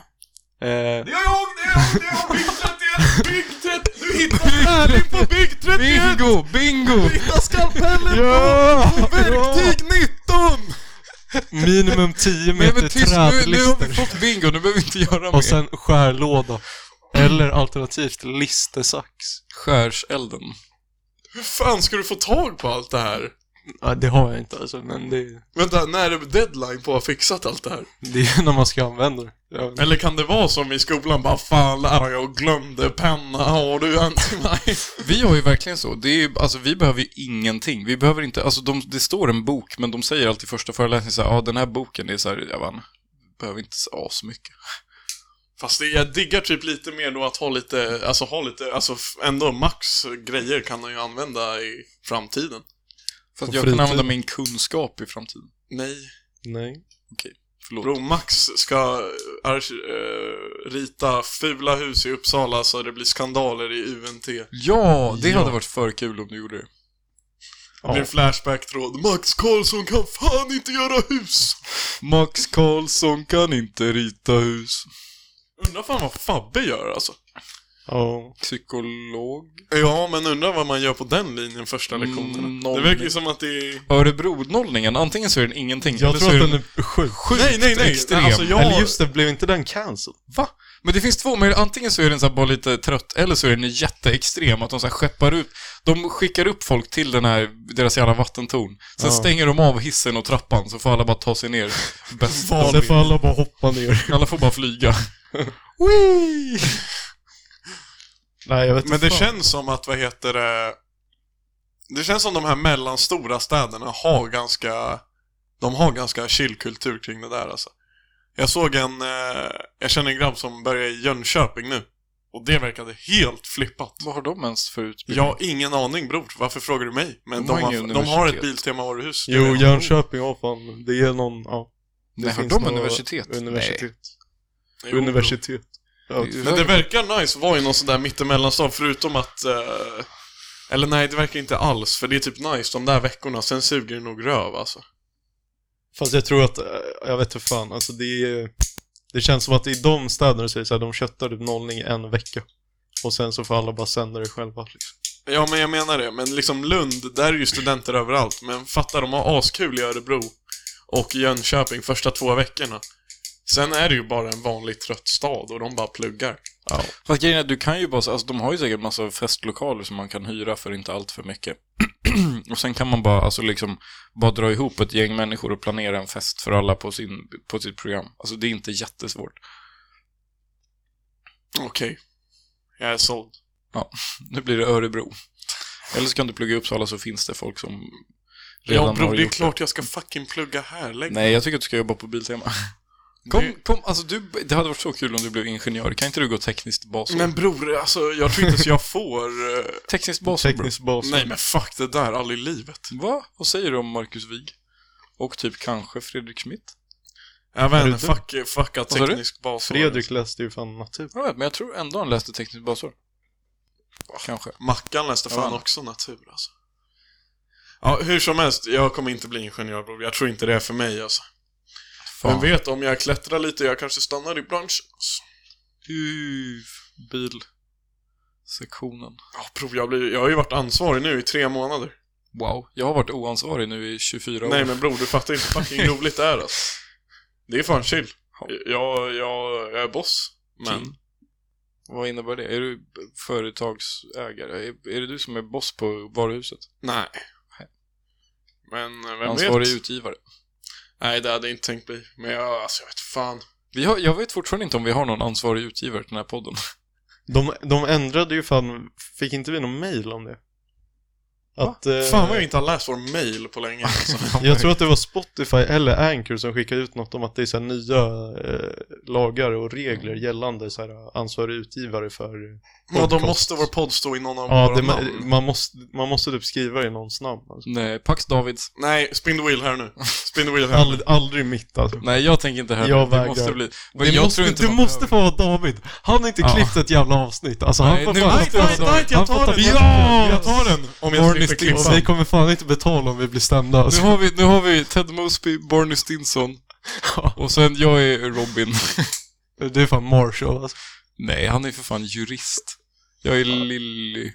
[SPEAKER 1] Eh,
[SPEAKER 2] Det gör jag! Det gör jag! Det gör jag! Bygg 31! Bygg 31! Du hittar tärning på Bygg 31!
[SPEAKER 3] Bingo! Bingo!
[SPEAKER 2] Du hittar skalpellen på
[SPEAKER 1] ja!
[SPEAKER 2] verktyg 19!
[SPEAKER 1] Minimum 10
[SPEAKER 3] Nej men
[SPEAKER 1] meter
[SPEAKER 3] tyst, nu, nu har vi
[SPEAKER 1] trädlister.
[SPEAKER 3] fått bingo, nu behöver vi inte göra mer.
[SPEAKER 1] Och sen skärlåda. Eller alternativt listesax.
[SPEAKER 3] Skärselden.
[SPEAKER 2] Hur fan ska du få tag på allt det här?
[SPEAKER 1] Ja, det har jag inte alltså, men det,
[SPEAKER 2] Vänta, när är deadline på att ha fixat allt det här?
[SPEAKER 1] det är ju när man ska använda det. Ja,
[SPEAKER 2] Eller kan det vara som i skolan, bara fan lärare, jag glömde penna, har du en till mig?
[SPEAKER 3] Vi har ju verkligen så. Det är, ju- alltså, vi behöver ju ingenting. Vi behöver inte, alltså, de, det står en bok, men de säger alltid i första föreläsningen så här, ja den här boken, det är så här, jag vann. Behöver inte så mycket.
[SPEAKER 2] Fast det, jag diggar typ lite mer då att ha lite, alltså ha lite, alltså f- ändå max grejer kan man ju använda i framtiden.
[SPEAKER 3] Fast
[SPEAKER 1] På
[SPEAKER 3] jag kan
[SPEAKER 1] fritid.
[SPEAKER 3] använda min kunskap i framtiden.
[SPEAKER 2] Nej.
[SPEAKER 1] Nej.
[SPEAKER 3] Förlåt.
[SPEAKER 2] Bro, Max ska eh, arki- eh, rita fula hus i Uppsala så det blir skandaler i UNT. Det
[SPEAKER 3] Ja, det
[SPEAKER 1] Ja.
[SPEAKER 3] hade varit för kul om du gjorde det.
[SPEAKER 2] blir en flashback-tråd. Max Karlsson kan fan inte göra hus!
[SPEAKER 3] Max Karlsson kan inte rita hus.
[SPEAKER 2] Undrar fan vad Fabbe gör alltså.
[SPEAKER 1] Ja.
[SPEAKER 3] Psykolog?
[SPEAKER 2] Ja, men undrar vad man gör på den linjen första
[SPEAKER 3] Mm,
[SPEAKER 2] lektionerna. det
[SPEAKER 3] noll.
[SPEAKER 2] verkar ju som att det är...
[SPEAKER 3] Örebro-nollningen, antingen så är den ingenting,
[SPEAKER 1] Jag
[SPEAKER 3] eller så
[SPEAKER 1] tror
[SPEAKER 3] är
[SPEAKER 1] att
[SPEAKER 3] den...
[SPEAKER 1] den är sjuk.
[SPEAKER 2] Nej, nej, nej!
[SPEAKER 3] extrem.
[SPEAKER 2] Alltså jag...
[SPEAKER 1] Eller just det, blev inte den cancel?
[SPEAKER 3] Va? Men det finns två möjligheter. Antingen så är den så här bara lite trött, eller så är den jätteextrem. Att de så här skeppar ut... De skickar upp folk till den här, deras jävla vattentorn. Sen
[SPEAKER 1] Ja.
[SPEAKER 3] stänger de av hissen och trappan, så får alla bara ta sig ner. Bäst de
[SPEAKER 1] Istället
[SPEAKER 3] vill.
[SPEAKER 1] för alla bara hoppa ner.
[SPEAKER 3] Alla får bara flyga.
[SPEAKER 1] Wee! Nej, jag vet
[SPEAKER 2] Men det
[SPEAKER 1] fan.
[SPEAKER 2] känns som att, vad heter det... Det känns som de här mellanstora städerna har ganska... De har ganska chillkultur kring det där alltså. Jag såg en... Eh, jag känner en grabb som börjar i Jönköping nu. Och det verkade helt flippat.
[SPEAKER 3] Vad har de ens för utbildning?
[SPEAKER 2] Jag har ingen aning bror, varför frågar du mig? Men
[SPEAKER 3] De har
[SPEAKER 2] de har,
[SPEAKER 3] ingen
[SPEAKER 2] de har ett
[SPEAKER 3] universitet.
[SPEAKER 2] Biltema-varuhus.
[SPEAKER 1] Jo, Jönköping, ja fan. Det är någon, ja. Det
[SPEAKER 3] Nej, har
[SPEAKER 1] finns
[SPEAKER 3] de
[SPEAKER 1] några
[SPEAKER 3] universitet?
[SPEAKER 1] Universitet.
[SPEAKER 2] Jo, bro.
[SPEAKER 1] Universitet. Ja.
[SPEAKER 2] Men det verkar nice att vara i någon sån där mittemellanstad förutom att... Eh, eller nej, det verkar inte alls, för det är typ nice de där veckorna, sen suger det nog röv alltså.
[SPEAKER 1] Fast jag tror att, eh, jag vet inte fan, alltså det är, Det känns som att i de städerna så är det så här, de köttar typ nollning i en vecka. Och sen så får alla bara sända det själva liksom.
[SPEAKER 2] Ja, men jag menar det. Men liksom Lund, där är ju studenter överallt. Men fatta, de har askul i Örebro och i Jönköping första två veckorna. Sen är det ju bara en vanlig trött stad och de bara pluggar.
[SPEAKER 3] Fast grejen är, du kan ju bara, så- alltså de har ju säkert massa festlokaler som man kan hyra för inte allt för mycket. och sen kan man bara, alltså liksom, bara dra ihop ett gäng människor och planera en fest för alla på, sin, på sitt program. Alltså det är inte jättesvårt.
[SPEAKER 2] Okej. Jag är såld.
[SPEAKER 3] Nu blir det Örebro. Eller så kan du plugga i Uppsala så finns det folk som redan
[SPEAKER 2] Ja, bror,
[SPEAKER 3] har
[SPEAKER 2] det är
[SPEAKER 3] gjort
[SPEAKER 2] klart jag ska fucking plugga här. Lägg
[SPEAKER 3] Nej, jag tycker att du ska jobba på Biltema. Kom, kom, alltså du, det hade varit så kul om du blev ingenjör. Kan inte du gå tekniskt basår?
[SPEAKER 2] Men bror, alltså jag tror inte så jag får... eh,
[SPEAKER 3] tekniskt basår, bro.
[SPEAKER 1] Teknisk bas.
[SPEAKER 2] Nej men fuck det där, aldrig i livet.
[SPEAKER 3] Va? Vad säger du om Marcus Wig? Och typ kanske Fredrik Schmidt?
[SPEAKER 2] Jag
[SPEAKER 1] Är
[SPEAKER 2] vet
[SPEAKER 1] du
[SPEAKER 2] inte,
[SPEAKER 1] dum?
[SPEAKER 2] fuck, fucka
[SPEAKER 3] sa du?
[SPEAKER 2] teknisk bas.
[SPEAKER 1] Fredrik läste ju fan natur.
[SPEAKER 3] Jag vet, men jag tror ändå han läste tekniskt basår. Kanske.
[SPEAKER 2] Mackan läste fan
[SPEAKER 3] Ja.
[SPEAKER 2] också natur alltså. Ja, hur som helst, jag kommer inte bli ingenjör bror. Jag tror inte det är för mig alltså. Men
[SPEAKER 3] Fan.
[SPEAKER 2] vet, om jag klättrar lite, jag kanske stannar i branschen alltså.
[SPEAKER 3] Uff, Bilsektionen.
[SPEAKER 2] Ja, prov, jag, blir, jag har ju varit ansvarig nu i tre månader.
[SPEAKER 3] Wow. Jag har varit oansvarig nu i 24 år.
[SPEAKER 2] Nej men bror, du fattar inte fucking roligt det är alltså. Det är fan chill. Jag, jag, jag är boss. Men...
[SPEAKER 3] King. Vad innebär det? Är du b- företagsägare? Är, är det du som är boss på varuhuset?
[SPEAKER 2] Nej. Men eh, vem
[SPEAKER 3] Ansvarig
[SPEAKER 2] vet?
[SPEAKER 3] utgivare?
[SPEAKER 2] Nej, det hade jag inte tänkt bli. Men jag, alltså jag vet fan.
[SPEAKER 3] Vi har, jag vet fortfarande inte om vi har någon ansvarig utgivare till den här podden.
[SPEAKER 1] De, de ändrade ju fan, fick inte vi någon mail om det? Att, eh,
[SPEAKER 2] Fan vad jag inte har läst vår mail på länge. Alltså.
[SPEAKER 1] jag tror att det var Spotify eller Anchor som skickade ut något om att det är så här nya eh, lagar och regler
[SPEAKER 2] Mm.
[SPEAKER 1] gällande så här, ansvarig utgivare för
[SPEAKER 2] Ja, då
[SPEAKER 1] podcast.
[SPEAKER 2] måste vår podd stå i någon av
[SPEAKER 1] Ja,
[SPEAKER 2] våra
[SPEAKER 1] det,
[SPEAKER 2] namn.
[SPEAKER 1] man, man, måste, man måste typ skriva i någons namn. Alltså.
[SPEAKER 3] Nej, Pax Davids.
[SPEAKER 2] Nej, spin the wheel här nu. Spin the wheel här nu.
[SPEAKER 1] Ald, aldrig mitt alltså.
[SPEAKER 3] Nej, jag tänker inte heller.
[SPEAKER 1] Jag
[SPEAKER 3] det
[SPEAKER 1] vägrar.
[SPEAKER 3] måste bli... Men
[SPEAKER 1] Det
[SPEAKER 3] jag
[SPEAKER 1] måste,
[SPEAKER 3] tror inte
[SPEAKER 1] du
[SPEAKER 3] man
[SPEAKER 1] måste
[SPEAKER 3] behöver-
[SPEAKER 1] få vara David. Han har inte
[SPEAKER 3] Ja.
[SPEAKER 1] klippt ett jävla avsnitt. Alltså,
[SPEAKER 3] Nej,
[SPEAKER 1] han
[SPEAKER 3] nu
[SPEAKER 1] får fan
[SPEAKER 3] måste
[SPEAKER 1] inte
[SPEAKER 3] jag
[SPEAKER 1] vara
[SPEAKER 3] vara
[SPEAKER 2] Right, right,
[SPEAKER 1] David.
[SPEAKER 3] David.
[SPEAKER 2] jag
[SPEAKER 1] Han
[SPEAKER 2] tar
[SPEAKER 1] fattar
[SPEAKER 2] den!
[SPEAKER 1] inte.
[SPEAKER 2] Jag tar den! Om jag
[SPEAKER 1] Born
[SPEAKER 2] slipper
[SPEAKER 1] is
[SPEAKER 2] klippa.
[SPEAKER 1] Stinson. Vi kommer fan inte betala om vi blir stämda. Alltså.
[SPEAKER 3] Nu har vi, nu har vi Ted Mosby, Barney Stinson. Och sen jag är Robin.
[SPEAKER 1] Det är fan Marshall alltså.
[SPEAKER 3] Nej, han är för fan jurist. Jag är Lilly.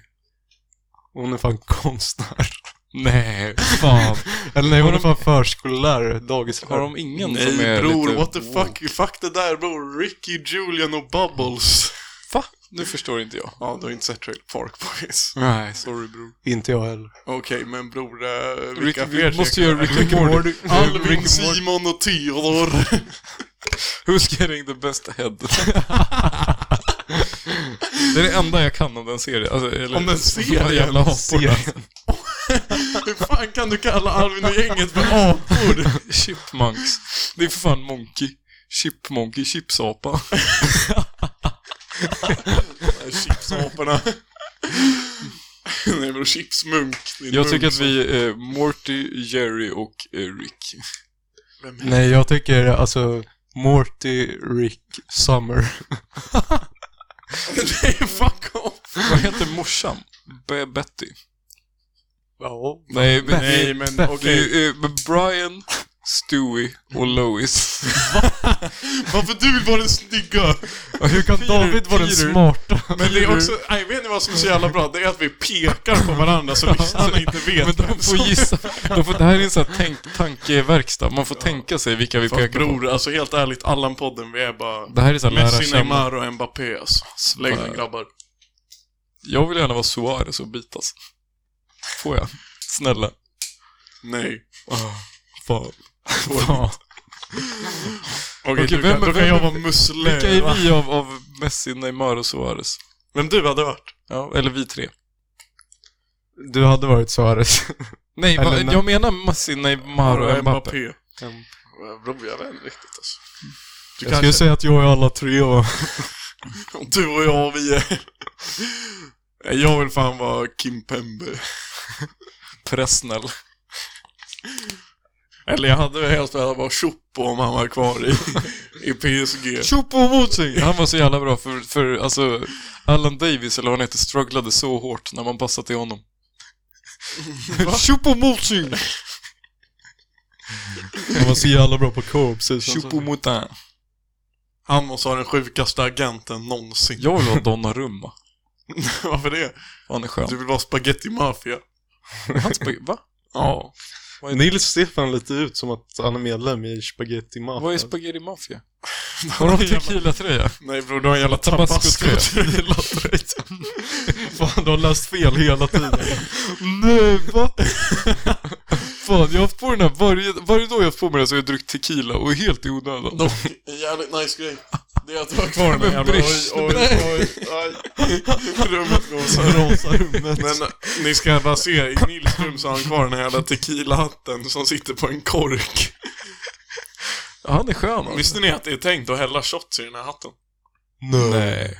[SPEAKER 1] Hon är fan konstnär.
[SPEAKER 3] Nej, fan.
[SPEAKER 1] Eller nej, hon är
[SPEAKER 3] de-
[SPEAKER 1] fan förskollärare, dagislärare.
[SPEAKER 3] Har de ingen som
[SPEAKER 2] Nej
[SPEAKER 3] är
[SPEAKER 2] bror,
[SPEAKER 3] lite...
[SPEAKER 2] what the fuck? Fuck det där bror. Ricky, Julian och Bubbles.
[SPEAKER 3] Va? Nu förstår inte jag.
[SPEAKER 2] Ja, du har inte sett Trailer Park Boys.
[SPEAKER 3] Nej, sorry bror.
[SPEAKER 1] Inte jag heller.
[SPEAKER 2] Okej, men bror, eh,
[SPEAKER 3] Rick,
[SPEAKER 2] vilka fler
[SPEAKER 3] vi måste
[SPEAKER 2] cirklar?
[SPEAKER 3] göra Rick and Morty. Rick
[SPEAKER 2] Alvin,
[SPEAKER 3] and Morty.
[SPEAKER 2] Simon och Theodor.
[SPEAKER 3] Who's getting the best head? det är det enda jag kan om den serien. Alltså, eller,
[SPEAKER 2] Om den serien?
[SPEAKER 3] De här jävla
[SPEAKER 1] Serien.
[SPEAKER 3] aporna.
[SPEAKER 2] Hur fan kan du kalla Alvin och gänget för apor?
[SPEAKER 3] Chipmunks. Det är för fan Monkey. Chipmonkey, chipsapa.
[SPEAKER 2] Chipsaporna. Nej bror, chipsmunk. Det är en
[SPEAKER 3] Jag
[SPEAKER 2] munk
[SPEAKER 3] tycker att
[SPEAKER 2] som-
[SPEAKER 3] vi är eh, Morty, Jerry och eh, Rick.
[SPEAKER 2] Vem är
[SPEAKER 1] Nej, jag tycker alltså Morty, Rick, Summer.
[SPEAKER 2] Nej, fuck off!
[SPEAKER 3] Vad heter morsan? Be- Betty?
[SPEAKER 1] Ja.
[SPEAKER 3] Nej, men-
[SPEAKER 2] Nej, men
[SPEAKER 3] Betty.
[SPEAKER 2] okej.
[SPEAKER 3] Det är, eh, Brian, Stewie och Lois.
[SPEAKER 2] Varför du vill vara den snygga?
[SPEAKER 1] Hur kan
[SPEAKER 3] Peter-
[SPEAKER 1] David vara den
[SPEAKER 3] Peter.
[SPEAKER 1] smarta?
[SPEAKER 2] Men det är också, nej vet ni vad som är så jävla bra? Det är att vi pekar på varandra så lyssnarna inte vet.
[SPEAKER 3] Men de får gissa. De får, det här är en sån här tänk, tankeverkstad. Man får tänka sig vilka vi
[SPEAKER 2] Fast
[SPEAKER 3] pekar på.
[SPEAKER 2] bror, alltså helt ärligt, Allan-podden, vi är bara...
[SPEAKER 3] Det här är så här lära
[SPEAKER 2] Messi,
[SPEAKER 3] känna.
[SPEAKER 2] Neymar och Mbappé alltså. Lägg ner grabbar.
[SPEAKER 3] Jag vill gärna vara Suarez och bitas. Får jag? Snälla.
[SPEAKER 2] Nej.
[SPEAKER 3] Fan.
[SPEAKER 2] Okej,
[SPEAKER 3] Okej,
[SPEAKER 2] du
[SPEAKER 3] vem-
[SPEAKER 2] kan, då kan
[SPEAKER 3] vem-
[SPEAKER 2] jag vara musle.
[SPEAKER 3] Vilka
[SPEAKER 2] va?
[SPEAKER 3] är vi av, av Messi, Neymar och Suarez?
[SPEAKER 2] Vem du hade varit?
[SPEAKER 3] Ja, eller vi tre.
[SPEAKER 1] Du hade varit Suarez.
[SPEAKER 3] Nej,
[SPEAKER 1] Eller
[SPEAKER 3] va,
[SPEAKER 1] Ne-
[SPEAKER 3] jag menar Messi, Neymar och Mbappé.
[SPEAKER 2] Ja, Bror, jag vet inte riktigt alltså. Du
[SPEAKER 1] Jag skulle säga att jag är alla tre va?
[SPEAKER 2] Om du och jag och vi är... Nej, Jag vill fan vara Kim Pembe.
[SPEAKER 3] Presnell.
[SPEAKER 2] Eller jag hade väl helst velat vara Chopo om han var kvar i, i PSG.
[SPEAKER 3] Tjopo mot sig! Han var så jävla bra för, för alltså, Alan Davis, eller vad han heter, strugglade så hårt när man passade till honom. Tjopo mot sig!
[SPEAKER 1] Han var så jävla bra på co-ops.
[SPEAKER 3] Tjopo mot den.
[SPEAKER 2] Han måste ha den sjukaste agenten någonsin.
[SPEAKER 3] Jag vill vara Donnarumma.
[SPEAKER 2] Varför det?
[SPEAKER 3] Han är skön.
[SPEAKER 2] Du vill vara Spaghetti Mafia?
[SPEAKER 3] Han spe- va?
[SPEAKER 2] Ja.
[SPEAKER 1] Nils ser fan lite ut som att han är medlem i Spaghetti Mafia.
[SPEAKER 3] Vad är Spaghetti Mafia?
[SPEAKER 2] Har
[SPEAKER 3] Har de tequila-tröja?
[SPEAKER 2] Nej bror, du har en jävla
[SPEAKER 3] Tabasco-tröja.
[SPEAKER 2] tabasco-tröja.
[SPEAKER 1] Fan, du har läst fel hela tiden.
[SPEAKER 3] Nej, va? Fan, jag har haft på den här varje, varje dag jag har haft på mig den så har jag druckit tequila och helt i onödan.
[SPEAKER 2] Dock, en jävligt nice grej. Det är att du har kvar den
[SPEAKER 3] Men
[SPEAKER 2] här jävla... Oj,
[SPEAKER 3] brysch,
[SPEAKER 2] oj, oj, oj. Rummet går så här.
[SPEAKER 1] Rosa rummet.
[SPEAKER 2] Men eh, ni ska bara se, i Nils rum så har han kvar den här jävla tequila-hatten som sitter på en kork.
[SPEAKER 3] Ja, han är skön alltså.
[SPEAKER 2] Visste ni att det är tänkt att hälla shots i den här hatten?
[SPEAKER 3] Nej,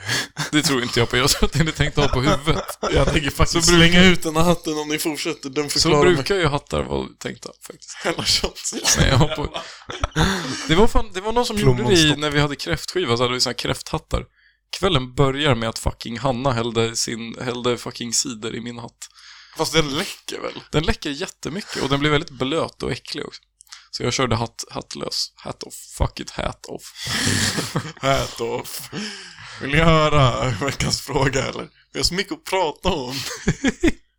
[SPEAKER 3] det tror inte jag på. Jag tror att ni tänkte ha på huvudet.
[SPEAKER 2] Jag tänker faktiskt slänga ut den här hatten om ni fortsätter. Den
[SPEAKER 3] Så
[SPEAKER 2] förklarar mig.
[SPEAKER 3] brukar ju hattar vara tänkta faktiskt.
[SPEAKER 2] Hälla shots.
[SPEAKER 3] Nej, jag har på... det, var fan, det var någon som gjorde det i,
[SPEAKER 1] Plommonstopp.
[SPEAKER 3] när vi hade kräftskiva, så hade vi såna här kräfthattar. Kvällen börjar med att fucking Hanna hällde, sin, hällde fucking cider i min hatt.
[SPEAKER 2] Fast den läcker väl?
[SPEAKER 3] Den läcker jättemycket och den blir väldigt blöt och äcklig också. Så jag körde hatt, hattlös. Hat off. Fuck it, hat off.
[SPEAKER 2] Hat off. Vill ni höra veckans fråga eller? Vi har så mycket att prata om.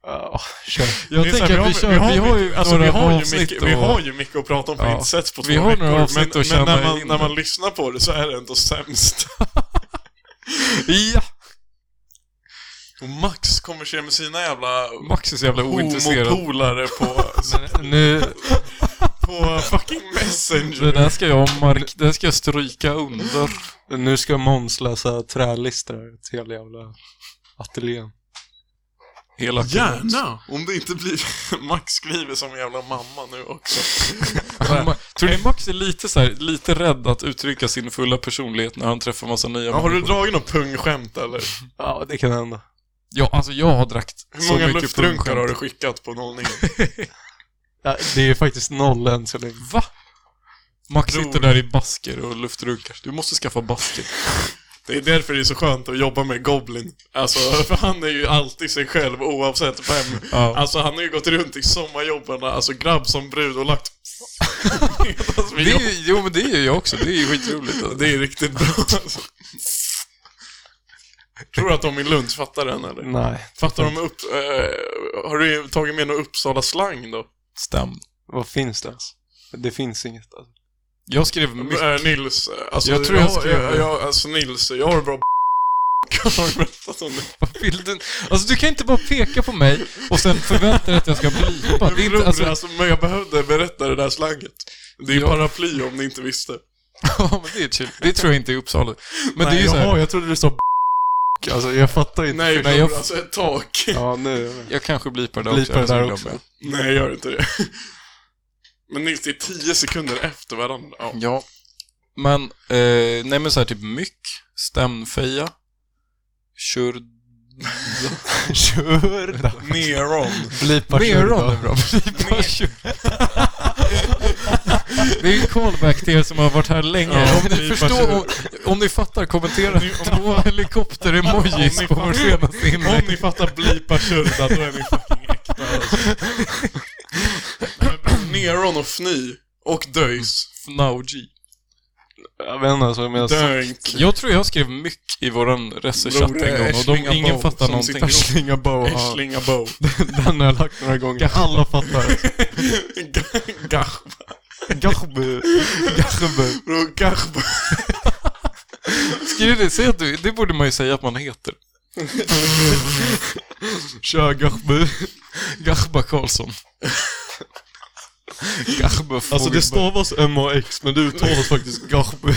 [SPEAKER 1] Ja, kör.
[SPEAKER 3] Jag
[SPEAKER 2] Det är så
[SPEAKER 3] tänker
[SPEAKER 2] här,
[SPEAKER 3] att vi kör, vi har, ju
[SPEAKER 2] alltså, vi
[SPEAKER 3] några
[SPEAKER 2] har ju,
[SPEAKER 3] avsnitt
[SPEAKER 2] mycket, vi
[SPEAKER 3] och-
[SPEAKER 2] har ju mycket att prata om på
[SPEAKER 3] Ja.
[SPEAKER 2] inte sätt på två
[SPEAKER 3] Vi har några
[SPEAKER 2] veckor,
[SPEAKER 3] avsnitt
[SPEAKER 2] men, men
[SPEAKER 3] att
[SPEAKER 2] när
[SPEAKER 3] tjäna
[SPEAKER 2] man,
[SPEAKER 3] in.
[SPEAKER 2] när man lyssnar på det så är det ändå sämst.
[SPEAKER 3] Ja!
[SPEAKER 2] Och Max kommer se med sina jävla
[SPEAKER 3] Max är så jävla ointresserad.
[SPEAKER 2] homopolare på,
[SPEAKER 3] Nu,
[SPEAKER 2] på fucking
[SPEAKER 3] det
[SPEAKER 2] Messenger.
[SPEAKER 3] där ska jag mark... Det där ska jag stryka under.
[SPEAKER 1] Nu ska Måns läsa trälistor här till hela jävla ateljén.
[SPEAKER 3] Hela
[SPEAKER 2] Gärna! Om det inte blir... Max skriver som en jävla mamma nu också.
[SPEAKER 3] Tror ni Max är lite, så här, lite rädd att uttrycka sin fulla personlighet när han träffar massa nya
[SPEAKER 2] Ja, har du
[SPEAKER 3] människor?
[SPEAKER 2] dragit något pungskämt eller?
[SPEAKER 1] Ja, det kan hända.
[SPEAKER 3] Ja, alltså jag har dragt
[SPEAKER 2] Hur många
[SPEAKER 3] så mycket
[SPEAKER 2] luftrunkar
[SPEAKER 3] pungskämt.
[SPEAKER 2] har du skickat på 09?
[SPEAKER 1] Ja, det är faktiskt noll än så länge.
[SPEAKER 3] Va? Max
[SPEAKER 2] Bror.
[SPEAKER 3] sitter där i basker och luftrunkar. Du måste skaffa basker.
[SPEAKER 2] Det är därför det är så skönt att jobba med Goblin. Alltså, för han är ju alltid sig själv oavsett vem.
[SPEAKER 3] Ja.
[SPEAKER 2] Alltså, han har ju gått runt i sommarjobben, alltså grabb som brud och lagt... Medans vi
[SPEAKER 3] Det är, ju- jo, men det är ju jag också. Det är ju skitroligt. Alltså.
[SPEAKER 2] Det är riktigt bra alltså. Tror du att de i Lund fattar den eller?
[SPEAKER 1] Nej.
[SPEAKER 2] Fattar de upp... Eh, har du tagit med någon Uppsala-slang då?
[SPEAKER 3] Stäm.
[SPEAKER 1] Vad finns det ens? Det finns inget. Alltså.
[SPEAKER 3] Jag skrev mycket.
[SPEAKER 2] Eh, Nils, eh, alltså,
[SPEAKER 3] Jag tror jag
[SPEAKER 2] jag,
[SPEAKER 3] skrev
[SPEAKER 2] jag,
[SPEAKER 3] det.
[SPEAKER 2] jag, alltså Nils, jag har bra Har du berättat om det?
[SPEAKER 3] Vad vill du? Alltså du kan inte bara peka på mig och sen förvänta dig att jag ska blipa. Det är
[SPEAKER 2] Bror,
[SPEAKER 3] inte,
[SPEAKER 2] alltså...
[SPEAKER 3] alltså,
[SPEAKER 2] men jag behövde berätta det där slanget. Det är
[SPEAKER 3] Ja.
[SPEAKER 2] paraply om ni inte visste.
[SPEAKER 3] ja, men det är chill. Det tror jag inte är Uppsala. Men det är ju så
[SPEAKER 1] Jaha,
[SPEAKER 3] här,
[SPEAKER 1] jag trodde du sa Alltså, jag fattar inte.
[SPEAKER 2] Nej,
[SPEAKER 3] nej,
[SPEAKER 2] nej
[SPEAKER 3] jag-
[SPEAKER 2] alltså ett tak.
[SPEAKER 1] Ja, nu.
[SPEAKER 3] jag kanske blipar det
[SPEAKER 1] Blipar det
[SPEAKER 3] också.
[SPEAKER 1] där
[SPEAKER 3] jag
[SPEAKER 1] också.
[SPEAKER 3] glömmer.
[SPEAKER 2] Nej, gör inte det. Men Nils, det är tio sekunder efter varandra. Ja.
[SPEAKER 3] Ja. Men, eh, nej men så här typ myck, stämfeja, kör...
[SPEAKER 1] Kör då.
[SPEAKER 2] Neron.
[SPEAKER 1] Blipa kör
[SPEAKER 3] Neron är
[SPEAKER 1] då.
[SPEAKER 3] bra. Blipa kör. Det är ju en callback till er som har varit här länge.
[SPEAKER 2] Ja,
[SPEAKER 3] om, ni
[SPEAKER 2] blipa
[SPEAKER 3] förstår,
[SPEAKER 2] kör.
[SPEAKER 3] om, om ni fattar, kommentera två helikopter-emojis på vårt senaste
[SPEAKER 2] Om
[SPEAKER 3] inlägg.
[SPEAKER 2] ni fattar blipa Shurda, då är ni fucking äkta alltså. Men bror, Neron och fny. Och döjs.
[SPEAKER 3] Now G.
[SPEAKER 1] Jag vet inte, alltså, jag menar...
[SPEAKER 2] Dönk.
[SPEAKER 3] Jag tror jag skrev myck i våran resechatt
[SPEAKER 2] Bror, det
[SPEAKER 3] en
[SPEAKER 2] är
[SPEAKER 3] gång och
[SPEAKER 2] Äschlinga
[SPEAKER 3] de, ingen
[SPEAKER 2] Bow
[SPEAKER 3] fattar
[SPEAKER 2] som
[SPEAKER 3] någonting.
[SPEAKER 2] sitter-
[SPEAKER 1] Slinga boa.
[SPEAKER 2] Äschlinga bow.
[SPEAKER 1] Den har jag lagt några gånger. Alla fattar.
[SPEAKER 2] Gachba.
[SPEAKER 1] Gachbe. Gachbe.
[SPEAKER 2] Bror, gachba.
[SPEAKER 3] Skriv det, säg att du, det borde man ju säga att man heter.
[SPEAKER 1] Kör Gachbe.
[SPEAKER 3] Gachba Karlsson. Gachba
[SPEAKER 1] Alltså det
[SPEAKER 3] Fogelberg.
[SPEAKER 1] stavas M-A-X, men det uttalas faktiskt Gachbe.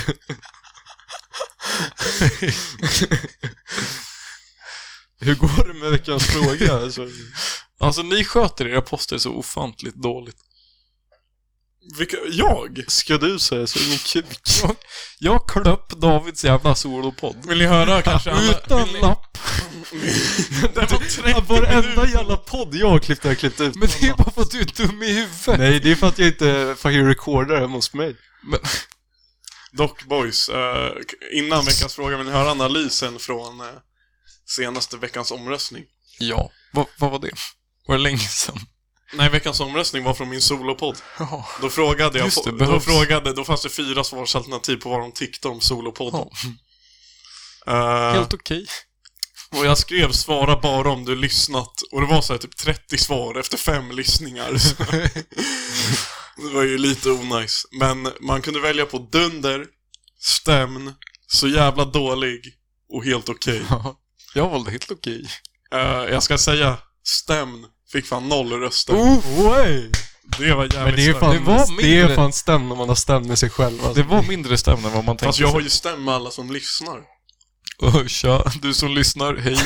[SPEAKER 1] Hur går det med veckans fråga? Alltså,
[SPEAKER 3] Alltså ni sköter era poster så ofantligt dåligt.
[SPEAKER 2] Vilka, jag?
[SPEAKER 1] ska du säga så? Ingen kuk.
[SPEAKER 3] Jag, jag klöpp Davids jävla solopodd.
[SPEAKER 2] Vill ni höra kanske? alla-
[SPEAKER 3] Utan
[SPEAKER 2] vill ni-
[SPEAKER 3] lapp.
[SPEAKER 2] Det var 30
[SPEAKER 1] Varenda
[SPEAKER 2] minuter.
[SPEAKER 1] jävla podd jag har klippt har jag klippt ut.
[SPEAKER 3] Men det är bara för att du är dum i huvudet.
[SPEAKER 1] Nej, det är för att jag inte fucking recordar hemma hos mig.
[SPEAKER 3] Men,
[SPEAKER 2] Dock boys, eh, innan veckans fråga vill ni höra analysen från eh, senaste veckans omröstning?
[SPEAKER 3] ja, vad, vad var det? Var det länge sedan?
[SPEAKER 2] Nej, veckans omröstning var från min solopodd.
[SPEAKER 3] Ja.
[SPEAKER 2] Då frågade jag,
[SPEAKER 3] Just det,
[SPEAKER 2] då,
[SPEAKER 3] behövs.
[SPEAKER 2] frågade, då fanns det fyra svarsalternativ på vad de tyckte om solopodden.
[SPEAKER 3] Ja.
[SPEAKER 2] Eh,
[SPEAKER 3] Helt okej.
[SPEAKER 2] och jag skrev svara bara om du lyssnat och det var så här typ 30 svar efter fem lyssningar. Så. det var ju lite onajs. Men man kunde välja på dunder, stämn, så jävla dålig och helt okej.
[SPEAKER 3] Ja. Jag valde helt okej.
[SPEAKER 2] Eh, jag ska säga stämn. Fick fan noll röster.
[SPEAKER 1] Oj!
[SPEAKER 2] Det var jävligt
[SPEAKER 1] Men det är
[SPEAKER 2] starkt.
[SPEAKER 1] fan, det
[SPEAKER 3] Oh. Det var
[SPEAKER 1] det är
[SPEAKER 3] mindre-
[SPEAKER 1] fan stämd när man har stämd med sig själv. Alltså.
[SPEAKER 3] Det var mindre stämning än vad man tänkte
[SPEAKER 2] Fast jag har
[SPEAKER 3] sig.
[SPEAKER 2] ju stämn med alla som lyssnar.
[SPEAKER 3] Ö, Tja, du som lyssnar, hej.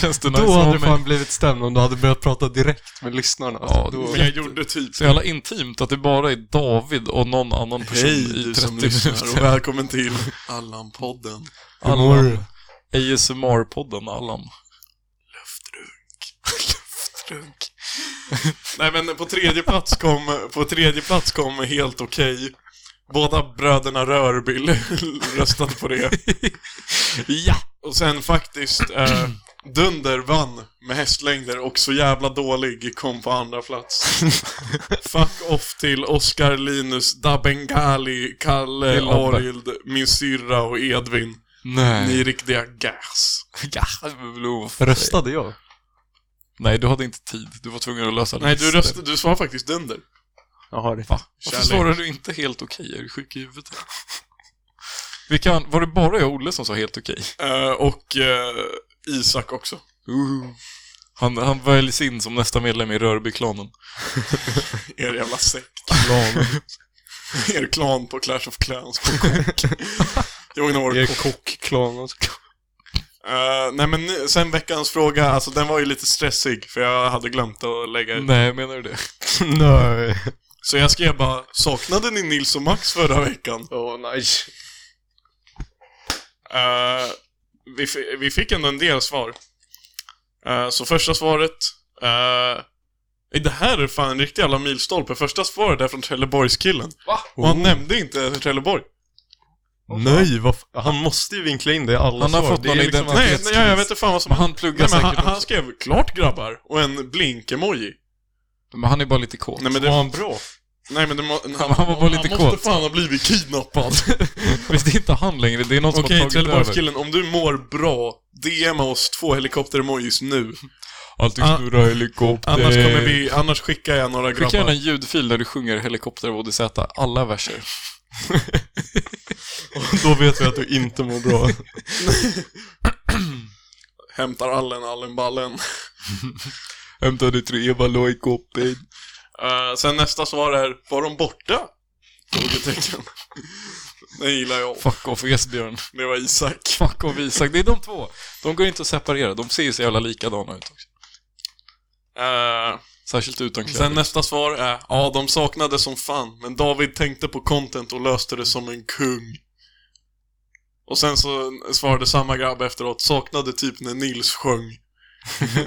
[SPEAKER 3] Känns det nice
[SPEAKER 1] Då
[SPEAKER 3] att
[SPEAKER 1] hade
[SPEAKER 3] ha
[SPEAKER 1] du
[SPEAKER 3] mig?
[SPEAKER 1] fan blivit stämd om du hade börjat prata direkt med lyssnarna. Alltså,
[SPEAKER 3] Ja,
[SPEAKER 1] då...
[SPEAKER 2] Men jag gjorde typ...
[SPEAKER 3] Så jävla intimt att det bara är David och någon annan person
[SPEAKER 2] Hej
[SPEAKER 3] i
[SPEAKER 2] du
[SPEAKER 3] 30
[SPEAKER 2] som lyssnar och
[SPEAKER 3] minuter.
[SPEAKER 2] välkommen till Allan-podden.
[SPEAKER 1] Hur mår
[SPEAKER 3] Allan.
[SPEAKER 1] du?
[SPEAKER 3] ASMR-podden Allan.
[SPEAKER 2] Trunk. Nej men på tredje plats kom, på tredje plats kom helt okej. Båda bröderna Rörbill röstade på det.
[SPEAKER 3] Ja!
[SPEAKER 2] Och sen faktiskt, eh, Dunder vann med hästlängder och så jävla dålig kom på andra plats. Fuck off till Oscar, Linus, Dabengali,
[SPEAKER 3] Till
[SPEAKER 2] Kalle,
[SPEAKER 3] Lobbe.
[SPEAKER 2] Arild, min syrra och Edvin. Ni
[SPEAKER 3] Nej.
[SPEAKER 2] är riktiga gas.
[SPEAKER 3] Ja, blå.
[SPEAKER 1] Röstade jag?
[SPEAKER 3] Nej, du hade inte tid. Du var tvungen att lösa
[SPEAKER 2] Nej, du,
[SPEAKER 3] listor.
[SPEAKER 2] röst, du svarar faktiskt Dunder.
[SPEAKER 1] Jaha, det
[SPEAKER 3] Va? Varför
[SPEAKER 2] Kärlek.
[SPEAKER 3] svarar du inte helt okej? Är du sjuk i huvudet? Vi kan, var det bara jag och Olle som sa helt okej?
[SPEAKER 2] Eh, och eh, Isak också.
[SPEAKER 3] Uh. Han, han väljs in som nästa medlem i Rörbyklanen.
[SPEAKER 2] Er jävla sekt.
[SPEAKER 1] Klan.
[SPEAKER 2] Er klan på Clash of Clans på kock. Jag menar
[SPEAKER 1] Det är
[SPEAKER 2] vår kock.
[SPEAKER 1] kockklan. alltså.
[SPEAKER 2] Eh, nej men nu- sen veckans fråga, alltså den var ju lite stressig för jag hade glömt att lägga ut.
[SPEAKER 3] Nej, menar du det?
[SPEAKER 1] Nej.
[SPEAKER 2] Så jag skrev bara “Saknade ni Nils och Max förra veckan?”
[SPEAKER 1] Åh, nej.
[SPEAKER 2] Eh, vi, fi- vi fick ändå en del svar. Eh, så första svaret... eh, det här är fan en riktig jävla milstolpe. Första svaret är från Trelleborgskillen.
[SPEAKER 3] Va?
[SPEAKER 2] Och han
[SPEAKER 1] Oh.
[SPEAKER 2] nämnde inte Trelleborg.
[SPEAKER 1] Nej, vad f- Han måste ju vinkla in det i alla
[SPEAKER 3] Han har
[SPEAKER 1] svar.
[SPEAKER 3] fått
[SPEAKER 1] Det
[SPEAKER 3] någon
[SPEAKER 1] är liksom-
[SPEAKER 3] identitet.
[SPEAKER 2] Nej, nej, jag vet inte fan vad som
[SPEAKER 3] Men han
[SPEAKER 2] Nej,
[SPEAKER 3] pluggar
[SPEAKER 2] men han,
[SPEAKER 3] säkert
[SPEAKER 2] han
[SPEAKER 3] också.
[SPEAKER 2] skrev “Klart grabbar” och en blink-emoji.
[SPEAKER 3] Men han är bara lite kåt.
[SPEAKER 2] Nej men det...
[SPEAKER 1] Var han bra?
[SPEAKER 2] Nej men det må... han,
[SPEAKER 3] var bara lite
[SPEAKER 2] Han måste
[SPEAKER 3] kåt.
[SPEAKER 2] fan ha blivit kidnappad.
[SPEAKER 3] Visst, det är inte han längre. Det är någon som
[SPEAKER 2] Okej,
[SPEAKER 3] har tagit över.
[SPEAKER 2] Trelleborgskillen, om du mår bra, DMa oss två helikopter-emojis nu.
[SPEAKER 3] Allting
[SPEAKER 2] Ah,
[SPEAKER 3] snurrar helikopter.
[SPEAKER 2] Annars, kommer vi, annars skickar jag några
[SPEAKER 3] Skicka gärna
[SPEAKER 2] grabbar.
[SPEAKER 3] en ljudfil där du sjunger helikopter av ODZ, alla verser.
[SPEAKER 1] Då vet vi att du inte mår bra.
[SPEAKER 2] Hämtar allen, allen ballen.
[SPEAKER 3] Hämtade tre balloj i koppen.
[SPEAKER 2] Eh, sen nästa svar är, var de borta? Frågetecken. Den gillar jag.
[SPEAKER 3] Fuck off Esbjörn.
[SPEAKER 2] Det var Isak.
[SPEAKER 3] Fuck off Isak. Det är de två. De går inte att separera. De ser ju så jävla likadana ut också.
[SPEAKER 2] Eh,
[SPEAKER 3] Särskilt utan kläder.
[SPEAKER 2] sen nästa svar är, ja de saknade som fan, men David tänkte på content och löste det som en kung. Och sen så svarade samma grabb efteråt, saknade typ när Nils sjöng.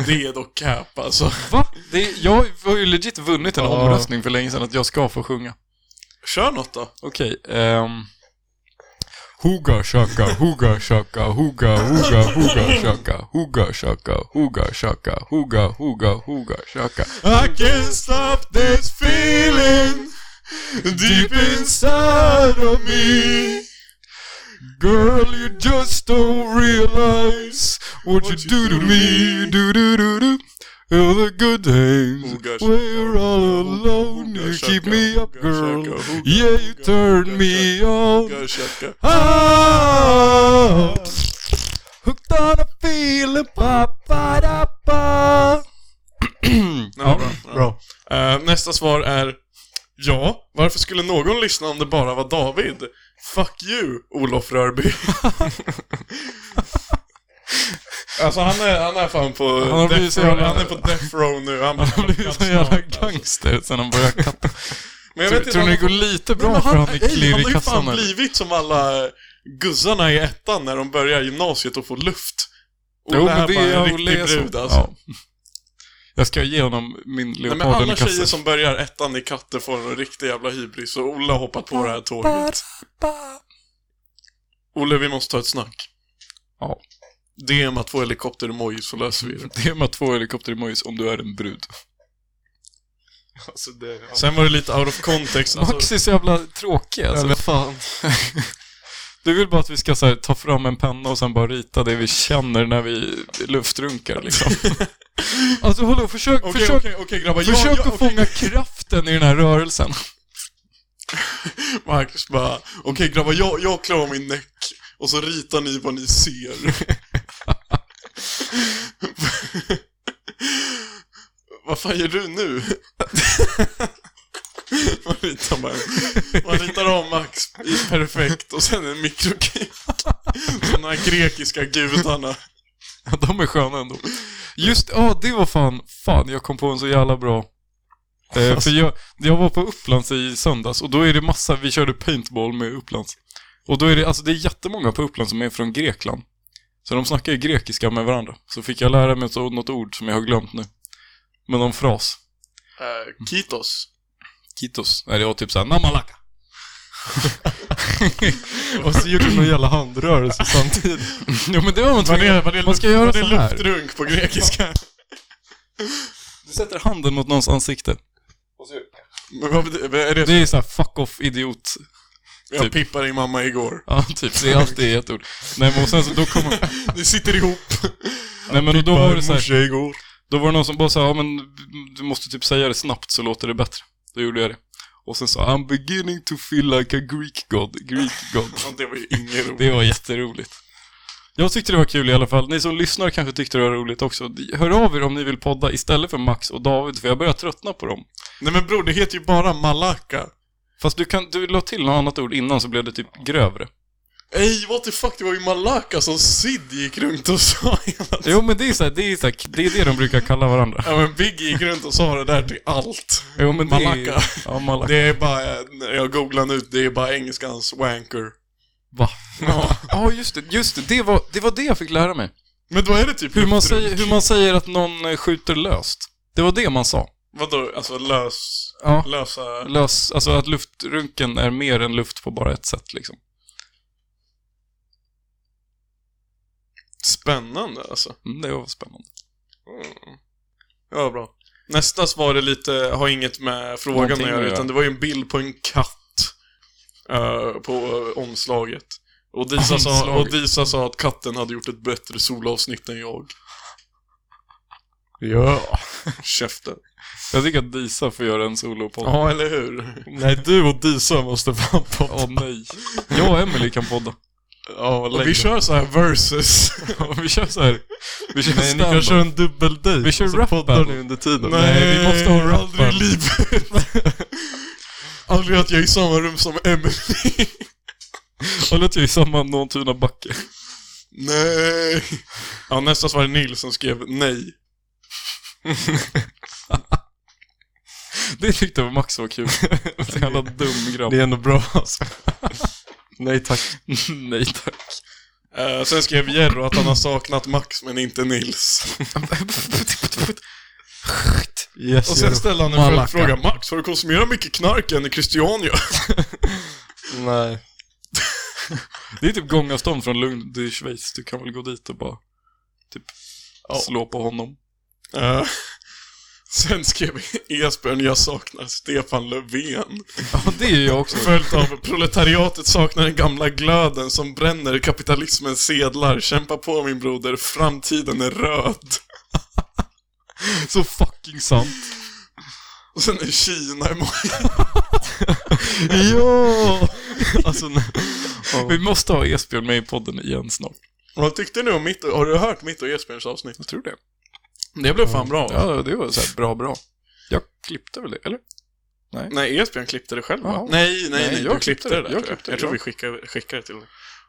[SPEAKER 2] Det är dock cap alltså.
[SPEAKER 3] Va? Det är, jag har ju legit vunnit en
[SPEAKER 1] Ja.
[SPEAKER 3] omröstning för länge sedan att jag ska få sjunga.
[SPEAKER 2] Kör något då.
[SPEAKER 3] Okej, ehm... Huga shaka, huga shaka, huga, huga, huga shaka, huga shaka, huga shaka, huga, huga, huga shaka.
[SPEAKER 2] I can't stop this feeling deep inside of me.
[SPEAKER 3] Girl, you just don't realize what, you, do, to me. Do do do do. All the good days
[SPEAKER 2] Ooga shaka,
[SPEAKER 3] when you're all alone,
[SPEAKER 2] ooga
[SPEAKER 3] you
[SPEAKER 2] shaka,
[SPEAKER 3] keep me up,
[SPEAKER 2] ooga
[SPEAKER 3] girl.
[SPEAKER 2] shaka, ooga,
[SPEAKER 3] yeah, you
[SPEAKER 2] ooga,
[SPEAKER 3] turn
[SPEAKER 2] ooga
[SPEAKER 3] me
[SPEAKER 2] shaka,
[SPEAKER 3] on.
[SPEAKER 2] Go Shaka.
[SPEAKER 3] up. Hooked on a feeling, ba ba da ba.
[SPEAKER 2] Ja, bra. bra.
[SPEAKER 1] Bra.
[SPEAKER 2] Eh, nästa svar är Ja, varför skulle någon lyssna om det bara var David? Fuck you, Olof Rörby. alltså han är, han är fan på
[SPEAKER 3] Han har blivit
[SPEAKER 2] death
[SPEAKER 3] så
[SPEAKER 2] row,
[SPEAKER 3] jävla-
[SPEAKER 2] han är på death row nu. Han,
[SPEAKER 3] Han har blivit en jävla gangster sen han började katta.
[SPEAKER 2] Men jag vet alltså. inte
[SPEAKER 3] Tror tror
[SPEAKER 2] om
[SPEAKER 3] ni det
[SPEAKER 2] han-
[SPEAKER 3] går lite
[SPEAKER 2] Nej,
[SPEAKER 3] bra
[SPEAKER 2] men
[SPEAKER 3] för han är
[SPEAKER 2] ej,
[SPEAKER 3] klirr
[SPEAKER 2] Han
[SPEAKER 3] i
[SPEAKER 2] har ju fan
[SPEAKER 3] kassan? eller?
[SPEAKER 2] blivit som alla eh, guzzarna i ettan när de börjar gymnasiet och får luft. Och
[SPEAKER 3] Jo,
[SPEAKER 2] det här
[SPEAKER 3] men det
[SPEAKER 2] bara en
[SPEAKER 3] är
[SPEAKER 2] riktig
[SPEAKER 3] Ole
[SPEAKER 2] brud, alltså.
[SPEAKER 3] Ja. Jag ska ge honom min
[SPEAKER 2] Nej, men alla
[SPEAKER 3] Leopolden i
[SPEAKER 2] tjejer
[SPEAKER 3] kassen.
[SPEAKER 2] som börjar ettan i katter får en riktig jävla hybris och Olle har hoppat på det här tåget. Olle, vi måste ta ett snack.
[SPEAKER 3] Ja.
[SPEAKER 2] DMa två helikopter-emojis så löser vi det.
[SPEAKER 3] Det är med två helikopter-emojis om du är en brud.
[SPEAKER 1] Alltså, det...
[SPEAKER 2] Sen var det lite out of context. Alltså,
[SPEAKER 3] Max är så jävla tråkig alltså.
[SPEAKER 1] men fan.
[SPEAKER 3] Du vill bara att vi ska så här, ta fram en penna och sen bara rita det vi känner när vi luftrunkar liksom. alltså hallå, försök,
[SPEAKER 2] Okej,
[SPEAKER 3] försök,
[SPEAKER 2] okej, okej grabbar. Jag,
[SPEAKER 3] försök
[SPEAKER 2] jag,
[SPEAKER 3] att
[SPEAKER 2] okej.
[SPEAKER 3] fånga kraften i den här rörelsen.
[SPEAKER 2] Marcus bara, okej grabbar, jag, jag klarar min näck. Och så ritar ni vad ni ser. vad fan gör du nu? man, ritar bara, man ritar av Max i perfekt och sen en mikroklick. Som de här grekiska gudarna.
[SPEAKER 3] Ja, De är sköna ändå. Just, ja det var fan, fan jag kom på en så jävla bra. Eh, för jag, jag var på Upplands i söndags och då är det massa, vi körde paintball med Upplands. Och då är det, alltså det är jättemånga på Upplands som är från Grekland. Så de snackar ju grekiska med varandra. Så fick jag lära mig så- något ord som jag har glömt nu. Men någon fras.
[SPEAKER 2] Uh, Kitos.
[SPEAKER 3] Kitos. Nej, det var typ såhär namalaka.
[SPEAKER 1] Och så gjorde du någon jävla handrörelse samtidigt.
[SPEAKER 3] jo men det var man
[SPEAKER 2] Vad
[SPEAKER 3] tvungen.
[SPEAKER 2] är
[SPEAKER 3] Man ska göra
[SPEAKER 2] vad
[SPEAKER 3] så
[SPEAKER 2] är
[SPEAKER 3] här.
[SPEAKER 2] luftrunk på grekiska?
[SPEAKER 3] Du sätter handen mot någons ansikte.
[SPEAKER 2] Men vad betyder, är det,
[SPEAKER 3] Det är såhär fuck off idiot
[SPEAKER 2] jag
[SPEAKER 3] typ.
[SPEAKER 2] pippade din mamma igår.
[SPEAKER 3] Ja, typ. Det är alltid ett ord. Nej, men och sen så då kom...
[SPEAKER 2] Ni sitter ihop.
[SPEAKER 3] Nej, men och då var det så här,
[SPEAKER 1] Morse igår.
[SPEAKER 3] Då var det någon som bara sa, ja men du måste typ säga det snabbt så låter det bättre. Då gjorde jag det. Och sen sa I'm beginning to feel like a Greek god, Greek god.
[SPEAKER 2] Ja, Det var ju inget roligt.
[SPEAKER 3] Det var jätteroligt. Jag tyckte det var kul i alla fall. Ni som lyssnar kanske tyckte det var roligt också. Hör av er om ni vill podda istället för Max och David, för jag börjar tröttna på dem.
[SPEAKER 2] Nej men bror, det heter ju bara Malaka.
[SPEAKER 3] Fast du, kan, du la till något annat ord innan så blev det typ grövre.
[SPEAKER 2] Ey, what the fuck, det var ju Malaka som Sid gick runt och sa hela tiden.
[SPEAKER 3] Jo, men det är, så här, det, är så här, det är det de brukar kalla varandra.
[SPEAKER 2] Ja men Biggie gick runt och sa det där till allt.
[SPEAKER 3] Jo, men det
[SPEAKER 2] Malacca.
[SPEAKER 3] Är, ja, Malacca.
[SPEAKER 2] Det är bara, jag googlar nu, det är bara engelskans wanker.
[SPEAKER 3] Va? Ja, just det. Just det. Det, var, det var det jag fick lära mig.
[SPEAKER 2] Men då är det typ
[SPEAKER 3] Hur man,
[SPEAKER 2] luftrunk.
[SPEAKER 3] säger, hur man säger att någon eh, skjuter löst. Det var det man sa.
[SPEAKER 2] Vadå, alltså lös...
[SPEAKER 3] Ja.
[SPEAKER 2] Lösa...
[SPEAKER 3] Lös, alltså att luftrunken är mer än luft på bara ett sätt liksom.
[SPEAKER 2] Spännande alltså.
[SPEAKER 3] Mm, det var spännande.
[SPEAKER 2] Ja, bra. Nästa svar är lite, har inget med frågan att
[SPEAKER 3] Någonting att
[SPEAKER 2] göra,
[SPEAKER 3] göra.
[SPEAKER 2] utan det var ju en bild på en katt eh, på eh, omslaget. Och Disa, sa, och
[SPEAKER 3] Omslaget.
[SPEAKER 2] Disa sa att katten hade gjort ett bättre solavsnitt än jag.
[SPEAKER 1] Ja.
[SPEAKER 2] Käften.
[SPEAKER 3] Jag tycker att Disa får göra en solopodd.
[SPEAKER 2] Ja, eller hur?
[SPEAKER 1] Nej, du och Disa måste fan på...
[SPEAKER 3] Åh nej. Jag och Emelie kan podda.
[SPEAKER 1] Ja,
[SPEAKER 2] Och vi kör så här versus.
[SPEAKER 3] vi kör så här. Vi kör
[SPEAKER 1] Nej, ni kan
[SPEAKER 3] stand-up.
[SPEAKER 1] köra en dubbeldejt.
[SPEAKER 3] Vi kör
[SPEAKER 1] och så
[SPEAKER 3] rap
[SPEAKER 1] poddar
[SPEAKER 3] battle.
[SPEAKER 1] ni under tiden.
[SPEAKER 2] Nej, aldrig i livet. aldrig att jag är i samma rum som Emelie.
[SPEAKER 3] Håller till i samma Nåntuna backe.
[SPEAKER 2] Nej! Ja, nästa svar är Nils som skrev nej.
[SPEAKER 3] Det tyckte jag Max var kul. Så jävla dum grabb.
[SPEAKER 1] Det är ändå bra alltså. Nej tack.
[SPEAKER 3] nej tack.
[SPEAKER 2] Eh, sen skrev Jerro att han har saknat Max men inte Nils.
[SPEAKER 1] Yes,
[SPEAKER 2] Och sen
[SPEAKER 1] Jero.
[SPEAKER 2] ställde han en
[SPEAKER 3] Malacca.
[SPEAKER 2] följdfråga. Max, har du konsumerat mycket knark än i Christiania?
[SPEAKER 1] Nej.
[SPEAKER 3] Det är typ gångavstånd från Lund till Schweiz. Du kan väl gå dit och bara typ slå på honom.
[SPEAKER 2] Eh, sen skrev Esbjörn, jag saknar Stefan Löfven.
[SPEAKER 3] Ja, det är jag också.
[SPEAKER 2] Följt av proletariatet saknar den gamla glöden som bränner kapitalismens sedlar. Kämpa på min broder, framtiden är röd.
[SPEAKER 3] Så fucking sant.
[SPEAKER 2] Och sen är Kina emot.
[SPEAKER 3] ja!
[SPEAKER 1] Alltså, nej.
[SPEAKER 3] Vi måste ha Esbjörn med i podden igen snart.
[SPEAKER 2] Vad tyckte du om mitt och, Har du hört mitt och Esbjörns avsnitt?
[SPEAKER 3] Jag tror det.
[SPEAKER 2] Det blev fan bra.
[SPEAKER 3] Ja, det var så här bra, bra. Jag klippte väl det, eller?
[SPEAKER 2] Nej, Esbjörn klippte det själv va?
[SPEAKER 3] Jaha.
[SPEAKER 2] Nej, nej,
[SPEAKER 3] Nej,
[SPEAKER 2] nej,
[SPEAKER 3] jag
[SPEAKER 2] du klippte det där
[SPEAKER 3] jag
[SPEAKER 2] tror jag.
[SPEAKER 3] klippte det,
[SPEAKER 2] jag tror
[SPEAKER 3] ja.
[SPEAKER 2] vi skickade, skickade det till dig.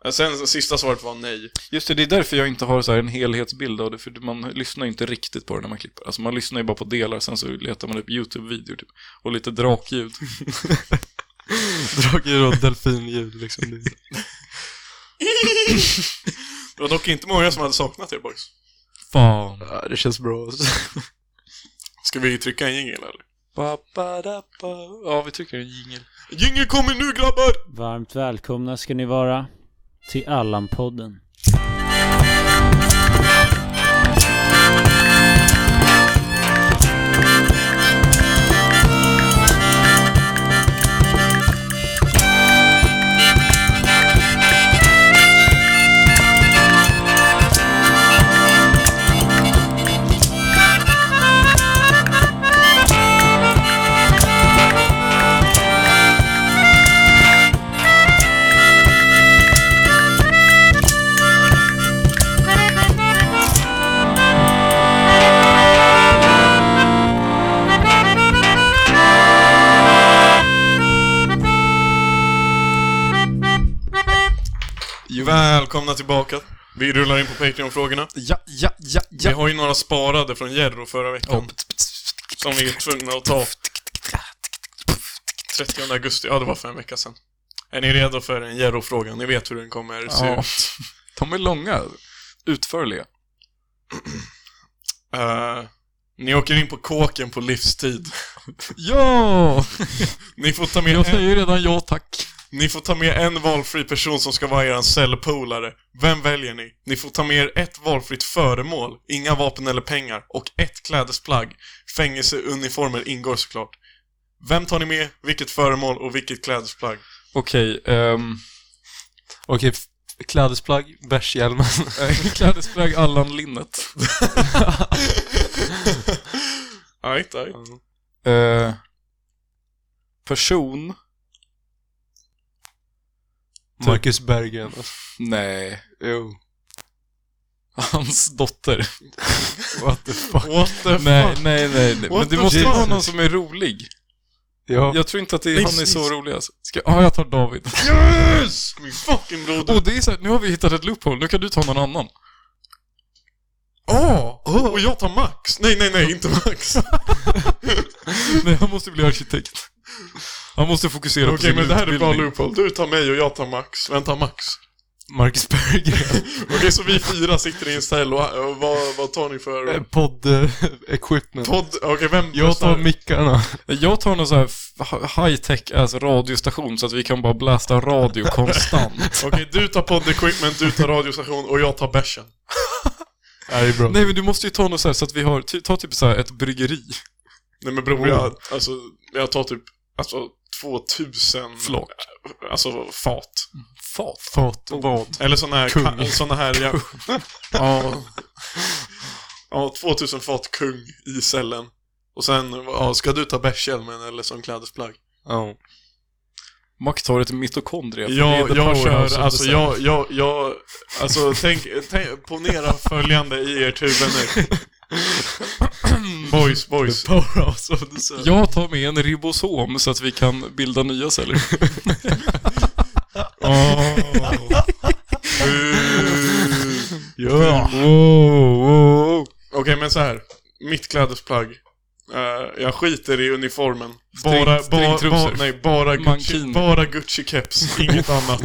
[SPEAKER 2] Eh, Sen så sista svaret var nej.
[SPEAKER 3] Just det, det är därför jag inte har så här en helhetsbild av det, för man lyssnar ju inte riktigt på det när man klipper. Alltså man lyssnar ju bara på delar, sen så letar man upp YouTube-videor typ. Och lite drakljud.
[SPEAKER 1] Dragdjur och delfinljud liksom. Det är-
[SPEAKER 2] Det var dock inte många som hade saknat er boys.
[SPEAKER 3] Fan.
[SPEAKER 1] Ja, det känns bra alltså.
[SPEAKER 2] Ska vi trycka en jingel eller?
[SPEAKER 3] Ba, ba, da, ba. Ja, vi trycker en jingel.
[SPEAKER 2] Jingel kommer nu grabbar!
[SPEAKER 6] Varmt välkomna ska ni vara till Allan-podden.
[SPEAKER 2] Välkomna tillbaka. Vi rullar in på Patreon-frågorna.
[SPEAKER 3] Ja, ja, ja,
[SPEAKER 2] Vi har ju några sparade från Jerro förra veckan. Som vi är tvungna att ta. 30 augusti, ja det var för en vecka sedan. Är ni redo för en Jerro-fråga? Ni vet hur den kommer se
[SPEAKER 3] Ja.
[SPEAKER 2] ut.
[SPEAKER 3] De är långa, utförliga.
[SPEAKER 2] Eh, ni åker in på kåken på livstid.
[SPEAKER 3] Ja!
[SPEAKER 2] Ni får ta med
[SPEAKER 3] Jag
[SPEAKER 2] en...
[SPEAKER 3] säger redan ja tack.
[SPEAKER 2] Ni får ta med en valfri person som ska vara er cellpolare. Vem väljer ni? Ni får ta med er ett valfritt föremål, inga vapen eller pengar, och ett klädesplagg. Fängelseuniformer ingår såklart. Vem tar ni med, vilket föremål och vilket klädesplagg?
[SPEAKER 3] Okej, ehm,
[SPEAKER 1] Okej, f- klädesplagg, bärshjälmen.
[SPEAKER 3] eh, klädesplagg Allan-linnet.
[SPEAKER 2] Ajt, ajt.
[SPEAKER 3] Eh, person?
[SPEAKER 1] Marcus Berggren.
[SPEAKER 3] Nej.
[SPEAKER 1] Jo.
[SPEAKER 3] Hans dotter.
[SPEAKER 1] What the fuck.
[SPEAKER 2] What the
[SPEAKER 3] nej,
[SPEAKER 2] fuck?
[SPEAKER 3] nej, nej, nej.
[SPEAKER 2] What
[SPEAKER 3] Men
[SPEAKER 2] the
[SPEAKER 3] det måste ju
[SPEAKER 2] fuck?
[SPEAKER 3] vara någon som är rolig.
[SPEAKER 1] Ja.
[SPEAKER 3] Jag tror inte att det,
[SPEAKER 2] Livs-
[SPEAKER 3] han är
[SPEAKER 2] livs-
[SPEAKER 3] så rolig alltså. Ska, ja, jag tar David.
[SPEAKER 2] Yes! Min fucking broder!
[SPEAKER 3] Och det är så här, nu har vi hittat ett loophole, nu kan du ta någon annan.
[SPEAKER 2] Åh! Och jag tar Max! Nej, nej, nej, inte Max!
[SPEAKER 3] Nej, han måste bli arkitekt. Han måste fokusera
[SPEAKER 2] Okej,
[SPEAKER 3] på sin
[SPEAKER 2] men det här är bra
[SPEAKER 3] utbildning.
[SPEAKER 2] loophole. Du tar mig och jag tar Max. Vem tar Max?
[SPEAKER 1] Marcus Berggren.
[SPEAKER 2] Okej, så vi fyra sitter i en cell och, och vad, vad tar ni för...
[SPEAKER 1] Podd-equipment.
[SPEAKER 2] Podd? Okej, vem
[SPEAKER 1] Eh, Jag tar mickarna.
[SPEAKER 3] Jag tar någon så här f- high-tech ass radiostation så att vi kan bara blästa radio konstant.
[SPEAKER 2] Okej, du tar podd equipment, du tar radiostation och jag tar bärsen.
[SPEAKER 1] Ja, det är bra.
[SPEAKER 3] Nej men du måste ju ta något så här så att vi har, ty- ta typ så här ett bryggeri.
[SPEAKER 2] Nej men bror,
[SPEAKER 1] Oh.
[SPEAKER 2] jag, alltså, jag tar typ alltså, 2000
[SPEAKER 3] Flak.
[SPEAKER 2] alltså, fat.
[SPEAKER 3] Fat.
[SPEAKER 1] Fat. Vad?
[SPEAKER 2] Eller såna här...
[SPEAKER 1] Kung.
[SPEAKER 2] ka- Såna här ja,
[SPEAKER 3] Ja.
[SPEAKER 2] ja, 2000 fat kung i cellen. Och sen, ja, ska du ta bärshjälmen eller som klädesplagg?
[SPEAKER 1] Ja.
[SPEAKER 3] Mac tar ett mitokondria. för det är
[SPEAKER 2] Ja,
[SPEAKER 3] the
[SPEAKER 2] jag
[SPEAKER 3] powerhouse
[SPEAKER 2] kör,
[SPEAKER 3] of
[SPEAKER 2] alltså
[SPEAKER 3] the
[SPEAKER 2] jag, jag, jag, alltså tänk, tänk ponera följande i ert huvud nu. Boys, boys.
[SPEAKER 1] Powerhouse of the
[SPEAKER 3] cell.
[SPEAKER 1] Sun.
[SPEAKER 3] Jag tar med en ribosom så att vi kan bilda nya celler.
[SPEAKER 2] Uh.
[SPEAKER 1] Ja. Wow, wow.
[SPEAKER 2] Okej, men så här. Mitt klädesplagg. Eh, jag skiter i uniformen.
[SPEAKER 3] String-
[SPEAKER 2] Bara, bara,
[SPEAKER 3] stringtrosor.
[SPEAKER 2] bara, nej, bara Gucci,
[SPEAKER 3] Mankini.
[SPEAKER 2] bara Gucci keps, inget annat.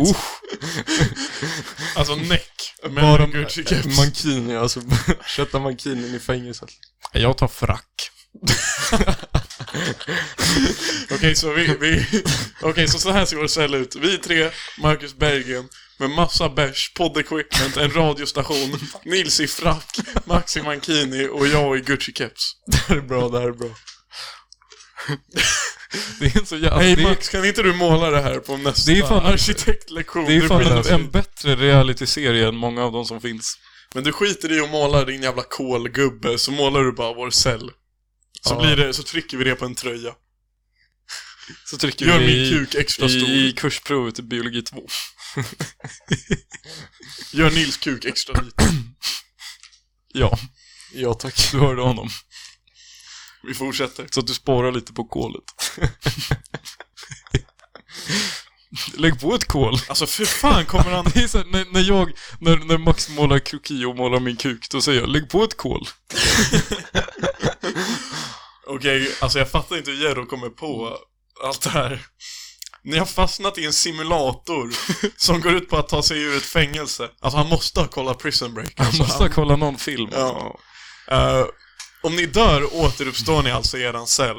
[SPEAKER 2] alltså näck, men
[SPEAKER 1] Bara
[SPEAKER 2] Gucci keps.
[SPEAKER 1] Mankini, alltså. Kötta mankinin i fängelset.
[SPEAKER 3] Jag tar frack.
[SPEAKER 2] Okej, så vi, vi okej, så, så här ser vår cell ut. Vi tre, Marcus Berggren, med massa bärs, poddequipment, en radiostation, Nils i frack, Max i mankini och jag i Gucci keps.
[SPEAKER 1] Det här är bra, det här är bra.
[SPEAKER 3] Det är en så jävla...
[SPEAKER 2] Hej
[SPEAKER 3] det, är,
[SPEAKER 2] Max, kan inte du måla det här på nästa
[SPEAKER 3] Det är fan-
[SPEAKER 2] arkitektlektion?
[SPEAKER 3] det är
[SPEAKER 2] Du
[SPEAKER 3] fan
[SPEAKER 2] skiter i-
[SPEAKER 3] en, en bättre realityserie än många av de som finns.
[SPEAKER 2] Men du skiter i att måla din jävla kolgubbe, så målar du bara vår cell. Så,
[SPEAKER 3] Ja.
[SPEAKER 2] blir det, så trycker vi det på en tröja.
[SPEAKER 3] Så trycker
[SPEAKER 2] Gör
[SPEAKER 3] vi
[SPEAKER 2] min
[SPEAKER 3] i,
[SPEAKER 2] kuk extra stor.
[SPEAKER 3] i, i kursprovet i biologi 2.
[SPEAKER 2] Gör Nils kuk extra liten.
[SPEAKER 3] Ja,
[SPEAKER 1] Ja, tack.
[SPEAKER 3] du hörde honom.
[SPEAKER 2] Vi fortsätter.
[SPEAKER 3] Så att du sparar lite på kolet. Lägg på ett kol.
[SPEAKER 2] Alltså för fan kommer han...
[SPEAKER 3] Det är så här, när, när jag, när, när Max målar kroki och målar min kuk, då säger jag lägg på ett kol.
[SPEAKER 2] Okej, alltså jag fattar inte hur Jerro kommer på allt det här. Ni har fastnat i en simulator som går ut på att ta sig ur ett fängelse. Alltså han måste ha kollat Prison Break.
[SPEAKER 3] Jag
[SPEAKER 2] Alltså,
[SPEAKER 3] måste kolla någon film.
[SPEAKER 2] Ja. Eh, om ni dör återuppstår ni alltså i eran cell.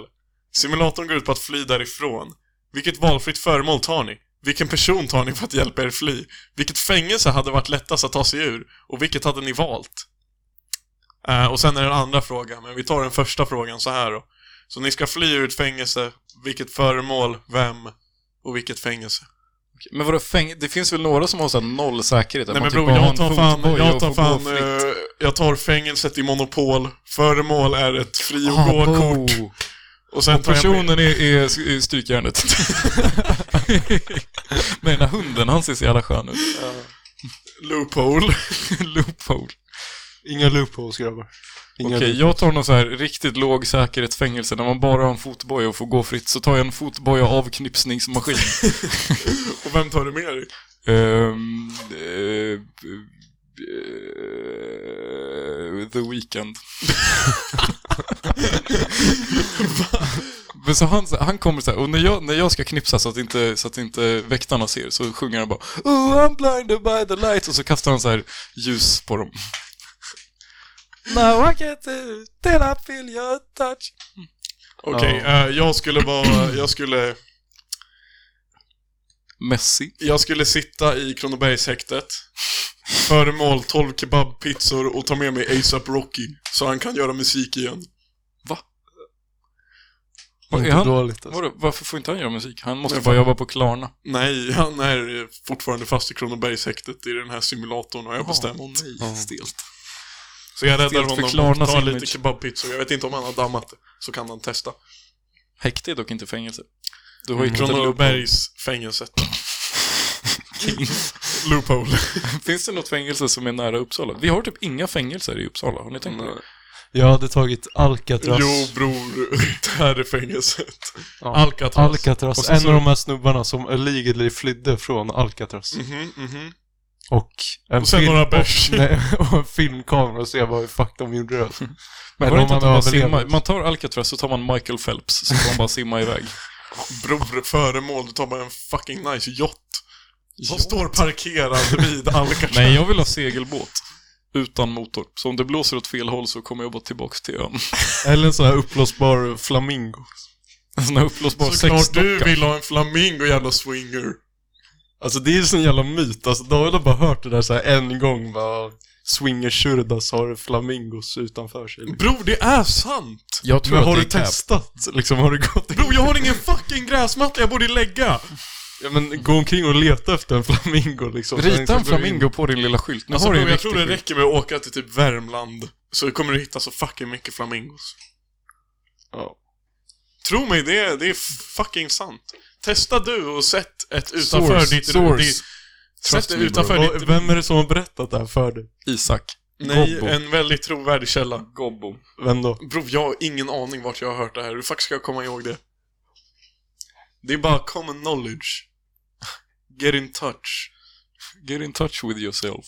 [SPEAKER 2] Simulatorn går ut på att fly därifrån. Vilket valfritt föremål tar ni? Vilken person tar ni för att hjälpa er fly? Vilket fängelse hade varit lättast att ta sig ur? Och vilket hade ni valt? Eh, och sen är det den andra frågan, men vi tar den första frågan så här då. Så ni ska fly ur ett fängelse, vilket föremål, vem och vilket fängelse?
[SPEAKER 3] Men vadå fäng... Det finns väl några som har sån noll säkerhet? där
[SPEAKER 2] Nej
[SPEAKER 3] man
[SPEAKER 2] men
[SPEAKER 3] typ
[SPEAKER 2] bror,
[SPEAKER 3] bara har en
[SPEAKER 2] jag tar fan,
[SPEAKER 3] fotboja
[SPEAKER 2] jag
[SPEAKER 3] och
[SPEAKER 2] tar
[SPEAKER 3] får
[SPEAKER 2] fan,
[SPEAKER 3] gå fritt.
[SPEAKER 2] eh, jag tar fängelset i Monopol, föremål är ett fri och gå-kort.
[SPEAKER 3] Oh.
[SPEAKER 2] Och sen tar jag med-
[SPEAKER 3] Personen är, är, är strykjärnet. Nej, den här hunden, han ser så jävla skön ut.
[SPEAKER 2] Loophole.
[SPEAKER 3] Loophole.
[SPEAKER 1] Inga loopholes, grabbar. Inga
[SPEAKER 3] Okej, jag tar någon så här riktigt låg säkerhetsfängelse. När man bara har en fotboja och får gå fritt så tar jag en fotboja av knipsningsmaskin.
[SPEAKER 2] Och vem tar du med dig?
[SPEAKER 3] Ehm, eh, eh, the Weeknd. Men så han, han kommer så här, och när jag, när jag ska knipsa så att, inte, så att inte väktarna ser så sjunger han bara Oh I'm blinded by the light och så kastar han så här ljus på dem. Now I get to till I feel your touch.
[SPEAKER 2] Okej, eh, jag skulle vara... Jag skulle,
[SPEAKER 3] Messi.
[SPEAKER 2] jag skulle sitta i Kronobergshäktet. Föremål 12 kebabpizzor och ta med mig ASAP Rocky. Så han kan göra musik igen.
[SPEAKER 3] Var, är
[SPEAKER 1] Inte
[SPEAKER 3] han,
[SPEAKER 1] dåligt alltså.
[SPEAKER 3] vadå, varför får inte han göra musik? Han måste
[SPEAKER 2] Nej,
[SPEAKER 3] bara
[SPEAKER 2] för-
[SPEAKER 3] jobba på Klarna.
[SPEAKER 2] Nej, han är fortfarande fast i Kronobergshäktet i den här simulatorn har jag bestämt.
[SPEAKER 3] Åh, nej,
[SPEAKER 1] Ja.
[SPEAKER 3] stelt.
[SPEAKER 2] Så jag räddar
[SPEAKER 3] Stelt
[SPEAKER 2] honom
[SPEAKER 3] förklarna
[SPEAKER 2] och tar
[SPEAKER 3] sin
[SPEAKER 2] lite
[SPEAKER 3] image.
[SPEAKER 2] kebabpizzor. Jag vet inte om han har dammat det. Så kan han testa.
[SPEAKER 3] Häkte är dock inte fängelse. Du har ju
[SPEAKER 2] Mm.
[SPEAKER 3] hittat loophole.
[SPEAKER 2] Kronobergsfängelset. Loophole.
[SPEAKER 3] Finns det något fängelse som är nära Uppsala? Vi har typ inga fängelser i Uppsala, har ni tänkt på det?
[SPEAKER 1] Jag hade tagit Alcatraz.
[SPEAKER 2] Jo bror, det här är fängelset.
[SPEAKER 1] Ja.
[SPEAKER 2] Alcatraz.
[SPEAKER 1] Alcatraz.
[SPEAKER 2] Och sen
[SPEAKER 1] en
[SPEAKER 2] så-
[SPEAKER 1] av de här snubbarna som allegedly flydde från Alcatraz.
[SPEAKER 3] Mm.
[SPEAKER 2] Mhm, mhm.
[SPEAKER 1] Och en,
[SPEAKER 2] Och sen några bärs.
[SPEAKER 1] och, nej, och en filmkamera och se vad fuck de gjorde. Alltså.
[SPEAKER 3] Men
[SPEAKER 1] Men
[SPEAKER 3] Mm. var det
[SPEAKER 1] om
[SPEAKER 3] inte typ att
[SPEAKER 1] han
[SPEAKER 3] de bara
[SPEAKER 1] överlever-
[SPEAKER 3] simmar? Man tar Alcatraz så tar man Michael Phelps, så får man bara simma iväg.
[SPEAKER 2] Bror, föremål. Du tar bara en fucking nice yacht. Som står parkerad vid Alcatraz.
[SPEAKER 3] Nej, jag vill ha segelbåt. Utan motor. Så om det blåser åt fel håll så kommer jag bara tillbaks till ön.
[SPEAKER 1] Eller en sån här uppblåsbar flamingo.
[SPEAKER 3] En sån här uppblåsbar
[SPEAKER 2] Såklart du
[SPEAKER 3] sexdocka.
[SPEAKER 2] vill ha en flamingo jävla swinger.
[SPEAKER 1] Alltså det är ju sån jävla myt. Alltså David har bara hört det där så här en gång bara. Swingersurdas har flamingos utanför sig. liksom.
[SPEAKER 2] Bror, det är sant!
[SPEAKER 3] Jag
[SPEAKER 1] Men har
[SPEAKER 3] det
[SPEAKER 1] du
[SPEAKER 3] är cap.
[SPEAKER 1] testat? Liksom har du gått
[SPEAKER 2] Bror, jag har ingen fucking gräsmatta jag borde lägga!
[SPEAKER 1] Ja men gå omkring och leta efter en flamingo liksom.
[SPEAKER 3] Rita en flamingo på din lilla skylt. Nu
[SPEAKER 2] Alltså,
[SPEAKER 3] har du
[SPEAKER 2] bror,
[SPEAKER 3] en
[SPEAKER 2] jag tror det
[SPEAKER 3] riktig skylt.
[SPEAKER 2] räcker med att åka till typ Värmland. Så kommer du hitta så fucking mycket flamingos.
[SPEAKER 1] Ja.
[SPEAKER 2] Tro mig, det är, det är fucking sant. Testa du och sätt ett utanför
[SPEAKER 3] Source,
[SPEAKER 2] ditt...
[SPEAKER 3] source.
[SPEAKER 2] ditt sätt
[SPEAKER 3] Trust
[SPEAKER 2] det
[SPEAKER 3] me, bro.
[SPEAKER 2] utanför
[SPEAKER 1] Vad-
[SPEAKER 2] ditt...
[SPEAKER 1] Vem är det som har berättat det här för dig?
[SPEAKER 3] Isak.
[SPEAKER 2] Nej,
[SPEAKER 3] Gobbo.
[SPEAKER 2] en väldigt trovärdig källa.
[SPEAKER 3] Gobbo.
[SPEAKER 1] Vem då?
[SPEAKER 2] Bror, jag har ingen aning vart jag har hört det här. Hur fuck ska jag komma ihåg det? Det är bara common knowledge. Get in touch.
[SPEAKER 3] Get in touch with yourself.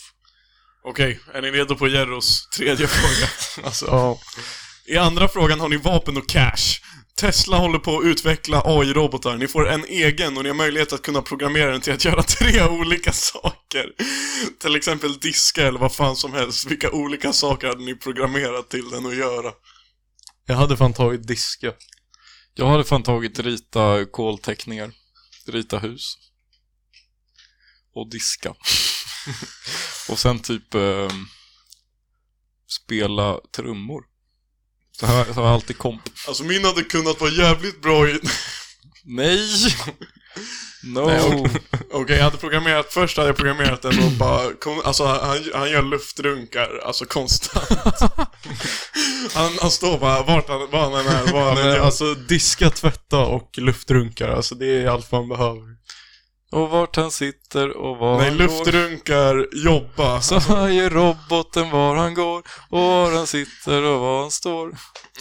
[SPEAKER 2] Okej, är ni redo på Jerros tredje fråga?
[SPEAKER 1] Alltså, ja.
[SPEAKER 2] I andra frågan har ni vapen och cash. Tesla håller på att utveckla AI-robotar. Ni får en egen och ni har möjlighet att kunna programmera den till att göra tre olika saker. Till exempel diska eller vad fan som helst. Vilka olika saker hade ni programmerat till den att göra?
[SPEAKER 1] Jag hade fan tagit diska.
[SPEAKER 3] Jag hade fan tagit rita kolteckningar. Rita hus. Och diska. och sen typ ehm, spela trummor. Så här så har jag alltid komp.
[SPEAKER 2] Alltså min hade kunnat vara jävligt bra i...
[SPEAKER 3] Nej! No!
[SPEAKER 2] Okej, jag hade programmerat, först hade jag programmerat den och bara, kon, alltså han, han gör luftrunkar, alltså konstant. han, han står bara, vart han, var han än är, vad han än
[SPEAKER 1] Men,
[SPEAKER 2] gör.
[SPEAKER 1] alltså diska, tvätta och luftrunkar. Alltså det är allt man behöver.
[SPEAKER 3] Och vart han sitter och var
[SPEAKER 2] Nej,
[SPEAKER 3] han går.
[SPEAKER 2] luftrunkar, jobba.
[SPEAKER 3] Så höjer roboten var han går och var han sitter och var han står.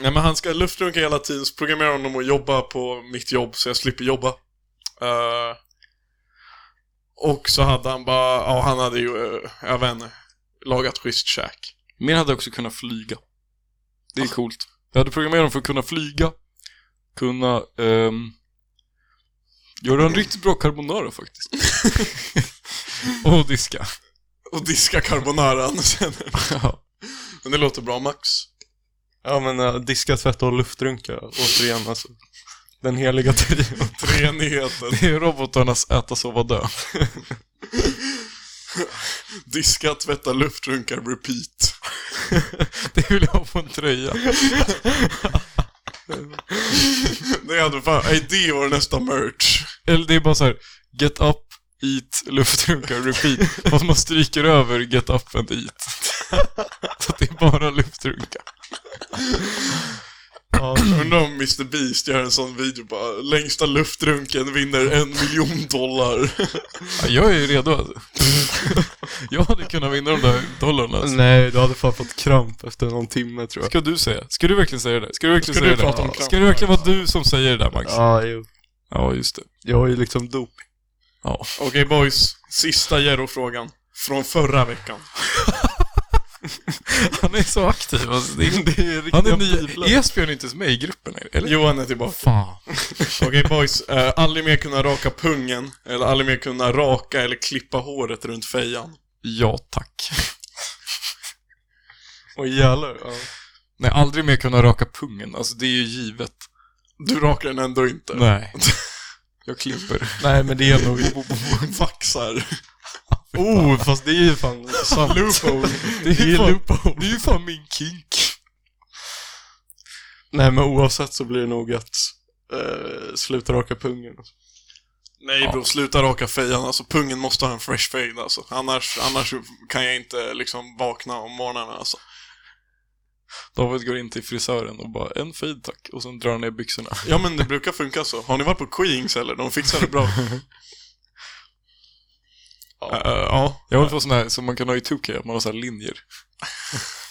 [SPEAKER 2] Nej men han ska luftrunka hela tiden, så programmerar honom att jobba på mitt jobb så jag slipper jobba. Eh, och så hade han bara, ja han hade ju, eh, jag vet inte, lagat schysst käk.
[SPEAKER 3] Min hade också kunnat flyga. Det är coolt. Jag hade programmerat dem för att kunna flyga. Kunna ehm, göra en riktigt bra carbonara faktiskt. och diska.
[SPEAKER 2] Och diska carbonaran sen.
[SPEAKER 3] Ja.
[SPEAKER 2] Men det låter bra Max.
[SPEAKER 1] Ja men eh, diska, tvätta och luftrunkar. Återigen alltså. Den heliga trion.
[SPEAKER 2] Tre nyheter.
[SPEAKER 3] Det är robotarnas äta, sova, dö.
[SPEAKER 2] Diska, tvätta, luftrunkar, repeat.
[SPEAKER 3] Det vill jag ha på en tröja.
[SPEAKER 2] Det hade fan, nej, det var nästa merch.
[SPEAKER 3] Eller det är bara så här, get up, eat, luftrunkar, repeat. Fast man stryker över get up and eat. Så att det är bara luftrunkar.
[SPEAKER 1] Ja,
[SPEAKER 2] Undrar om Mr Beast gör en sån video bara, längsta luftrunken vinner en miljon dollar.
[SPEAKER 3] Ja, jag är ju redo alltså. Jag hade kunnat vinna de där dollarna. Alltså.
[SPEAKER 1] Nej, du hade fan fått kramp efter någon timme tror jag.
[SPEAKER 3] Ska du säga? Ska du verkligen säga det? där? Ska du verkligen
[SPEAKER 2] Ska
[SPEAKER 3] säga
[SPEAKER 2] du
[SPEAKER 3] det? där?
[SPEAKER 2] prata om
[SPEAKER 3] Ska det verkligen vara du som säger det där Max? Ja,
[SPEAKER 1] Ja, jo.
[SPEAKER 3] just det.
[SPEAKER 1] Jag är ju liksom dop.
[SPEAKER 3] Ja.
[SPEAKER 2] Okej boys, sista Jerro-frågan. Från förra veckan.
[SPEAKER 3] Han är så aktiv alltså. Det är...
[SPEAKER 1] Det är
[SPEAKER 3] Han är
[SPEAKER 1] riktiga biblar.
[SPEAKER 3] ny. Esbjörn är inte ens med i gruppen eller?
[SPEAKER 2] Johan är tillbaka.
[SPEAKER 3] Fan.
[SPEAKER 2] Okej boys, eh, aldrig mer kunna raka pungen, eller aldrig mer kunna raka eller klippa håret runt fejan.
[SPEAKER 3] Ja tack.
[SPEAKER 1] Åh jävlar. Ja.
[SPEAKER 3] Nej, aldrig mer kunna raka pungen. Alltså det är ju givet.
[SPEAKER 2] Du rakar den ändå inte.
[SPEAKER 3] Nej. Jag klipper.
[SPEAKER 1] Nej men det är nog...
[SPEAKER 2] Vaxar.
[SPEAKER 1] Oh, fast det är ju fan sant.
[SPEAKER 2] Loophole.
[SPEAKER 1] Det är ju loop.
[SPEAKER 3] Det är ju fan min kink.
[SPEAKER 1] Nej men oavsett så blir det nog att eh, sluta raka pungen. alltså.
[SPEAKER 2] Nej
[SPEAKER 3] Ja.
[SPEAKER 2] bro, sluta raka fejan. Alltså pungen måste ha en fresh fade alltså. Annars, annars kan jag inte liksom vakna om morgnarna alltså.
[SPEAKER 3] David går in till frisören och bara en fade tack. Och sen drar han ner byxorna.
[SPEAKER 2] Ja men det brukar funka så. Har ni varit på Queens eller? De fixar det bra.
[SPEAKER 1] Ja.
[SPEAKER 2] Eh, eh, ja.
[SPEAKER 3] Jag vill få sån här som man kan ha i 2K, att man har så här linjer.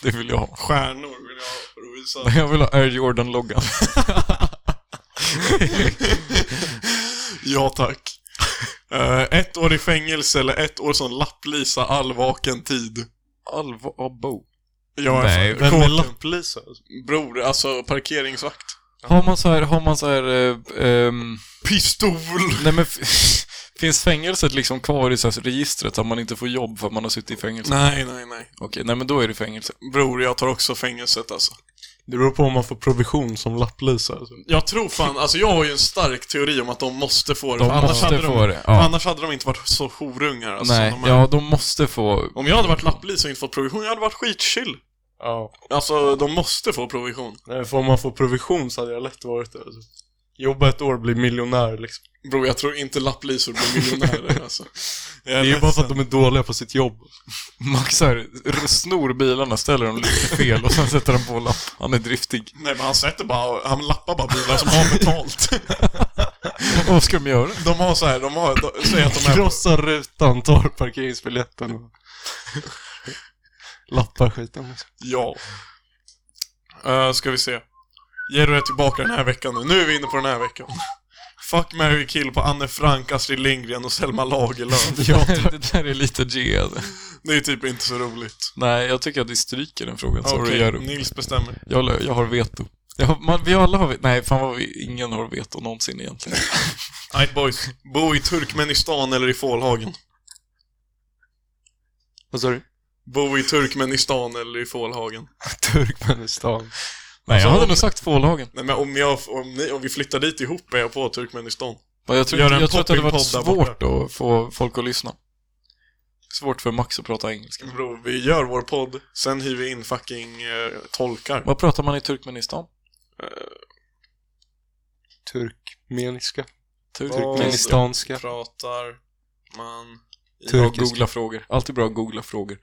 [SPEAKER 3] Det vill jag ha.
[SPEAKER 2] Stjärnor vill jag ha för att visa.
[SPEAKER 3] Jag vill ha Air Jordan-loggan.
[SPEAKER 2] ja tack. Eh, ett år i fängelse eller ett år som lapplisa all vaken tid.
[SPEAKER 3] Alva Abo.
[SPEAKER 2] Jag
[SPEAKER 3] Nej,
[SPEAKER 2] för-
[SPEAKER 1] Vem är
[SPEAKER 2] kåken.
[SPEAKER 1] lapplisa?
[SPEAKER 2] Bror, alltså parkeringsvakt.
[SPEAKER 3] Har man så här, har man så här, eh, ehm,
[SPEAKER 2] Pistol!
[SPEAKER 3] nej men, f- finns fängelset liksom kvar i så här registret att man inte får jobb för att man har suttit i fängelse?
[SPEAKER 2] Nej, nej, nej.
[SPEAKER 3] Okej, nej men då är det fängelse.
[SPEAKER 2] Bror, jag tar också fängelset alltså.
[SPEAKER 1] Det beror på om man får provision som lapplisa. Alltså.
[SPEAKER 2] Jag tror fan, alltså jag har ju en stark teori om att de måste få det.
[SPEAKER 3] De
[SPEAKER 2] för annars
[SPEAKER 3] måste
[SPEAKER 2] hade
[SPEAKER 3] få
[SPEAKER 2] de,
[SPEAKER 3] det,
[SPEAKER 2] för
[SPEAKER 3] ja.
[SPEAKER 2] Annars hade de inte varit så horungar alltså,
[SPEAKER 3] nej,
[SPEAKER 2] som de är.
[SPEAKER 3] ja de måste få,
[SPEAKER 2] Om jag hade varit lapplis och inte fått provision, jag hade varit skitchill.
[SPEAKER 1] Ja.
[SPEAKER 2] Alltså, de måste få provision.
[SPEAKER 1] Nej, för om man får provision så hade jag lätt varit det. Alltså. Jobba ett år och bli miljonär liksom.
[SPEAKER 2] Bror, jag tror inte lapplisor blir miljonärer alltså. Jag
[SPEAKER 1] Det är ju bara för att de är dåliga på sitt jobb.
[SPEAKER 3] Max så här, r- snor bilarna, ställer dem lite fel och sen sätter han på en lapp. Han är driftig.
[SPEAKER 2] Nej men han sätter bara, han lappar bara bilar som har betalt.
[SPEAKER 3] Och vad ska de göra?
[SPEAKER 2] De har så här, de har, de, säg att de är...
[SPEAKER 1] Krossar rutan, tar parkeringsbiljetten och lappar skiten. Liksom.
[SPEAKER 2] Ja. Uh, ska vi se. Jerry är tillbaka den här veckan nu. Nu är vi inne på den här veckan. Fuck, marry, kill på Anne Frank, Astrid Lindgren och Selma Lagerlöf.
[SPEAKER 3] Ja, det där är lite G alltså.
[SPEAKER 2] Det är typ inte så roligt.
[SPEAKER 3] Nej, jag tycker att vi stryker den frågan. Sorry,
[SPEAKER 2] Okej,
[SPEAKER 3] gör du.
[SPEAKER 2] Nils bestämmer.
[SPEAKER 3] Jag, lö- jag har veto. Jag har, man, vi alla har veto. Nej, fan vad vi, ingen har veto någonsin egentligen.
[SPEAKER 2] Night boys. Bo i Turkmenistan eller i Fålhagen?
[SPEAKER 1] Vad sa du?
[SPEAKER 2] Bo i Turkmenistan eller i Fålhagen?
[SPEAKER 1] Turkmenistan.
[SPEAKER 3] Nej, jag
[SPEAKER 2] Alltså,
[SPEAKER 3] hade
[SPEAKER 2] om-
[SPEAKER 3] nog sagt Fålhagen.
[SPEAKER 2] Nej men om, jag, om, ni, om vi flyttar dit ihop är jag på Turkmenistan.
[SPEAKER 3] Men Jag tror,
[SPEAKER 2] Gör en
[SPEAKER 3] jag tror att det hade varit
[SPEAKER 2] poppingpodd där borta.
[SPEAKER 3] svårt att få folk att lyssna. Svårt för Max att prata engelska.
[SPEAKER 2] Bro, vi gör vår podd, sen hyr vi in fucking eh, tolkar.
[SPEAKER 3] Vad pratar man i Turkmenistan?
[SPEAKER 1] Turkmeniska.
[SPEAKER 3] Turkmenistan.
[SPEAKER 1] Turkmenistanska.
[SPEAKER 2] Pratar man...
[SPEAKER 3] Bra att
[SPEAKER 1] Turkisk.
[SPEAKER 3] googla frågor. Alltid bra att googla frågor.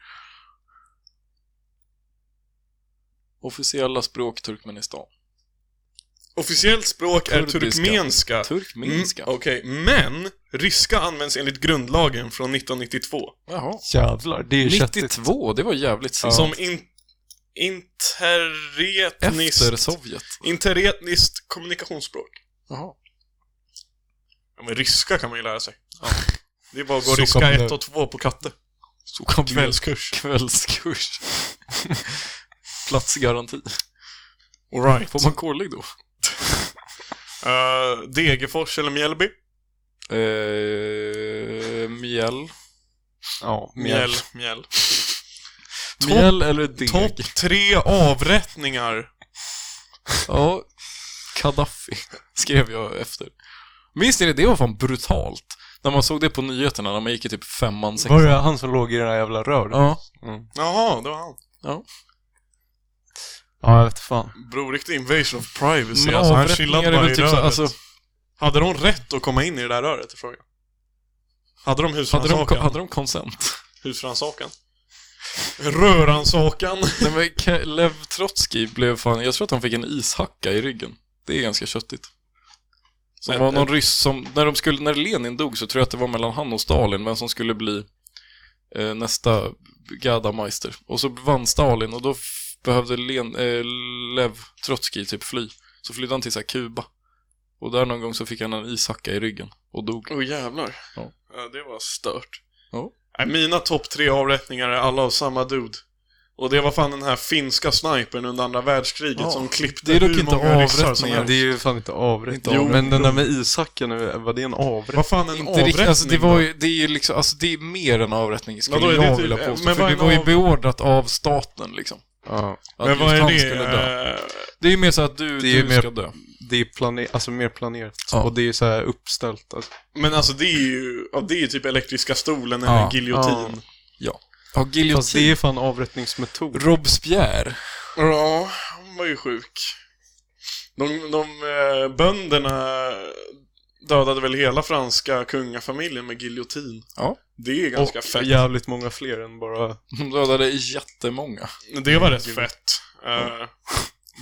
[SPEAKER 3] Officiella språk Turkmenistan.
[SPEAKER 2] Officiellt språk är
[SPEAKER 3] Kurdiska.
[SPEAKER 2] turkmenska.
[SPEAKER 3] Turkmenska.
[SPEAKER 2] Mm, Okej, men ryska används enligt grundlagen från 1992.
[SPEAKER 3] Jaha.
[SPEAKER 1] Jävlar, det är ju köttigt.
[SPEAKER 3] 92, det var jävligt sent.
[SPEAKER 2] Som in, interetniskt...
[SPEAKER 3] Efter Sovjet.
[SPEAKER 2] Interetniskt kommunikationsspråk.
[SPEAKER 3] Jaha.
[SPEAKER 2] Ja, men ryska kan man ju lära sig. Det är bara att gå
[SPEAKER 1] Så
[SPEAKER 2] ryska
[SPEAKER 1] kan det-
[SPEAKER 2] 1 och 2 på katte.
[SPEAKER 3] Så kan vi-
[SPEAKER 2] Kvällskurs.
[SPEAKER 3] Kvällskurs. Platsgaranti.
[SPEAKER 2] Alright.
[SPEAKER 3] Får man kårlägg då?
[SPEAKER 2] Uh, Degerfors eller Mjällby?
[SPEAKER 3] Eh, mjäll.
[SPEAKER 1] Ja,
[SPEAKER 2] Mjäll. Mjäll. Topp-
[SPEAKER 3] Mjäll eller deg?
[SPEAKER 2] Topp tre avrättningar.
[SPEAKER 3] Ja. Kadaffi, skrev jag efter. Minns ni det? Det var fan brutalt. När man såg det på nyheterna, när man gick i typ femman,
[SPEAKER 1] Var
[SPEAKER 3] sexan.
[SPEAKER 1] det han som låg i den här jävla rören?
[SPEAKER 3] Ja.
[SPEAKER 2] Jaha, det var han.
[SPEAKER 1] Ja, jag vet fan.
[SPEAKER 2] Bror, riktig invasion of privacy.
[SPEAKER 3] Men
[SPEAKER 2] alltså, han
[SPEAKER 3] avrättningar
[SPEAKER 2] chillade
[SPEAKER 3] är
[SPEAKER 2] bara
[SPEAKER 3] väl
[SPEAKER 2] i
[SPEAKER 3] typ så-
[SPEAKER 2] röret.
[SPEAKER 3] alltså-
[SPEAKER 2] Hade de rätt att komma in i det där röret, är frågan? Hade de
[SPEAKER 3] Hade de,
[SPEAKER 2] husrannsakan?
[SPEAKER 3] hade de konsent?
[SPEAKER 2] Husrannsakan? Rörrannsakan?
[SPEAKER 3] Nej men Ke- Lev Trotsky blev fan, jag tror att han fick en ishacka i ryggen. Det är ganska köttigt. Som
[SPEAKER 2] Men-
[SPEAKER 3] var någon ryss som, när, de skulle, när Lenin dog så tror jag att det var mellan han och Stalin, vem som skulle bli eh, nästa Gadameister. Och så vann Stalin och då f- behövde Len, eh, Lev Trotsky typ fly. Så flydde han till så här Kuba. Och där någon gång så fick han en ishacka i ryggen och dog.
[SPEAKER 2] Åh oh, jävlar.
[SPEAKER 3] Ja.
[SPEAKER 2] Ja, det var stört.
[SPEAKER 3] Ja.
[SPEAKER 2] Nej, mina topp tre avrättningar är alla av samma dude. Och det var fan den här finska snipern under andra världskriget
[SPEAKER 3] Ja.
[SPEAKER 2] som klippte
[SPEAKER 3] Det är dock
[SPEAKER 2] hur
[SPEAKER 3] inte
[SPEAKER 2] många ryssar som
[SPEAKER 3] avrättningar,
[SPEAKER 2] helst.
[SPEAKER 1] Det är ju fan inte avrätt.
[SPEAKER 3] Inte
[SPEAKER 1] Jo,
[SPEAKER 3] avrätt.
[SPEAKER 1] men den där med Isaken, var det en avrätt?
[SPEAKER 2] Vad fan en
[SPEAKER 3] Inte
[SPEAKER 2] avrättning?
[SPEAKER 3] riktigt, alltså det
[SPEAKER 2] då?
[SPEAKER 3] var ju, det är ju liksom, alltså det är mer än avrättning skulle
[SPEAKER 2] Vadå, är det
[SPEAKER 3] jag
[SPEAKER 2] typ-
[SPEAKER 3] vilja
[SPEAKER 2] men
[SPEAKER 3] påstå.
[SPEAKER 2] vad
[SPEAKER 3] för
[SPEAKER 2] är
[SPEAKER 3] det
[SPEAKER 2] en
[SPEAKER 3] var ju
[SPEAKER 2] av-
[SPEAKER 3] beordrat av staten liksom.
[SPEAKER 1] Ja.
[SPEAKER 3] Att
[SPEAKER 2] Men
[SPEAKER 3] just
[SPEAKER 2] vad är
[SPEAKER 3] han
[SPEAKER 2] det?
[SPEAKER 3] skulle dö.
[SPEAKER 2] Eh,
[SPEAKER 3] Det är ju mer så att du,
[SPEAKER 1] Det är ju
[SPEAKER 3] du
[SPEAKER 1] mer-
[SPEAKER 3] ska dö.
[SPEAKER 1] Det är plane- alltså mer planerat.
[SPEAKER 3] Ja.
[SPEAKER 1] Och det är så här uppställt. Alltså.
[SPEAKER 2] Men alltså det är ju, ja, det är ju typ elektriska stolen eller
[SPEAKER 3] Ja.
[SPEAKER 2] giljotin.
[SPEAKER 3] Ja,
[SPEAKER 1] Fast det
[SPEAKER 3] giljotin.
[SPEAKER 1] är fan avrättningsmetod.
[SPEAKER 3] Robespierre.
[SPEAKER 2] Ja, han var ju sjuk. De, de eh, bönderna dödade väl hela franska kungafamiljen med giljotin.
[SPEAKER 3] Ja.
[SPEAKER 2] Det är ganska
[SPEAKER 1] Och
[SPEAKER 2] fett.
[SPEAKER 1] jävligt många fler än bara...
[SPEAKER 3] De dödade jättemånga.
[SPEAKER 2] Det var rätt fett. Uh,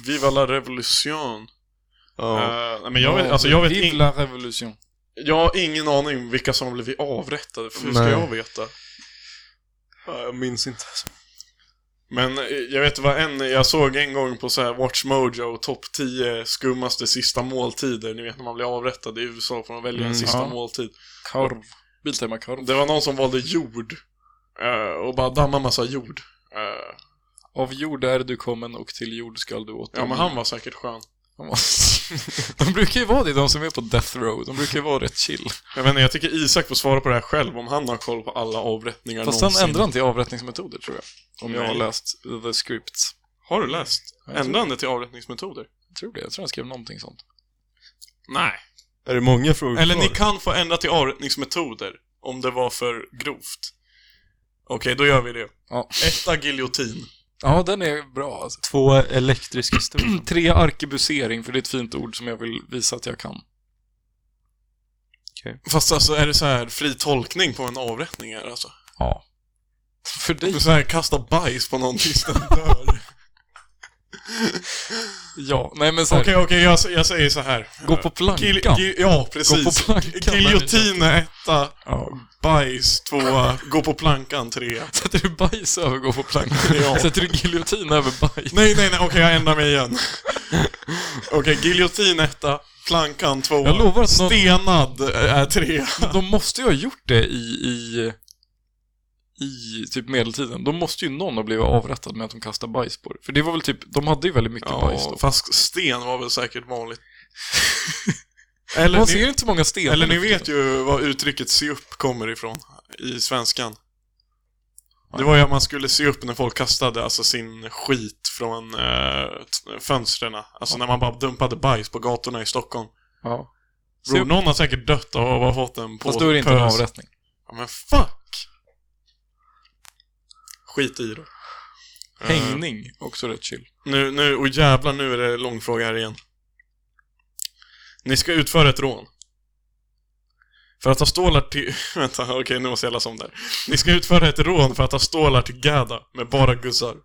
[SPEAKER 2] Viva la revolution.
[SPEAKER 1] Ja.
[SPEAKER 2] Eh, nej, men jag vet, alltså jag vet
[SPEAKER 3] Vive
[SPEAKER 2] in,
[SPEAKER 3] la revolution.
[SPEAKER 2] jag har ingen aning om vilka som har blivit avrättade, för hur ska
[SPEAKER 1] Nej.
[SPEAKER 2] jag veta?
[SPEAKER 1] Ja, jag minns inte.
[SPEAKER 2] Men eh, jag vet vad en, jag såg en gång på så här Watch Mojo, topp 10 skummaste sista måltider. Ni vet när man blir avrättad i USA får man välja en
[SPEAKER 1] Mm,
[SPEAKER 2] sista
[SPEAKER 3] ja.
[SPEAKER 2] måltid.
[SPEAKER 3] Korv. Biltema-korv.
[SPEAKER 2] Det var någon som valde jord. eh, och bara damma massa jord. Eh,
[SPEAKER 3] Av jord är du kommen och till jord skall du åter.
[SPEAKER 2] ja men han var säkert skön.
[SPEAKER 3] Han var- De brukar ju vara det, de som är på death row. De brukar ju vara rätt chill.
[SPEAKER 2] Jag vet inte, jag tycker Isak får svara på det här själv om han har koll på alla avrättningar
[SPEAKER 3] Fast
[SPEAKER 2] någonsin.
[SPEAKER 3] sen ändrar han till avrättningsmetoder, tror jag. Om jag har
[SPEAKER 2] Nej.
[SPEAKER 3] läst the scripts.
[SPEAKER 2] Har du läst?
[SPEAKER 3] Jag tror-
[SPEAKER 2] Ändrar han det till avrättningsmetoder?
[SPEAKER 3] Jag tror det. Jag tror han skrev någonting sånt.
[SPEAKER 2] Nej.
[SPEAKER 1] Är det många frågor
[SPEAKER 2] Eller
[SPEAKER 1] kvar?
[SPEAKER 2] ni kan få ändra till avrättningsmetoder om det var för grovt. Okej, då gör vi det.
[SPEAKER 3] Ja.
[SPEAKER 2] Etta giljotin.
[SPEAKER 3] Ja, den är bra alltså.
[SPEAKER 1] Två elektriska stolar.
[SPEAKER 3] Tre arkebusering, för det är ett fint ord som jag vill visa att jag kan.
[SPEAKER 2] Fast alltså är det så här fri tolkning på en avrättning här alltså?
[SPEAKER 3] Ja. För
[SPEAKER 2] Det
[SPEAKER 3] dig.
[SPEAKER 2] är så här kasta bajs på någon tills den dör.
[SPEAKER 3] Ja. Nej, men så
[SPEAKER 2] Okej,
[SPEAKER 3] här,
[SPEAKER 2] okej, jag, sä- jag säger så här.
[SPEAKER 3] Gå på plankan.
[SPEAKER 2] Gil- gi- ja, precis.
[SPEAKER 3] Gå på plankan.
[SPEAKER 2] Giljotin är etta,
[SPEAKER 3] Ja.
[SPEAKER 2] bajs tvåa, gå på plankan trea.
[SPEAKER 3] Sätter du bajs över gå på plankan?
[SPEAKER 2] Ja.
[SPEAKER 3] Sätter du giljotin över bajs?
[SPEAKER 2] Nej, nej, nej, okej, jag ändrar mig igen. Okej, giljotin etta, plankan tvåa,
[SPEAKER 3] Jag lovar att någon-
[SPEAKER 2] stenad är trea.
[SPEAKER 3] De måste ju ha gjort det i, i, i typ medeltiden. De måste ju någon ha blivit avrättad med att de kastar bajs på det. För det var väl typ, de hade ju väldigt mycket bajs
[SPEAKER 2] Ja,
[SPEAKER 3] då.
[SPEAKER 2] fast sten var väl säkert vanligt. Eller
[SPEAKER 3] Man
[SPEAKER 2] ni-
[SPEAKER 3] ser inte många stenar.
[SPEAKER 2] Eller ni vet ju var uttrycket se upp kommer ifrån i svenskan. Det var ju att man skulle se upp när folk kastade alltså sin skit från eh, t- fönstren. Alltså när man bara dumpade bajs på gatorna i Stockholm.
[SPEAKER 3] Ja. Se
[SPEAKER 2] Bro,
[SPEAKER 3] upp.
[SPEAKER 2] någon har säkert dött av att ha fått en på
[SPEAKER 3] Fast då är det inte en
[SPEAKER 2] pös.
[SPEAKER 3] avrättning.
[SPEAKER 2] Ja, men fuck! Skit i det. Eh,
[SPEAKER 3] Hängning, också rätt chill.
[SPEAKER 2] nu, nu, och jävlar nu är det långfråga här igen. Ni ska utföra ett rån. För att ha stålar till... Vänta, okej nu måste jag läsa om där. Ni ska utföra ett rån för att ha stålar till Gada med bara gussar.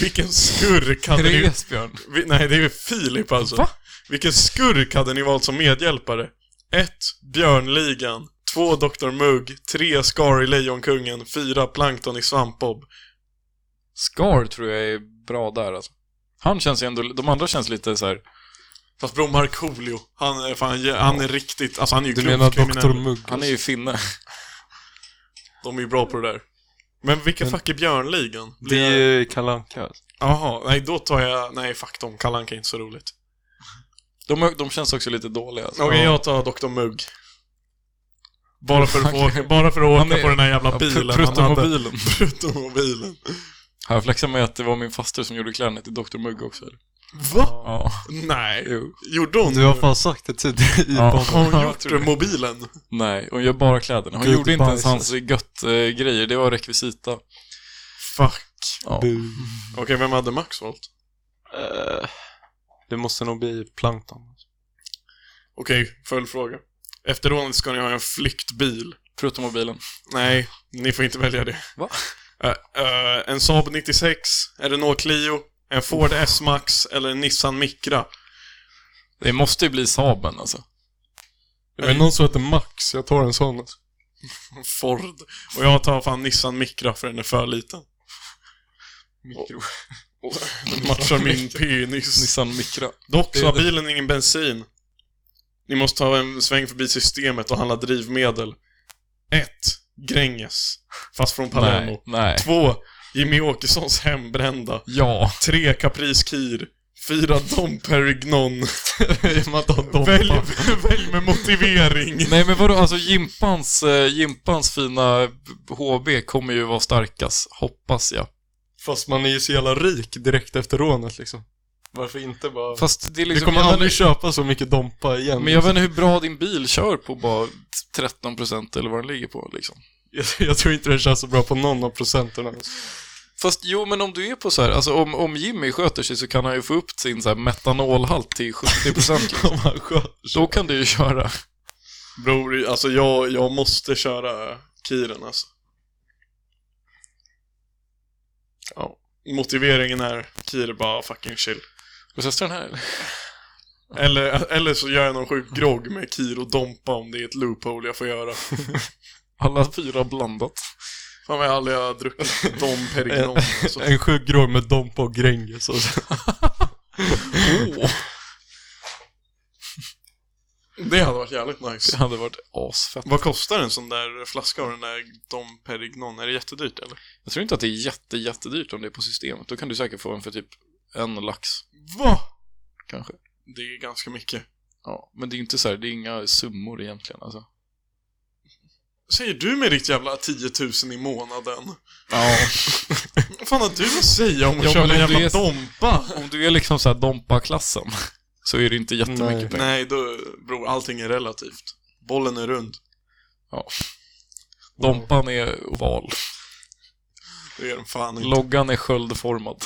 [SPEAKER 2] Vilken skurk hade ni...
[SPEAKER 3] Esbjörn?
[SPEAKER 2] Vi, nej, det är Filip alltså.
[SPEAKER 3] Va?
[SPEAKER 2] Vilken skurk hade ni valt som medhjälpare? 1. Björnligan 2. Dr. Mugg 3. Scar i Lejonkungen 4. Plankton i Svampbob
[SPEAKER 3] Scar tror jag är bra där alltså. Han känns ju ändå, de andra känns lite så här.
[SPEAKER 2] Fast bror Markoolio, han är fan, han är riktigt, alltså han är ju
[SPEAKER 1] Du
[SPEAKER 2] grovt
[SPEAKER 1] menar
[SPEAKER 2] kriminell.
[SPEAKER 1] Dr. Mugg?
[SPEAKER 3] han är ju finne.
[SPEAKER 2] De är ju bra på det där. Men vilka
[SPEAKER 1] Men-
[SPEAKER 2] fuck är Björnligan?
[SPEAKER 1] Det är
[SPEAKER 2] Blir...
[SPEAKER 1] ju Kalle Anka.
[SPEAKER 2] Jaha, nej då tar jag, nej fuck dem, Kalle Anka är inte så roligt.
[SPEAKER 3] De, de känns också lite dåliga alltså.
[SPEAKER 2] Okej, jag tar Dr. Mugg. Bara för att, få, bara för att
[SPEAKER 3] Han
[SPEAKER 2] åka
[SPEAKER 3] är-
[SPEAKER 2] på den här jävla
[SPEAKER 3] Ja,
[SPEAKER 2] bilen
[SPEAKER 3] pr- pruttomobilen.
[SPEAKER 2] Pruttomobilen.
[SPEAKER 3] Ja, Jag flaxar med att det var min faster som gjorde kläderna till Dr. Mugg också. eller?
[SPEAKER 2] Va?
[SPEAKER 3] Ja.
[SPEAKER 2] Nej.
[SPEAKER 3] Jo.
[SPEAKER 2] Gjorde hon?
[SPEAKER 1] Du har fan sagt det tidigare i
[SPEAKER 3] Ja.
[SPEAKER 1] podden.
[SPEAKER 2] Har hon
[SPEAKER 3] jag
[SPEAKER 2] gjort
[SPEAKER 3] tror det.
[SPEAKER 2] mobilen?
[SPEAKER 3] Nej, hon gör bara kläderna. Hon
[SPEAKER 1] Gud,
[SPEAKER 3] gjorde inte ens alltså,
[SPEAKER 1] bajs.
[SPEAKER 3] hans gött-grejer. det var rekvisita.
[SPEAKER 2] Fuck.
[SPEAKER 3] Ja.
[SPEAKER 1] Du,
[SPEAKER 2] Okej, vem hade Max valt?
[SPEAKER 1] eh, det måste nog bli Plankton.
[SPEAKER 2] Okej, följdfråga. Efter rånet ska ni ha en flyktbil.
[SPEAKER 3] Pruttomobilen.
[SPEAKER 2] Nej, ni får inte välja det.
[SPEAKER 3] Va?
[SPEAKER 2] Eh, eh, en Saab 96, en Renault Clio, en Ford S-Max eller en Nissan Micra.
[SPEAKER 3] Det måste ju bli Saben alltså.
[SPEAKER 1] Är det någon som heter Max? Jag tar en sån. alltså.
[SPEAKER 2] Ford. Och jag tar fan Nissan Micra för den är för liten.
[SPEAKER 3] Mikro.
[SPEAKER 2] Och Den matchar min penis.
[SPEAKER 3] Nissan Micra.
[SPEAKER 2] Dock så har bilen ingen bensin. Ni måste ta en sväng förbi systemet och handla drivmedel. 1. Gränges. Fast från Palermo.
[SPEAKER 3] Nej. Nej.
[SPEAKER 2] 2. Jimmy Åkessons hembrända.
[SPEAKER 3] Ja.
[SPEAKER 2] Tre Caprice Kir. Fyra Domperignon. välj, välj med motivering.
[SPEAKER 3] Nej men vadå, alltså Jimpans, eh, Jimpans fina HB kommer ju vara starkast, hoppas jag.
[SPEAKER 1] Fast man är ju så jävla rik direkt efter rånet liksom. Varför inte bara...
[SPEAKER 3] Fast det
[SPEAKER 1] du
[SPEAKER 3] är liksom...
[SPEAKER 1] kommer
[SPEAKER 3] jag vet
[SPEAKER 1] aldrig
[SPEAKER 3] inte-
[SPEAKER 1] köpa så mycket Dompa igen.
[SPEAKER 3] men jag vet inte hur bra din bil kör på bara 13% eller vad den ligger på liksom.
[SPEAKER 1] jag, jag tror inte det känns så bra på någon av procenterna. alltså.
[SPEAKER 3] Fast jo, men om du är på så här, alltså om, om Jimmy sköter sig så kan han ju få upp sin så här metanolhalt till 70% liksom.
[SPEAKER 1] Om han sköter sig.
[SPEAKER 3] Då kan du ju köra.
[SPEAKER 2] Bror, alltså jag, jag måste köra Kiren alltså. Ja. Motiveringen är Kir bara fucking chill.
[SPEAKER 3] Och testa den här eller?
[SPEAKER 2] Eller, eller så gör jag någon sjuk grogg med Kir och Dompa om det är ett loophole jag får göra.
[SPEAKER 3] Alla fyra blandat.
[SPEAKER 2] Fan vad jag aldrig har druckit Dom Perignon. Alltså.
[SPEAKER 1] En sjuk grogg med Dompa och Gränges och så.
[SPEAKER 2] Åh. Det hade varit jävligt nice.
[SPEAKER 3] Det hade varit asfett.
[SPEAKER 2] Vad kostar en sån där flaska av den där Dom Perignon? Är det jättedyrt eller?
[SPEAKER 3] Jag tror inte att det är jätte, jättedyrt om det är på systemet. Då kan du säkert få en för typ en lax
[SPEAKER 2] Va?
[SPEAKER 3] kanske.
[SPEAKER 2] Det är ganska mycket.
[SPEAKER 3] Ja, men det är inte så här, det är inga summor egentligen alltså.
[SPEAKER 2] Säger du med ditt jävla 10 000 i månaden?
[SPEAKER 3] Ja,
[SPEAKER 2] Vad fan har du att säga om att
[SPEAKER 3] Ja,
[SPEAKER 2] köpa
[SPEAKER 3] men
[SPEAKER 2] en
[SPEAKER 3] om
[SPEAKER 2] jävla
[SPEAKER 3] det är-
[SPEAKER 2] Dompa?
[SPEAKER 3] om du är liksom så här Dompa-klassen så är det inte jättemycket
[SPEAKER 1] Nej.
[SPEAKER 3] pengar.
[SPEAKER 2] Nej, då bror, allting är relativt. Bollen är rund.
[SPEAKER 3] Dompan är oval.
[SPEAKER 2] Det är den fan inte.
[SPEAKER 3] Loggan är sköldformad.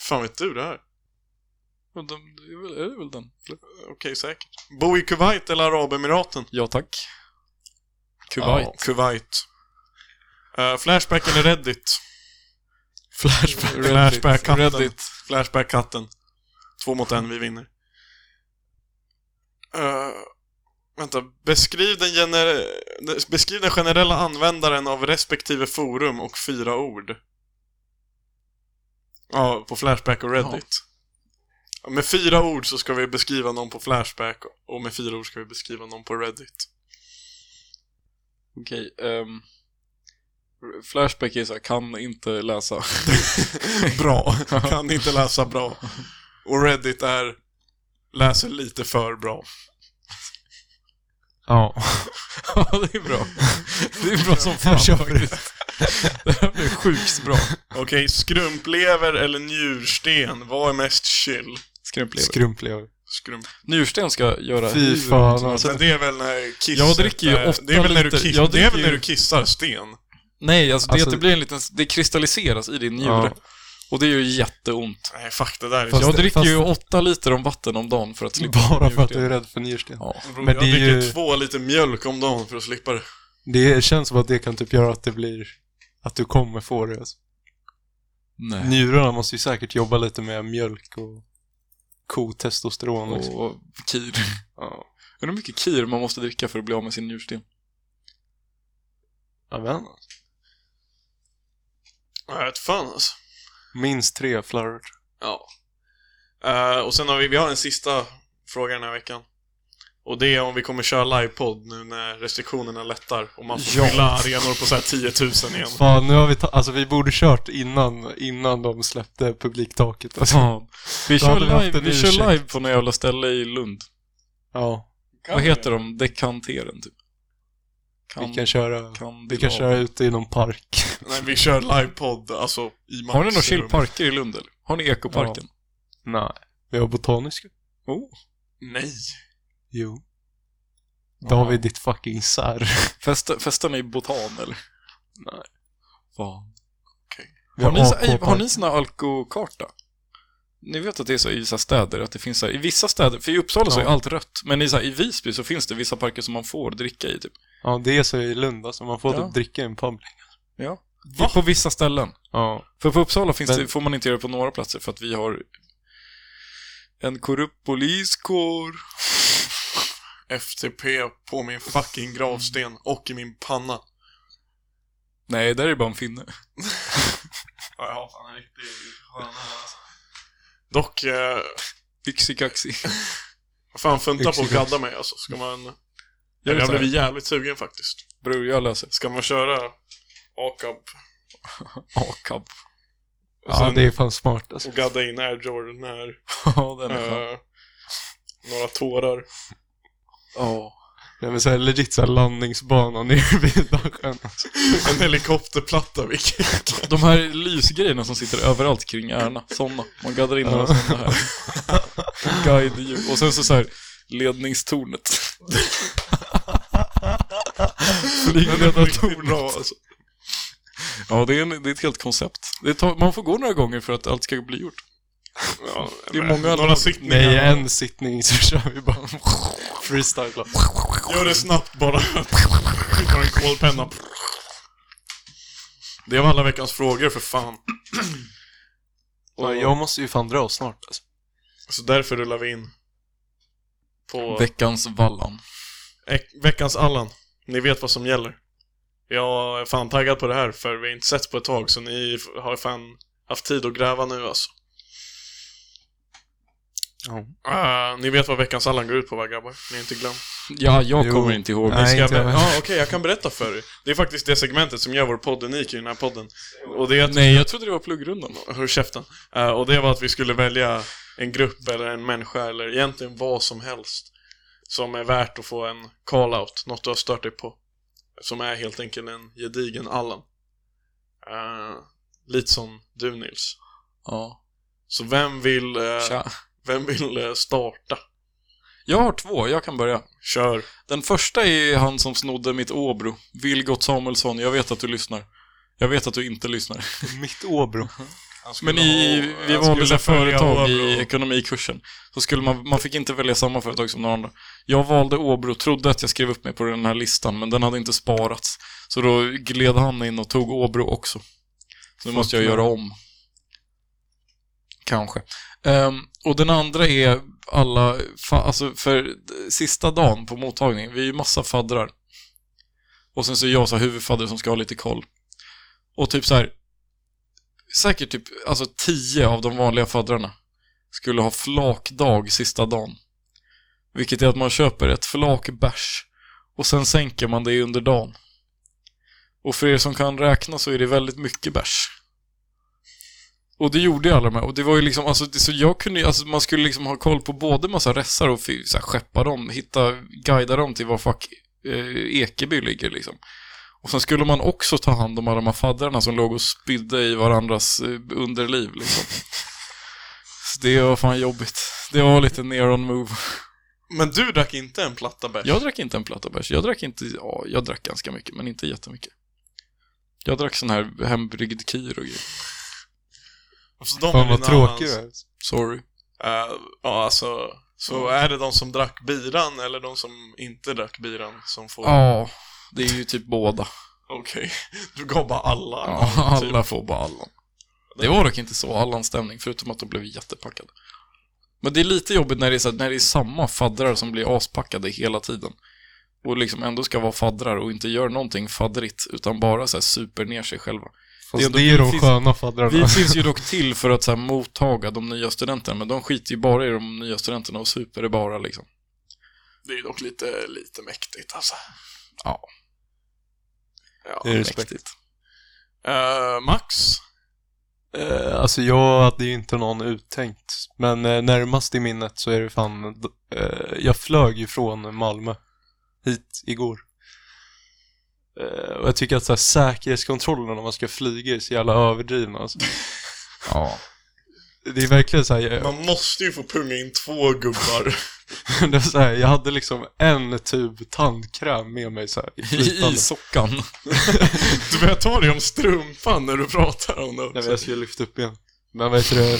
[SPEAKER 2] fan vet du det här?
[SPEAKER 3] Men de- Det är väl, är det väl den? eller?
[SPEAKER 2] Okej, säkert. Bo i Kuwait eller Arabemiraten?
[SPEAKER 3] Ja, tack. Kuwait.
[SPEAKER 2] Ja, Kuwait. Eh, flashback eller Reddit? Flashback.
[SPEAKER 3] Reddit.
[SPEAKER 2] Flashback-katten.
[SPEAKER 3] Reddit.
[SPEAKER 2] Flashback-katten. Två mot en, vi vinner. Eh, vänta, beskriv den, gener- beskriv den generella användaren av respektive forum och fyra ord. Ja, på Flashback och Reddit. Med fyra ord så ska vi beskriva någon på Flashback och med fyra ord ska vi beskriva någon på Reddit.
[SPEAKER 3] Okej. ehm, flashback är så här, kan inte läsa.
[SPEAKER 2] bra. Kan inte läsa bra. Och Reddit är läser lite för bra.
[SPEAKER 1] Ja.
[SPEAKER 3] ja, det är bra. Det är bra som fan
[SPEAKER 1] kör vi.
[SPEAKER 3] faktiskt. Det här blir sjukt bra.
[SPEAKER 2] Okej, skrumplever eller njursten? Vad är mest chill?
[SPEAKER 3] Skrämplever.
[SPEAKER 1] Skrumplever.
[SPEAKER 2] Skrump...
[SPEAKER 3] Njursten ska göra
[SPEAKER 1] Fy
[SPEAKER 3] hur-
[SPEAKER 1] fan alltså.
[SPEAKER 2] Men det är väl när kisset
[SPEAKER 3] Jag dricker ju
[SPEAKER 2] är-
[SPEAKER 3] åtta
[SPEAKER 2] det är väl när du
[SPEAKER 3] liter-
[SPEAKER 2] kiss...
[SPEAKER 3] jag
[SPEAKER 2] Det är väl
[SPEAKER 3] dricker
[SPEAKER 2] när
[SPEAKER 3] ju-
[SPEAKER 2] du kissar sten?
[SPEAKER 3] Nej, alltså, det,
[SPEAKER 1] Alltså-
[SPEAKER 3] att det blir en liten... Det kristalliseras i din njure.
[SPEAKER 1] Ja.
[SPEAKER 3] Och det är ju jätteont.
[SPEAKER 2] Nej, fuck det där är
[SPEAKER 1] Fast-
[SPEAKER 2] så-
[SPEAKER 3] jag dricker ju
[SPEAKER 1] fast-
[SPEAKER 3] åtta liter om vatten om dagen för att slippa
[SPEAKER 1] Bara för att du
[SPEAKER 3] njursten.
[SPEAKER 1] är rädd för njursten.
[SPEAKER 3] Ja.
[SPEAKER 2] Bror,
[SPEAKER 1] men
[SPEAKER 2] jag
[SPEAKER 1] det är
[SPEAKER 2] dricker
[SPEAKER 1] ju-
[SPEAKER 2] två liter mjölk om dagen för att slippa det.
[SPEAKER 1] Det känns som att det kan typ göra att det blir... Att du kommer få det. Alltså.
[SPEAKER 3] Nej.
[SPEAKER 1] Njurarna måste ju säkert jobba lite med mjölk och kotestosteron. Liksom.
[SPEAKER 3] Och kir.
[SPEAKER 1] Ja.
[SPEAKER 3] Undrar hur mycket kir man måste dricka för att bli av med sin njursten.
[SPEAKER 1] Jag vet inte.
[SPEAKER 2] Jag vet fan alltså.
[SPEAKER 1] Minst tre flarror.
[SPEAKER 2] Ja. Eh, och sen har vi, vi har en sista fråga den här veckan. Och det är om vi kommer köra livepodd nu när restriktionerna lättar och man får
[SPEAKER 1] Ja.
[SPEAKER 2] fylla arenor på så här 10 000 igen.
[SPEAKER 1] Fan, nu har vi ta- Alltså vi borde kört innan, innan de släppte publiktaket. Alltså.
[SPEAKER 3] Fan. Vi
[SPEAKER 1] Då
[SPEAKER 3] kör,
[SPEAKER 1] hade vi haft
[SPEAKER 3] live,
[SPEAKER 1] en
[SPEAKER 3] vi kör
[SPEAKER 1] ursäkt.
[SPEAKER 3] live på något jävla ställe i Lund.
[SPEAKER 1] Ja,
[SPEAKER 3] Vad heter de? Dekanteren, typ.
[SPEAKER 1] vi kan köra...
[SPEAKER 3] kan
[SPEAKER 1] Vi kan köra ute i någon park.
[SPEAKER 2] Nej, vi kör livepodd, alltså i
[SPEAKER 3] Har ni några
[SPEAKER 2] Max rum.
[SPEAKER 3] chillparker i Lund, eller? Har ni ekoparken?
[SPEAKER 1] Nej. Vi har botaniska.
[SPEAKER 3] Oh.
[SPEAKER 2] Nej.
[SPEAKER 1] Jo. Då har vi ditt fucking sär.
[SPEAKER 3] Festa, festar ni i botan, eller?
[SPEAKER 1] Nej.
[SPEAKER 3] Fan.
[SPEAKER 1] Vi
[SPEAKER 3] Har ni, så, ej,
[SPEAKER 1] AK-park.
[SPEAKER 3] har ni såna alkokarta? Ni vet att det är så i vissa städer, att det finns så här, i vissa städer, för i Uppsala så är
[SPEAKER 1] Ja.
[SPEAKER 3] allt rött, men i, så här, i Visby så finns det vissa parker som man får dricka i, typ.
[SPEAKER 1] Ja, det är så i Lund alltså. Man får
[SPEAKER 3] Ja.
[SPEAKER 1] typ dricka i en public.
[SPEAKER 3] Ja. På vissa ställen.
[SPEAKER 1] Ja.
[SPEAKER 3] För på Uppsala finns
[SPEAKER 1] Men-
[SPEAKER 3] det, får man inte göra det på några platser för att vi har en korrupt poliskår.
[SPEAKER 2] FTP på min fucking gravsten och i min panna.
[SPEAKER 3] Nej, där är det bara en finne.
[SPEAKER 2] Ja, jag har fan en riktig sköna alltså. Dock, eh,
[SPEAKER 3] Yxikaxi.
[SPEAKER 2] fan funta på att
[SPEAKER 1] Exakt.
[SPEAKER 2] gadda mig alltså. Ska man...
[SPEAKER 3] Gör
[SPEAKER 2] Jag,
[SPEAKER 3] det så
[SPEAKER 2] jag
[SPEAKER 3] här.
[SPEAKER 2] blev jävligt sugen faktiskt.
[SPEAKER 3] Bror, jag löser.
[SPEAKER 2] Ska man köra AKAB
[SPEAKER 3] A-cab.
[SPEAKER 2] och,
[SPEAKER 1] ja,
[SPEAKER 2] sen-
[SPEAKER 1] det är fan smart alltså.
[SPEAKER 2] och gadda in Air Jordan här?
[SPEAKER 3] Ja, den är skön.
[SPEAKER 2] Eh, några tårar.
[SPEAKER 3] Ja.
[SPEAKER 1] Nej men såhär legit såhär landningsbana nere vid Dalsjön. alltså.
[SPEAKER 2] En helikopterplatta, vilken...
[SPEAKER 3] De här lysgrejerna som sitter överallt kring Ärna, sådana. Man gaddar in några sådana här. Guide Och sen så, så här ledningstornet.
[SPEAKER 2] Flygledartornet. Bra, alltså.
[SPEAKER 3] Ja, det är, en, det är ett helt koncept. Det tar, man får gå några gånger för att allt ska bli gjort.
[SPEAKER 2] ja,
[SPEAKER 3] Det är
[SPEAKER 2] men-
[SPEAKER 3] många
[SPEAKER 2] Några sittningar.
[SPEAKER 1] Nej, en sittning så kör vi bara freestyle. då.
[SPEAKER 2] Gör det snabbt bara. Tar en kolpenna. Det var alla veckans frågor för fan.
[SPEAKER 1] Och jag måste ju fan dra snart alltså.
[SPEAKER 2] Så därför rullar vi in på
[SPEAKER 3] Veckans Vallan.
[SPEAKER 2] Ek- veckans Allan. Ni vet vad som gäller. Jag är fan taggad på det här för vi har inte sett på ett tag så ni f- har fan haft tid att gräva nu alltså. Ah, ni vet vad veckans Allan går ut på va grabbar? Ni har inte glömt?
[SPEAKER 3] Ja, jag
[SPEAKER 1] Jo.
[SPEAKER 3] kommer inte ihåg.
[SPEAKER 1] Nej,
[SPEAKER 2] Ska jag
[SPEAKER 1] inte jag
[SPEAKER 2] be-
[SPEAKER 1] med.
[SPEAKER 2] ja, okej, jag kan berätta för er. Det är faktiskt det segmentet som gör vår podd unik i den här podden. Och det är att...
[SPEAKER 3] Nej, jag trodde det var pluggrundan.
[SPEAKER 2] Hör käften. Eh, och det var att vi skulle välja en grupp eller en människa eller egentligen vad som helst som är värt att få en call-out, något du har stört dig på. Som är helt enkelt en gedigen Allan. Eh, lite som du Nils.
[SPEAKER 3] Ja.
[SPEAKER 2] Så vem vill, eh,
[SPEAKER 3] Tja.
[SPEAKER 2] vem vill eh, starta?
[SPEAKER 3] Jag har två, jag kan börja.
[SPEAKER 2] Kör.
[SPEAKER 3] Den första är han som snodde mitt Åbro. Vilgot Samuelsson, jag vet att du lyssnar. Jag vet att du inte lyssnar.
[SPEAKER 1] Mitt Åbro.
[SPEAKER 3] Men i,
[SPEAKER 2] ha-
[SPEAKER 3] vi
[SPEAKER 2] han
[SPEAKER 3] valde så
[SPEAKER 2] skulle
[SPEAKER 3] här
[SPEAKER 2] följa
[SPEAKER 3] företag i
[SPEAKER 2] Åbro.
[SPEAKER 3] ekonomikursen. Så skulle man, man fick inte välja samma företag som någon annan. Jag valde Åbro, trodde att jag skrev upp mig på den här listan, men den hade inte sparats. Så då gled han in och tog Åbro också. Så nu måste jag göra om. Kanske. Ehm, och den andra är alla, fa, alltså för d- sista dagen på mottagningen, vi är ju massa faddrar. Och sen så är jag så här huvudfadder som ska ha lite koll. Och typ så här, säkert typ, alltså tio av de vanliga faddrarna skulle ha flakdag sista dagen. Vilket är att man köper ett flak bärs och sen sänker man det under dagen. Och för er som kan räkna så är det väldigt mycket bärs. Och det gjorde ju alla de här. Och det var ju liksom, alltså, det, så jag kunde ju- alltså man skulle liksom ha koll på både massa ressar och fy- så här, skeppa dem, hitta, guida dem till var fuck eh, Ekeby ligger liksom. Och sen skulle man också ta hand om alla de här faddrarna som låg och spydde i varandras eh, underliv liksom. Så det var fan jobbigt. Det var lite near on move.
[SPEAKER 2] Men du drack inte en platta bärs?
[SPEAKER 3] Jag drack inte en platta bärs. Jag drack inte, ja, jag drack ganska mycket, men inte jättemycket. Jag drack sån här hembryggd kir och grejer.
[SPEAKER 2] Så de
[SPEAKER 1] Fan
[SPEAKER 2] är
[SPEAKER 1] vad
[SPEAKER 2] din
[SPEAKER 1] tråkig
[SPEAKER 2] Allans.
[SPEAKER 1] du är. Alltså,
[SPEAKER 3] Sorry.
[SPEAKER 2] Eh, ja, alltså. Så är det de som drack biran eller de som inte drack biran som får...
[SPEAKER 3] Ja, det är ju typ båda.
[SPEAKER 2] Okej. Du gav bara alla. Typ.
[SPEAKER 3] Ja, alla får bara Allan. Det var dock inte så Allans stämning, förutom att de blev jättepackade. Men det är lite jobbigt när det är, så, här- när det är samma faddrar som blir aspackade hela tiden. Och liksom ändå ska vara faddrar och inte gör någonting faddrigt, utan bara så här super ner sig själva.
[SPEAKER 1] Fast det är,
[SPEAKER 3] ändå-
[SPEAKER 1] de
[SPEAKER 3] finns-
[SPEAKER 1] sköna faddrarna.
[SPEAKER 3] Vi finns ju dock till för att så här, mottaga de nya studenterna, men de skiter ju bara i de nya studenterna och super det bara liksom.
[SPEAKER 2] Det är dock lite, lite mäktigt alltså.
[SPEAKER 3] Ja.
[SPEAKER 2] Ja,
[SPEAKER 1] Det är respekt.
[SPEAKER 2] mäktigt. Eh, Max?
[SPEAKER 1] Eh, alltså jag hade ju inte någon uttänkt. Men eh, närmast i minnet så är det fan... Eh, jag flög ju från Malmö hit igår. Eh, och jag tycker att så här, säkerhetskontrollerna när man ska flyga är så jävla överdrivna. Alltså.
[SPEAKER 3] Ja.
[SPEAKER 1] Det är verkligen så här, jag-
[SPEAKER 2] Man måste ju få punga in två gubbar.
[SPEAKER 1] det var så här, jag hade liksom en tub tandkräm med mig så här, i
[SPEAKER 3] I
[SPEAKER 1] flytande.
[SPEAKER 3] sockan.
[SPEAKER 2] du börjar ta dig om strumpan när du pratar om det
[SPEAKER 1] Nej,
[SPEAKER 2] också.
[SPEAKER 1] men jag skulle lyfta upp igen. Men vet du det?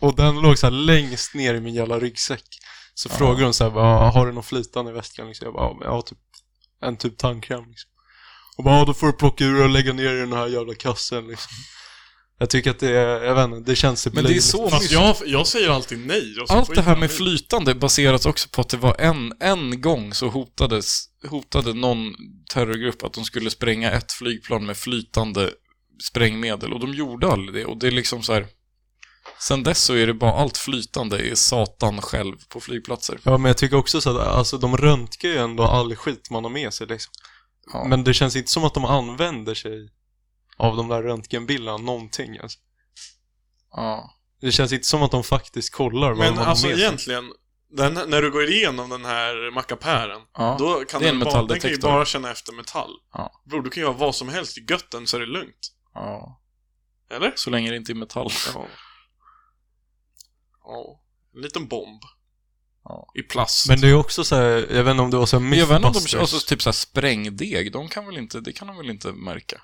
[SPEAKER 1] Och den låg så här längst ner i min jävla ryggsäck. Så frågade hon så här, bara, har du någon flytande i väskan? Liksom. Jag bara, ja, men jag har typ en typ tandkräm. Liksom. Och bara, ja, då får du plocka ur och lägga ner i den här jävla kassen liksom. Jag tycker att det är, jag vet inte, det känns typ
[SPEAKER 3] Men det är
[SPEAKER 1] löjligt.
[SPEAKER 3] så
[SPEAKER 2] Fast jag, jag säger alltid nej. Och så
[SPEAKER 3] Allt
[SPEAKER 1] Alltså,
[SPEAKER 2] får
[SPEAKER 3] det här
[SPEAKER 2] jag
[SPEAKER 3] med
[SPEAKER 2] nej.
[SPEAKER 3] flytande baseras också på att det var en, en gång så hotades, hotade någon terrorgrupp att de skulle spränga ett flygplan med flytande sprängmedel och de gjorde aldrig det och det är liksom så här. Sen dess så är det bara allt flytande är satan själv på flygplatser.
[SPEAKER 1] Ja, men jag tycker också så att alltså, de röntgar ju ändå all skit man har med sig liksom.
[SPEAKER 3] Ja.
[SPEAKER 1] Men det känns inte som att de använder sig av de där röntgenbilderna någonting. Alltså.
[SPEAKER 3] Ja.
[SPEAKER 1] Det känns inte som att de faktiskt kollar vad
[SPEAKER 2] Men
[SPEAKER 1] de har
[SPEAKER 2] alltså
[SPEAKER 1] med sig.
[SPEAKER 2] egentligen, den, när du går igenom den här mackapären,
[SPEAKER 3] Ja.
[SPEAKER 2] Då kan
[SPEAKER 3] Det är
[SPEAKER 2] den
[SPEAKER 3] en
[SPEAKER 2] bara, den kan ju
[SPEAKER 3] metalldetektor.
[SPEAKER 2] bara känna efter metall.
[SPEAKER 3] Ja.
[SPEAKER 2] Bror, du kan ju ha vad som helst i götten så är det lugnt.
[SPEAKER 3] ja.
[SPEAKER 2] Eller?
[SPEAKER 3] Så länge det inte är metall.
[SPEAKER 2] Ja. ja. En liten bomb.
[SPEAKER 3] Ja.
[SPEAKER 2] I plast.
[SPEAKER 1] Men det är också så här, jag vet inte om det var så här
[SPEAKER 3] Men jag vet inte om
[SPEAKER 1] Mythbusters.
[SPEAKER 3] de, alltså typ så här sprängdeg, de kan väl inte, det kan de väl inte märka?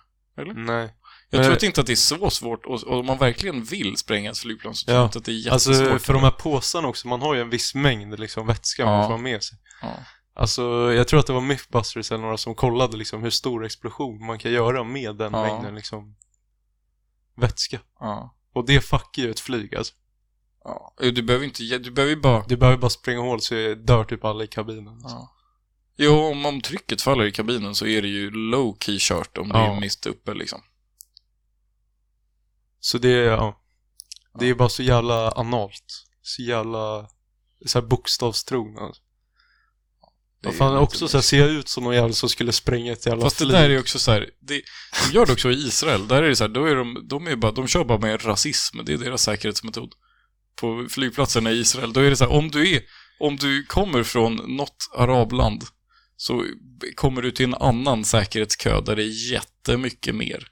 [SPEAKER 1] Nej.
[SPEAKER 3] Jag
[SPEAKER 1] Men-
[SPEAKER 3] tror att inte att det är så svårt, och, och om man verkligen vill spränga ett flygplan så tror
[SPEAKER 1] Ja.
[SPEAKER 3] jag inte att det är
[SPEAKER 1] Alltså
[SPEAKER 3] jättesvårt.
[SPEAKER 1] för de här påsarna också, man har ju en viss mängd liksom vätska man
[SPEAKER 3] Ja.
[SPEAKER 1] får ha med sig.
[SPEAKER 3] Ja.
[SPEAKER 1] Alltså jag tror att det var Mythbusters eller några som kollade liksom hur stor explosion man kan göra med den
[SPEAKER 3] Ja.
[SPEAKER 1] mängden liksom vätska.
[SPEAKER 3] Ja.
[SPEAKER 1] Och det fuckar ju ett flyg alltså.
[SPEAKER 3] Ja. Du behöver inte, ge- du behöver ju bara...
[SPEAKER 1] Du behöver bara springa hål så dör typ alla i kabinen.
[SPEAKER 3] Ja. Jo, om, om trycket faller i kabinen så är det ju low key kört om det
[SPEAKER 1] Ja.
[SPEAKER 3] är mist uppe liksom.
[SPEAKER 1] Så det är, ja. Det är bara så jävla analt. Så jävla så här bokstavstrogna. Alltså.
[SPEAKER 3] Det
[SPEAKER 1] Vad
[SPEAKER 3] är
[SPEAKER 1] fan,
[SPEAKER 3] lite
[SPEAKER 1] också så här, ser jag ut som någon jävel som skulle spränga ett jävla
[SPEAKER 3] Fast det
[SPEAKER 1] flyg?
[SPEAKER 3] där är ju också så här, det, de gör det också i Israel. Där är det så här, då är de, de, är ju bara, de kör bara med rasism, det är deras säkerhetsmetod. På flygplatserna i Israel, då är det så här, om du, är, om du kommer från något arabland så kommer du till en annan säkerhetskö där det är jättemycket mer.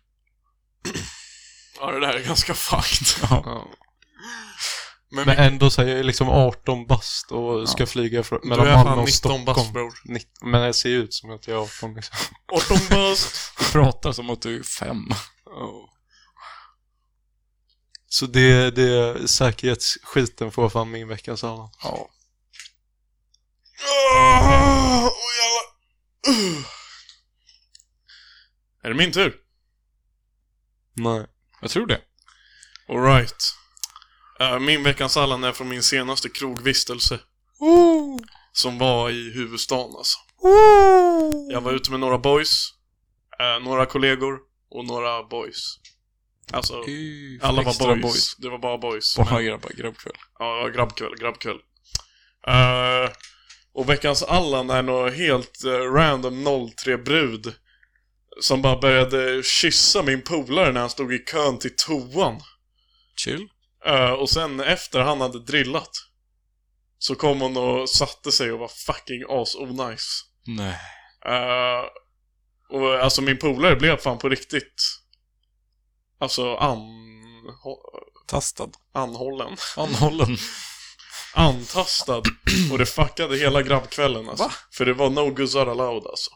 [SPEAKER 2] Ja, det där är ganska fucked.
[SPEAKER 1] Ja.
[SPEAKER 2] Men,
[SPEAKER 1] Men ändå så här, jag är liksom 18 bast och ska flyga från,
[SPEAKER 2] du
[SPEAKER 1] mellan
[SPEAKER 2] är fan
[SPEAKER 1] Malmö
[SPEAKER 2] 19
[SPEAKER 1] och
[SPEAKER 2] bast
[SPEAKER 1] Stockholm.
[SPEAKER 2] bror.
[SPEAKER 1] 19, men jag ser ju ut som att jag är 18 liksom.
[SPEAKER 2] 18 bast.
[SPEAKER 3] Du pratar som att du är fem.
[SPEAKER 1] Så det, det säkerhetsskiten får fan min veckas alla.
[SPEAKER 3] Ja.
[SPEAKER 2] Åh, oh, jävlar. Uh. Är det min tur?
[SPEAKER 1] Nej.
[SPEAKER 3] Jag tror det.
[SPEAKER 2] Alright. Uh, min veckans Allan är från min senaste krogvistelse. Som var i huvudstaden alltså. Jag var ute med några boys, eh, några kollegor och några boys. Alltså, alla var
[SPEAKER 3] Extra
[SPEAKER 2] boys. Det var bara boys.
[SPEAKER 3] Bara
[SPEAKER 2] Men-
[SPEAKER 3] grabbar, grabbkväll.
[SPEAKER 2] Ja, grabbkväll, grabbkväll. Eh, och veckans Allan är någon helt eh, random 03-brud som bara började kyssa min polare när han stod i kön till toan.
[SPEAKER 3] Chill.
[SPEAKER 2] Eh, och sen efter han hade drillat så kom hon och satte sig och var fucking as-onice.
[SPEAKER 3] Nej.
[SPEAKER 2] Eh, och alltså min polare blev fan på riktigt alltså anho-
[SPEAKER 3] Tastad.
[SPEAKER 2] anhållen.
[SPEAKER 3] Anhållen.
[SPEAKER 2] Antastad. Och det fuckade hela grabbkvällen alltså.
[SPEAKER 3] Va?
[SPEAKER 2] För det var no guzzar allowed alltså.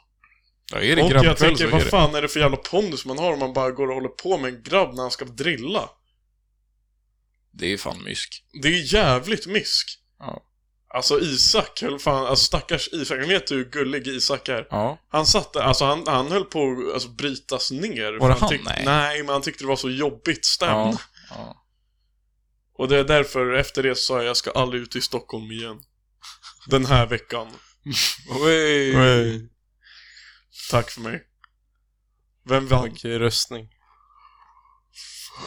[SPEAKER 3] Ja, är det
[SPEAKER 2] och jag
[SPEAKER 3] grabbkväll så
[SPEAKER 2] tänker,
[SPEAKER 3] är
[SPEAKER 2] vad
[SPEAKER 3] det.
[SPEAKER 2] fan är det för jävla pondus man har om man bara går och håller på med en grabb när han ska drilla?
[SPEAKER 3] Det är fan mysk.
[SPEAKER 2] Det är jävligt mysk.
[SPEAKER 3] Ja.
[SPEAKER 2] Alltså Isak höll fan, alltså stackars Isak, vet du hur gullig Isak är?
[SPEAKER 3] Ja.
[SPEAKER 2] Han satt där, alltså han, han höll på att alltså, brytas ner.
[SPEAKER 3] Var det
[SPEAKER 2] han?
[SPEAKER 3] han?
[SPEAKER 2] Tyckte, nej.
[SPEAKER 3] Nej.
[SPEAKER 2] men han tyckte det var så jobbigt stämt.
[SPEAKER 3] Ja. ja.
[SPEAKER 2] Och det är därför, efter det så sa jag, jag ska aldrig ut i Stockholm igen. Den här veckan.
[SPEAKER 3] Oj.
[SPEAKER 2] Tack för mig. Vem vann?
[SPEAKER 1] Okej, röstning.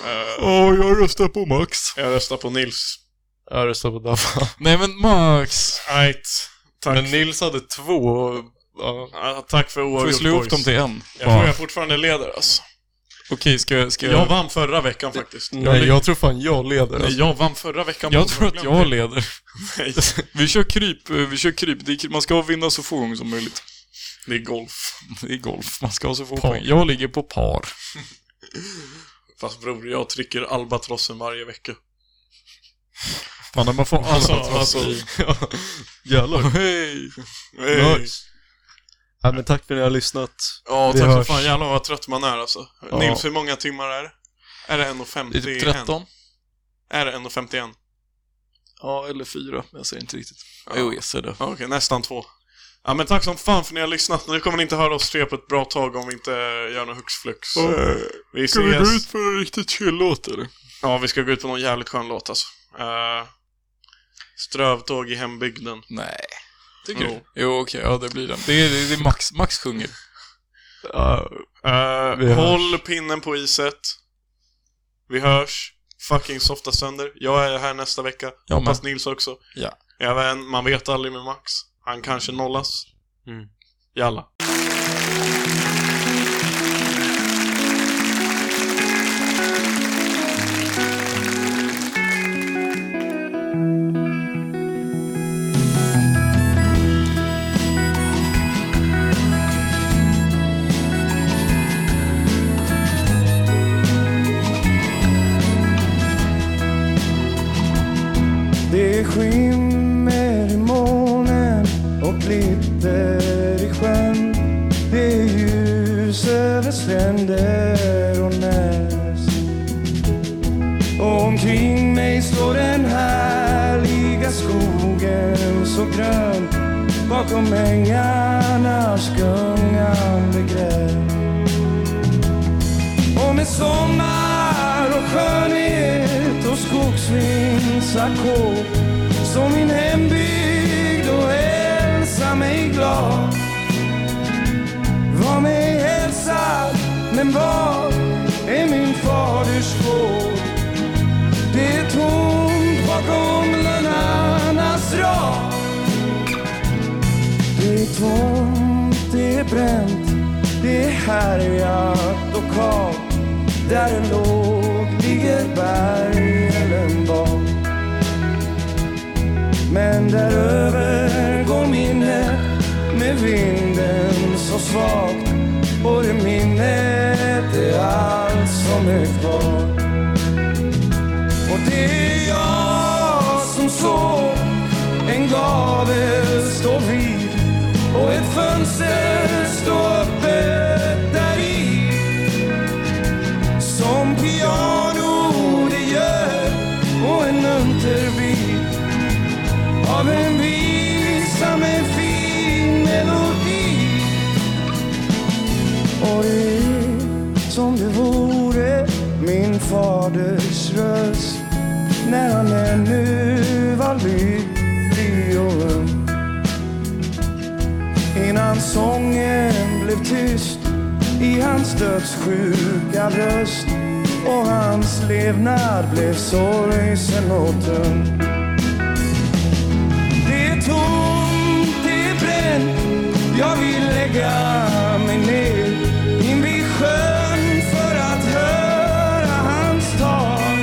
[SPEAKER 2] Eh,
[SPEAKER 3] Åh, jag röstar på Max.
[SPEAKER 2] jag röstar på Nils.
[SPEAKER 1] Jag röstar på Daffa.
[SPEAKER 3] Nej men Max!
[SPEAKER 2] Right. Tack.
[SPEAKER 1] Men Nils hade två och... Ja.
[SPEAKER 2] Ja, tack för
[SPEAKER 3] Får vi
[SPEAKER 2] oavgjort
[SPEAKER 3] slå ihop dem till en?
[SPEAKER 2] Jag
[SPEAKER 3] Bara.
[SPEAKER 2] tror jag fortfarande leder alltså.
[SPEAKER 3] Okej, ska jag... Ska
[SPEAKER 2] Jag
[SPEAKER 3] jag,
[SPEAKER 2] vann förra veckan faktiskt.
[SPEAKER 1] Nej, jag tror fan jag leder.
[SPEAKER 2] Nej,
[SPEAKER 1] Alltså.
[SPEAKER 2] jag vann förra veckan.
[SPEAKER 3] jag tror att jag
[SPEAKER 2] leder.
[SPEAKER 3] leder.
[SPEAKER 2] Nej,
[SPEAKER 3] Vi kör kryp, eh, vi kör kryp. Det är, man ska vinna så få gånger som möjligt.
[SPEAKER 2] det är golf.
[SPEAKER 3] Det är golf, man ska ha så få
[SPEAKER 1] Par.
[SPEAKER 3] poäng. Jag ligger på par.
[SPEAKER 2] Fast bror, jag trycker albatrossen varje vecka.
[SPEAKER 3] Fan, när man får alla
[SPEAKER 2] Alltså,
[SPEAKER 3] trots-
[SPEAKER 2] alltså.
[SPEAKER 1] Jävlar.
[SPEAKER 3] Hej!
[SPEAKER 2] Hey.
[SPEAKER 1] Nice. Ja, men tack för att ni har lyssnat.
[SPEAKER 2] Ja,
[SPEAKER 1] Vi
[SPEAKER 2] tack så
[SPEAKER 1] hörs.
[SPEAKER 2] fan. Jävlar vad trött man är alltså. Nils, hur många timmar är det? Är det 1.51?
[SPEAKER 3] Är det 13?
[SPEAKER 2] Är det 1.51?
[SPEAKER 3] Ja, eller 4. Jag säger inte riktigt. Jo, jag ser det.
[SPEAKER 2] Ja, Okej, nästan två. Ja, men tack som fan för att ni har lyssnat. Nu kommer ni inte höra oss tre på ett bra tag om vi inte gör något hux flux. vi
[SPEAKER 3] Äh, Ska vi gå
[SPEAKER 2] ses.
[SPEAKER 3] ut på en riktigt chill-låt eller?
[SPEAKER 2] Ja, vi ska gå ut på någon jävligt skön låt alltså. Eh, strövtåg i hembygden.
[SPEAKER 3] Nej. Tycker
[SPEAKER 2] Jo.
[SPEAKER 3] du? Jo, okej. ja, det blir den. Det är, det är Max, Max sjunger.
[SPEAKER 1] Ja,
[SPEAKER 2] Eh,
[SPEAKER 1] Vi hörs.
[SPEAKER 2] håll pinnen på iset. Vi hörs. Fucking softa sönder. Jag är här nästa vecka.
[SPEAKER 3] Jag
[SPEAKER 2] Hoppas Nils också.
[SPEAKER 3] Ja.
[SPEAKER 2] Även, man vet aldrig med Max. Han kanske nollas.
[SPEAKER 1] Mm.
[SPEAKER 2] Jalla.
[SPEAKER 7] Det är skimmer i molnen och glitter i sjön. Det är ljus över stränder och näs. Och omkring mig står den härliga skogen så grön. Bakom ängarnas gungande gräs. Och med sommar och skönhet och skogsvindsackord står min hembygd och hälsar mig glad Liten var är min faders gård. Det är tomt bakom lönarnas rad. Det är tomt, det är bränt, det är härjat och kalt. Där den låg ligger bergen bak. Men däröver går minnet med vinden så svagt och det minnet är allt som är kvar. Och det är jag som såg en gavel stå vid och ett fönster stå öppet där i. Som piano det gör och en unterbit av en visa med fin melodi. Och det är som det vore min faders röst när han ännu var lycklig och ung. Innan sången blev tyst i hans dödssjuka röst och hans levnad blev sorgsen och tung. Det är tomt, det är bränt. Jag vill lägga mig ner invid sjön för att höra hans tal.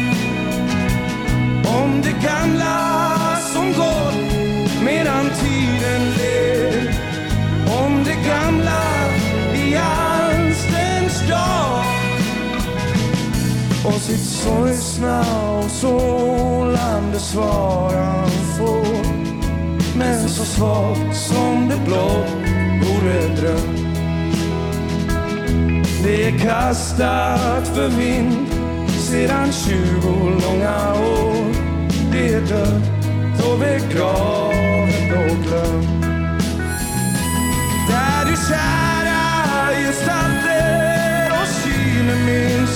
[SPEAKER 7] Om det gamla som gått medan tiden ler. Om det gamla i anstens dag. Och sitt sorgsna och sålande svar han får men så svagt som det blott vore dröm. Det är kastat för vind sedan tjugo långa år. Det är dött och begravet och glömt. Där du kära gestalter och syner minns.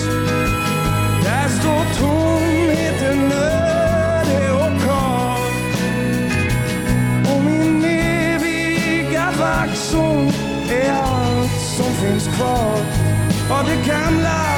[SPEAKER 7] Där står tomheten öde och kal. Och min eviga vaktsång är allt som finns kvar av det gamla